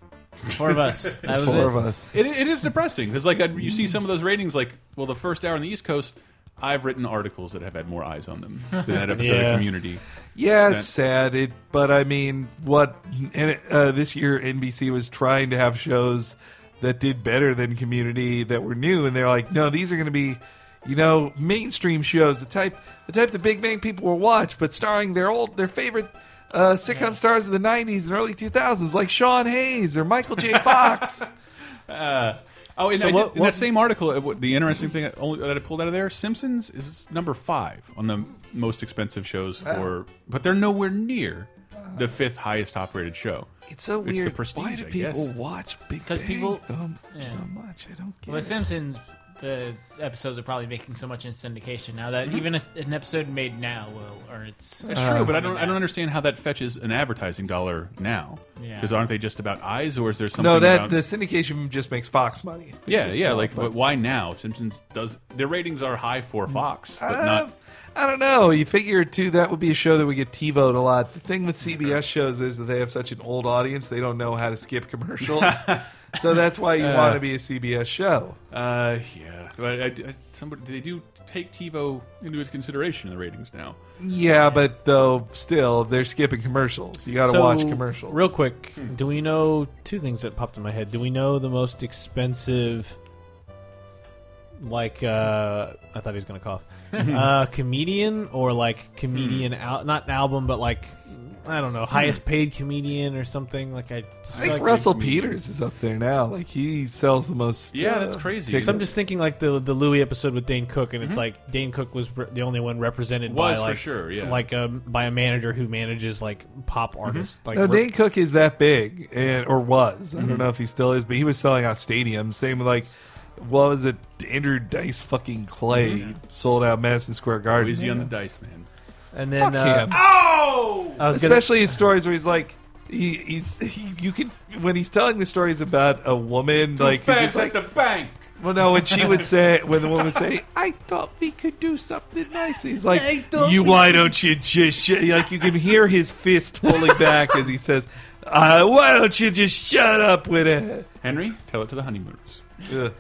Speaker 7: Four of us. That was
Speaker 6: Four
Speaker 7: it.
Speaker 6: of us.
Speaker 4: It, it is depressing because like I, you see some of those ratings like well the first hour on the East Coast I've written articles that have had more eyes on them than that episode
Speaker 6: Yeah.
Speaker 4: of Community.
Speaker 6: Yeah,
Speaker 4: That-
Speaker 6: it's sad. It, but I mean, what? And it, uh, this year, NBC was trying to have shows that did better than Community that were new, and they're like, no, these are going to be, you know, mainstream shows, the type, the type the Big Bang people will watch, but starring their old, their favorite. Uh, sitcom stars of the '90s and early 2000s, like Sean Hayes or Michael J. Fox.
Speaker 4: Uh, oh, and
Speaker 6: So
Speaker 4: I did-
Speaker 6: what-
Speaker 4: in
Speaker 6: what-
Speaker 4: that same article, uh, what- the interesting thing that only- that I pulled out of there, Simpsons is number five on the most expensive shows
Speaker 6: Wow.
Speaker 4: for, but they're nowhere near the fifth highest top rated show.
Speaker 6: it's so
Speaker 4: the
Speaker 6: weird.
Speaker 4: Prestige,
Speaker 6: Why do
Speaker 4: I
Speaker 6: people
Speaker 4: guess.
Speaker 6: watch Big Bang
Speaker 7: Because people
Speaker 6: Thumb
Speaker 7: yeah.
Speaker 6: so much? I don't get
Speaker 7: Well, The
Speaker 6: it.
Speaker 7: Simpsons, the episodes are probably making so much in syndication now
Speaker 6: Mm-hmm.
Speaker 7: that even a, an episode made now will earn its. uh,
Speaker 4: That's true,
Speaker 6: Oh,
Speaker 4: but I don't. I don't understand how that fetches an advertising dollar now.
Speaker 7: Yeah.
Speaker 4: Because aren't they just about eyes, or is there something?
Speaker 6: No, that
Speaker 4: about-
Speaker 6: the syndication just makes Fox money. They
Speaker 4: Yeah,
Speaker 6: just
Speaker 4: yeah.
Speaker 6: sell
Speaker 4: Like,
Speaker 6: it, but-
Speaker 4: but why now? Simpsons does their ratings are high for Fox, but
Speaker 6: Uh,
Speaker 4: not.
Speaker 6: I don't know. You figure too that would be a show that would get TiVoed a lot. The thing with CBS shows is that they have such an old audience; they don't know how to skip commercials. so that's why you
Speaker 4: Uh,
Speaker 6: want to be a CBS show.
Speaker 4: Uh, yeah. But I, I, somebody they do take TiVo into consideration in the ratings now.
Speaker 6: Yeah, but though still they're skipping commercials. You got to
Speaker 5: So,
Speaker 6: watch commercials.
Speaker 5: Real quick, do we know two things that popped in my head? Do we know the most expensive, like, uh, I thought he was going to cough, uh, comedian or like comedian, al- not album, but like, I don't know, highest paid comedian or something? Like, I just
Speaker 6: I
Speaker 5: feel
Speaker 6: think
Speaker 5: like
Speaker 6: Russell Peters is up there now. Like he sells the most.
Speaker 4: Yeah,
Speaker 6: uh,
Speaker 4: that's crazy.
Speaker 6: tickets.
Speaker 5: So I'm just thinking like the the Louis episode with Dane Cook, and it's
Speaker 4: Mhm.
Speaker 5: like Dane Cook was re- the only one represented
Speaker 4: Was
Speaker 5: by
Speaker 4: for
Speaker 5: like
Speaker 4: sure, yeah.
Speaker 5: like um, by a manager who manages like pop artists. Like
Speaker 6: no,
Speaker 5: re-
Speaker 6: Dane Cook is that big, and, or was. I
Speaker 5: Mm-hmm.
Speaker 6: don't know if he still is, but he was selling out stadiums. Same with like, what was it? Andrew Dice fucking Clay
Speaker 5: Mm-hmm.
Speaker 6: sold out Madison Square Garden.
Speaker 4: Is he on the dice, man?
Speaker 5: and then
Speaker 6: Fuck
Speaker 5: uh,
Speaker 6: him.
Speaker 4: Oh,
Speaker 5: I was gonna-
Speaker 6: Especially his stories where he's like, he, he's he, you can when he's telling the stories about a woman, like you're just like,
Speaker 4: the bank.
Speaker 6: well, no, when she would say, when the woman would say, I thought we could do something nice. He's like,
Speaker 14: I thought
Speaker 6: you,
Speaker 14: we
Speaker 6: why
Speaker 14: could-"
Speaker 6: don't you just sh-? like you can hear his fist pulling back as he says, uh, why don't you just shut up with it?
Speaker 4: Henry, tell it to the honeymooners.
Speaker 6: Ugh.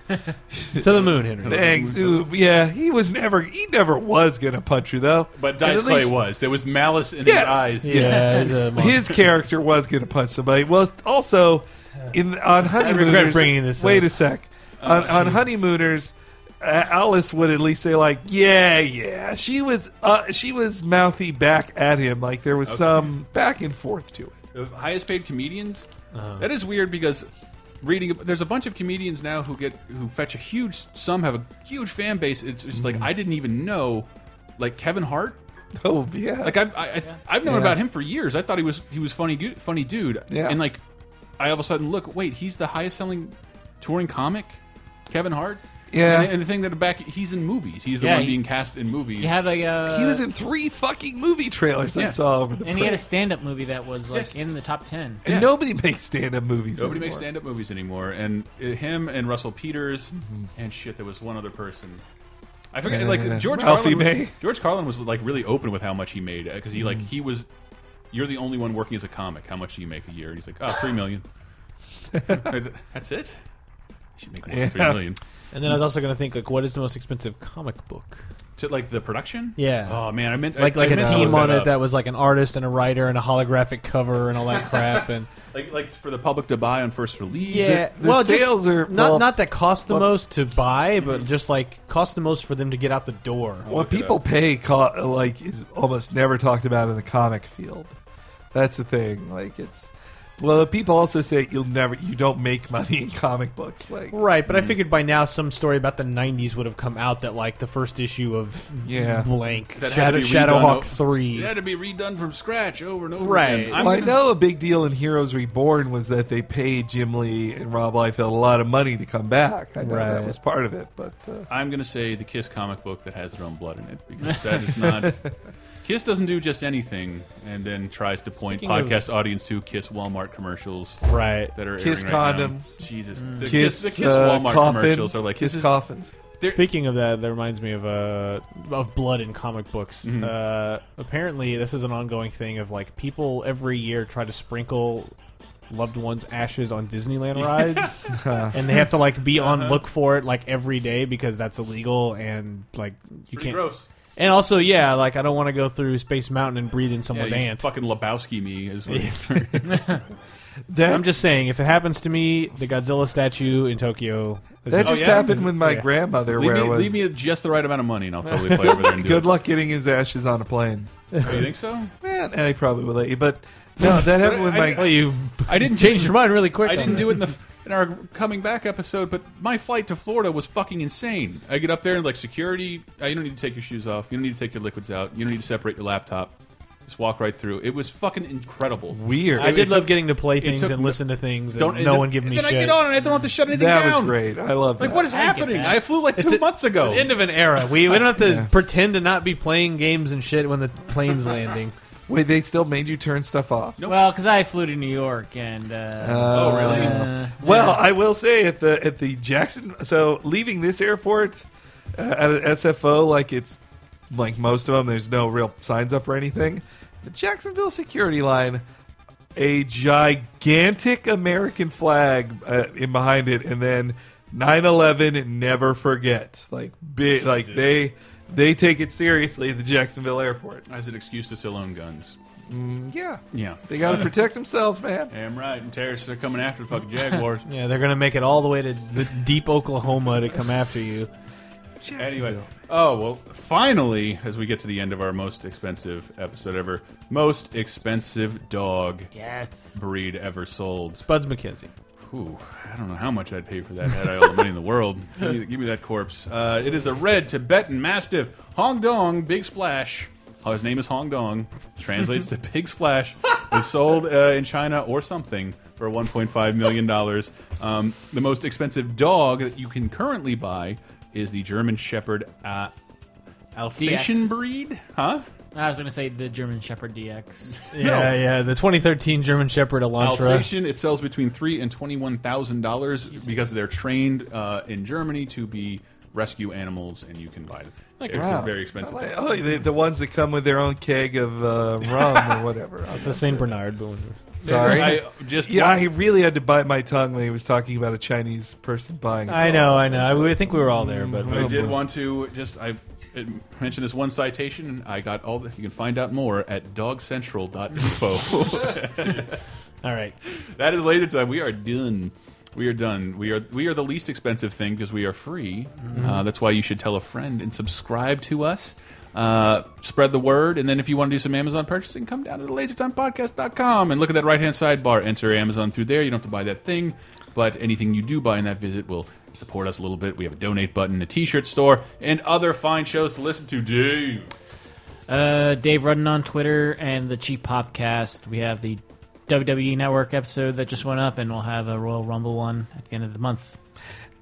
Speaker 5: to the moon, Henry.
Speaker 6: Thanks. Ooh, yeah, he was never. He never was gonna punch you though.
Speaker 4: But
Speaker 6: And
Speaker 4: Dice
Speaker 6: at
Speaker 4: Clay
Speaker 6: least-
Speaker 4: was. There was malice in his
Speaker 6: Yes.
Speaker 4: eyes.
Speaker 5: Yeah, he's a monster.
Speaker 6: his character was gonna punch somebody. Well, also in on honeymooners.
Speaker 5: bringing this
Speaker 6: Wait
Speaker 5: up.
Speaker 6: a sec. on, on
Speaker 5: jeez.
Speaker 6: honeymooners, uh, Alice would at least say like, "Yeah, yeah." She was. Uh, she was mouthy back at him. Like there was
Speaker 4: Okay.
Speaker 6: some back and forth to it.
Speaker 4: The highest paid comedians.
Speaker 5: Uh-huh.
Speaker 4: That is weird because reading there's a bunch of comedians now who get who fetch a huge. Some have a huge fan base. It's just
Speaker 6: Mm.
Speaker 4: like I didn't even know, like Kevin Hart.
Speaker 6: Oh yeah.
Speaker 4: Like I've I, I, I've known
Speaker 6: Yeah.
Speaker 4: about him for years. I thought he was he was funny gu- funny dude.
Speaker 6: Yeah.
Speaker 4: And like, I all of a sudden look. Wait, he's the highest selling touring comic, Kevin Hart.
Speaker 6: Yeah.
Speaker 4: And, and the thing that back he's in movies. He's the
Speaker 7: Yeah,
Speaker 4: one
Speaker 7: he-
Speaker 4: being cast in movies.
Speaker 7: He had like a. uh,
Speaker 6: he was in three fucking movie trailers I
Speaker 4: Yeah.
Speaker 6: saw over the.
Speaker 7: And he had a
Speaker 6: press.
Speaker 7: stand-up movie that was like
Speaker 4: Yes.
Speaker 7: in the top ten.
Speaker 6: and
Speaker 4: yeah.
Speaker 6: nobody makes stand-up movies.
Speaker 4: Nobody
Speaker 6: anymore.
Speaker 4: makes stand up movies anymore. And uh, him and Russell Peters and shit, there was one other person. I forget.
Speaker 6: Mm-hmm. Uh,
Speaker 4: like George
Speaker 6: Ralphie
Speaker 4: Carlin.
Speaker 6: May. Mm.
Speaker 4: Was, George Carlin was like really open with how much he made because he like he was. You're the only one working as a comic. How much do you make a year? And he's like, oh, three million. That's it. You should make more than three
Speaker 6: Yeah.
Speaker 4: million.
Speaker 5: And then I was also going to think like, what is the most expensive comic book?
Speaker 4: To like the production?
Speaker 5: Yeah.
Speaker 4: Oh man, I meant I-
Speaker 5: like
Speaker 4: I
Speaker 5: like a
Speaker 4: meant to
Speaker 5: team
Speaker 4: look
Speaker 5: on it
Speaker 4: up.
Speaker 5: that was like an artist and a writer and a holographic cover and all that crap and
Speaker 4: like like for the public to buy on first release.
Speaker 5: yeah. well, just not not that cost the
Speaker 6: well-
Speaker 5: most to buy,
Speaker 4: mm-hmm.
Speaker 5: but just like cost the most for them to get out the door.
Speaker 6: What people pay co- like is almost never talked about in the comic field. That's the thing. Like it's well, people also say you'll never you don't make money in comic books. Like
Speaker 5: Right,
Speaker 4: Hmm.
Speaker 5: but I figured by now some story about the '90s would have come out that like the first issue of
Speaker 6: Yeah.
Speaker 5: blank
Speaker 4: That had to be
Speaker 5: Shadow
Speaker 4: redone o-
Speaker 5: Shadowhawk three.
Speaker 4: It had to be redone from scratch over and over
Speaker 5: Right.
Speaker 4: again.
Speaker 6: Well, I know a big deal in Heroes Reborn was that they paid Jim Lee and Rob Liefeld a lot of money to come back. I know that
Speaker 4: Right.
Speaker 6: was part of it, but uh,
Speaker 4: I'm going to say the Kiss comic book that has their own blood in it because that is not. Kiss doesn't do just anything and then tries to point
Speaker 6: Speaking of-
Speaker 4: podcast audience to Kiss Walmart commercials.
Speaker 5: Right.
Speaker 4: That are
Speaker 6: Kiss
Speaker 4: airing right now.
Speaker 6: condoms.
Speaker 4: Jesus.
Speaker 6: Mm.
Speaker 4: The
Speaker 6: Kiss,
Speaker 4: Kiss, the Kiss
Speaker 6: uh,
Speaker 4: Walmart
Speaker 6: coffin.
Speaker 4: commercials are like
Speaker 6: Kiss
Speaker 4: this is-
Speaker 6: coffins.
Speaker 5: Speaking of that, that reminds me of uh, of blood in comic books.
Speaker 4: Mhm.
Speaker 5: Uh, apparently, this is an ongoing thing of like people every year try to sprinkle loved ones' ashes on Disneyland rides, and they have to like be on
Speaker 4: Uh-huh.
Speaker 5: look for it like every day because that's illegal and like you
Speaker 4: Pretty
Speaker 5: can't.
Speaker 4: gross.
Speaker 5: And also, yeah, like I don't want to go through Space Mountain and breathe in someone's
Speaker 4: you
Speaker 5: aunt.
Speaker 4: Fucking Lebowski me is what.
Speaker 5: I'm just saying, if it happens to me, the Godzilla statue in Tokyo. is-
Speaker 6: That just happened with my
Speaker 5: Yeah.
Speaker 6: grandmother.
Speaker 4: Oh, Leave
Speaker 6: where
Speaker 4: me-
Speaker 6: it was,
Speaker 4: leave me just the right amount of money and I'll totally play over there and do
Speaker 6: Good
Speaker 4: it.
Speaker 6: luck getting his ashes on a plane.
Speaker 4: Oh, you think so?
Speaker 6: Man, Eh, I probably would let you, but no, that happened with my.
Speaker 4: I didn't
Speaker 5: change your mind really quick
Speaker 4: I
Speaker 5: on
Speaker 4: didn't
Speaker 5: that.
Speaker 4: do it in the in our coming back episode, but my flight to Florida was fucking insane. I get up there and like security, uh, you don't need to take your shoes off, you don't need to take your liquids out, you don't need to separate your laptop. Just walk right through. It was fucking incredible.
Speaker 6: Weird.
Speaker 5: I
Speaker 4: It-
Speaker 5: did
Speaker 4: it
Speaker 5: love
Speaker 4: took-
Speaker 5: getting to play
Speaker 4: it
Speaker 5: things
Speaker 4: took
Speaker 5: and
Speaker 4: no-
Speaker 5: listen to things.
Speaker 4: Don't-
Speaker 5: and
Speaker 4: and
Speaker 5: no
Speaker 4: then-
Speaker 5: one give
Speaker 4: and
Speaker 5: me.
Speaker 4: then
Speaker 5: shit.
Speaker 4: I get on and I don't have to shut anything
Speaker 6: That was
Speaker 4: down.
Speaker 6: great. I love
Speaker 4: Like
Speaker 6: that.
Speaker 4: what is
Speaker 6: I get
Speaker 4: happening?
Speaker 6: that.
Speaker 4: I flew like
Speaker 5: It's
Speaker 4: two
Speaker 5: a-
Speaker 4: months ago.
Speaker 5: It's the end of an era. We, we don't have to pretend to not be playing games and shit when the plane's landing.
Speaker 6: Wait, they still made you turn stuff off.
Speaker 7: Well, because I flew to New York and. Uh,
Speaker 5: Oh,
Speaker 6: Uh,
Speaker 7: uh,
Speaker 6: well, I will say at the at the Jackson. So leaving this airport uh, at a SFO, like it's like most of them, there's no real signs up or anything. The Jacksonville security line, a gigantic American flag uh, in behind it, and then 9/11 never forget. Like big, like they they take it seriously. at The Jacksonville airport.
Speaker 4: As an excuse to still own guns.
Speaker 6: Mm, yeah,
Speaker 4: Yeah.
Speaker 6: They got to protect themselves, man.
Speaker 4: Damn right. And terrorists are coming after the fucking Jaguars.
Speaker 5: yeah, they're gonna make it all the way to the deep Oklahoma to come after you.
Speaker 4: Anyway, oh well. Finally, as we get to the end of our most expensive episode ever, most expensive dog
Speaker 7: yes
Speaker 4: breed ever sold,
Speaker 5: Spuds McKenzie.
Speaker 4: Ooh, I don't know how much I'd pay for that had I all the money in the world. Give me, give me that corpse. Uh, it is a red Tibetan Mastiff, Hong Dong, Big Splash. Oh, his name is Hong Dong. Translates to Big Splash. Was sold uh, in China or something for 1.5 million dollars. Um, the most expensive dog that you can currently buy is the German Shepherd uh, Alsatian
Speaker 7: DX.
Speaker 4: breed, huh?
Speaker 7: I was going to say the German Shepherd DX.
Speaker 5: Yeah, yeah, the 2013 German Shepherd Elantra.
Speaker 4: Alsatian, it sells between three and twenty-one thousand dollars because they're trained uh, in Germany to be rescue animals, and you can buy them. it's
Speaker 6: Wow.
Speaker 4: very expensive.
Speaker 6: Like, oh, the, the ones that come with their own keg of uh, rum or whatever.
Speaker 5: It's a Saint Bernard. But
Speaker 6: Sorry,
Speaker 4: I just-
Speaker 6: yeah, I really had to bite my tongue when he was talking about a Chinese person buying. a
Speaker 5: I
Speaker 6: dog.
Speaker 5: know, I know. I, we- I think we were all there, but
Speaker 4: I Mm, did want to just I it mentioned this one citation. and I got all the you can find out more at dogcentral.info.
Speaker 5: all right,
Speaker 4: that is later time. We are done. We are done. We are we are the least expensive thing because we are free.
Speaker 5: Mm-hmm.
Speaker 12: Mhm.
Speaker 4: Uh, that's why you should tell a friend and subscribe to us. Uh, spread the word, and then if you want to do some Amazon purchasing, come down to the lasertimepodcast.com and look at that right hand sidebar. Enter Amazon through there. You don't have to buy that thing, but anything you do buy in that visit will support us a little bit. We have a donate button, a t shirt store, and other fine shows to listen to. Dave.
Speaker 7: Uh, Dave Rudden on Twitter and the Cheap Popcast. We have the WWE Network episode that just went up, and we'll have a Royal Rumble one at the end of the month.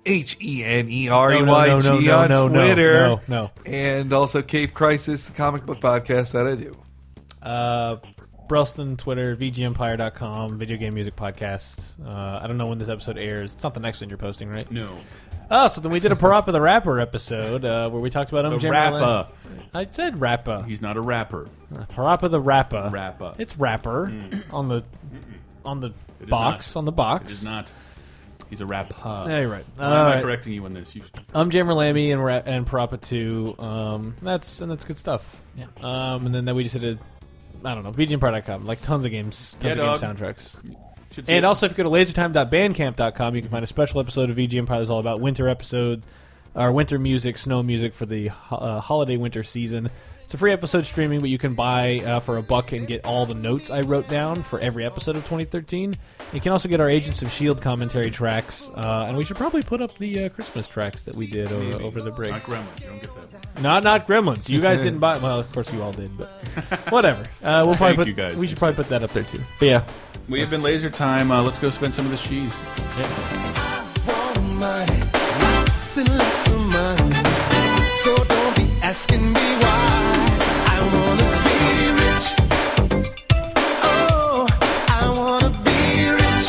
Speaker 6: H E N E R E Y
Speaker 5: No, no,
Speaker 6: T
Speaker 5: no,
Speaker 6: on
Speaker 5: no, no,
Speaker 6: Twitter.
Speaker 5: no, no.
Speaker 6: and also Cave Crisis, the comic book podcast that I do.
Speaker 5: Uh, Brelston, Twitter, VGEmpire.com, Video Game Music Podcast. Uh, I don't know when this episode airs. It's not the next one you're posting, right?
Speaker 4: No.
Speaker 5: Oh, so then we did a Parappa the Rapper episode uh, where we talked about um,
Speaker 4: The
Speaker 5: Jeremy
Speaker 4: rapper.
Speaker 5: Lin. I said rapper.
Speaker 4: He's not a rapper.
Speaker 5: Parappa the Rapper.
Speaker 4: Rapper.
Speaker 5: It's rapper on the on the
Speaker 4: Mm. It is
Speaker 5: box
Speaker 4: not.
Speaker 5: on the box.
Speaker 4: It is not. He's a rap.
Speaker 5: Yeah, you're right.
Speaker 4: Why
Speaker 5: All
Speaker 4: am I
Speaker 5: right.
Speaker 4: correcting you on this? You,
Speaker 5: I'm Jammer Lammy and Ra- and Propa Two. Um, that's and that's good stuff.
Speaker 7: Yeah.
Speaker 5: Um, and then that we just did. a- I don't know VGPro.com, like tons of games, tons
Speaker 4: Yeah, dog.
Speaker 5: of game soundtracks.
Speaker 4: Should see
Speaker 5: And
Speaker 4: it.
Speaker 5: also, if you go to lasertime.bandcamp.com, you can find a special episode of E VG Empire that's all about winter episodes, or winter music, snow music for the ho- uh, holiday winter season. It's a free episode streaming, but you can buy uh, for a buck and get all the notes I wrote down for every episode of 2013. You can also get our Agents of S.H.I.E.L.D. E commentary tracks, uh, and we should probably put up the uh, Christmas tracks that we did o-
Speaker 4: Maybe.
Speaker 5: over the break.
Speaker 4: Not Gremlins. You don't get that.
Speaker 5: Not not Gremlins. You guys didn't buy. Well, of course you all did, but whatever. Uh, we'll probably
Speaker 4: Thank
Speaker 5: put,
Speaker 4: you guys.
Speaker 5: We should probably put that up there too. But yeah,
Speaker 4: We have been laser time. Uh, let's go spend some of this cheese.
Speaker 6: money, lots and lots of money. So don't be asking me why. I wanna be rich. Oh, I wanna be rich.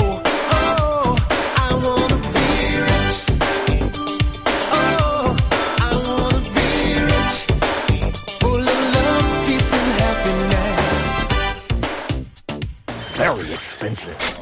Speaker 6: Oh, oh, I wanna be rich. Oh, I wanna be rich. Full of love, peace, and happiness.
Speaker 16: Very expensive.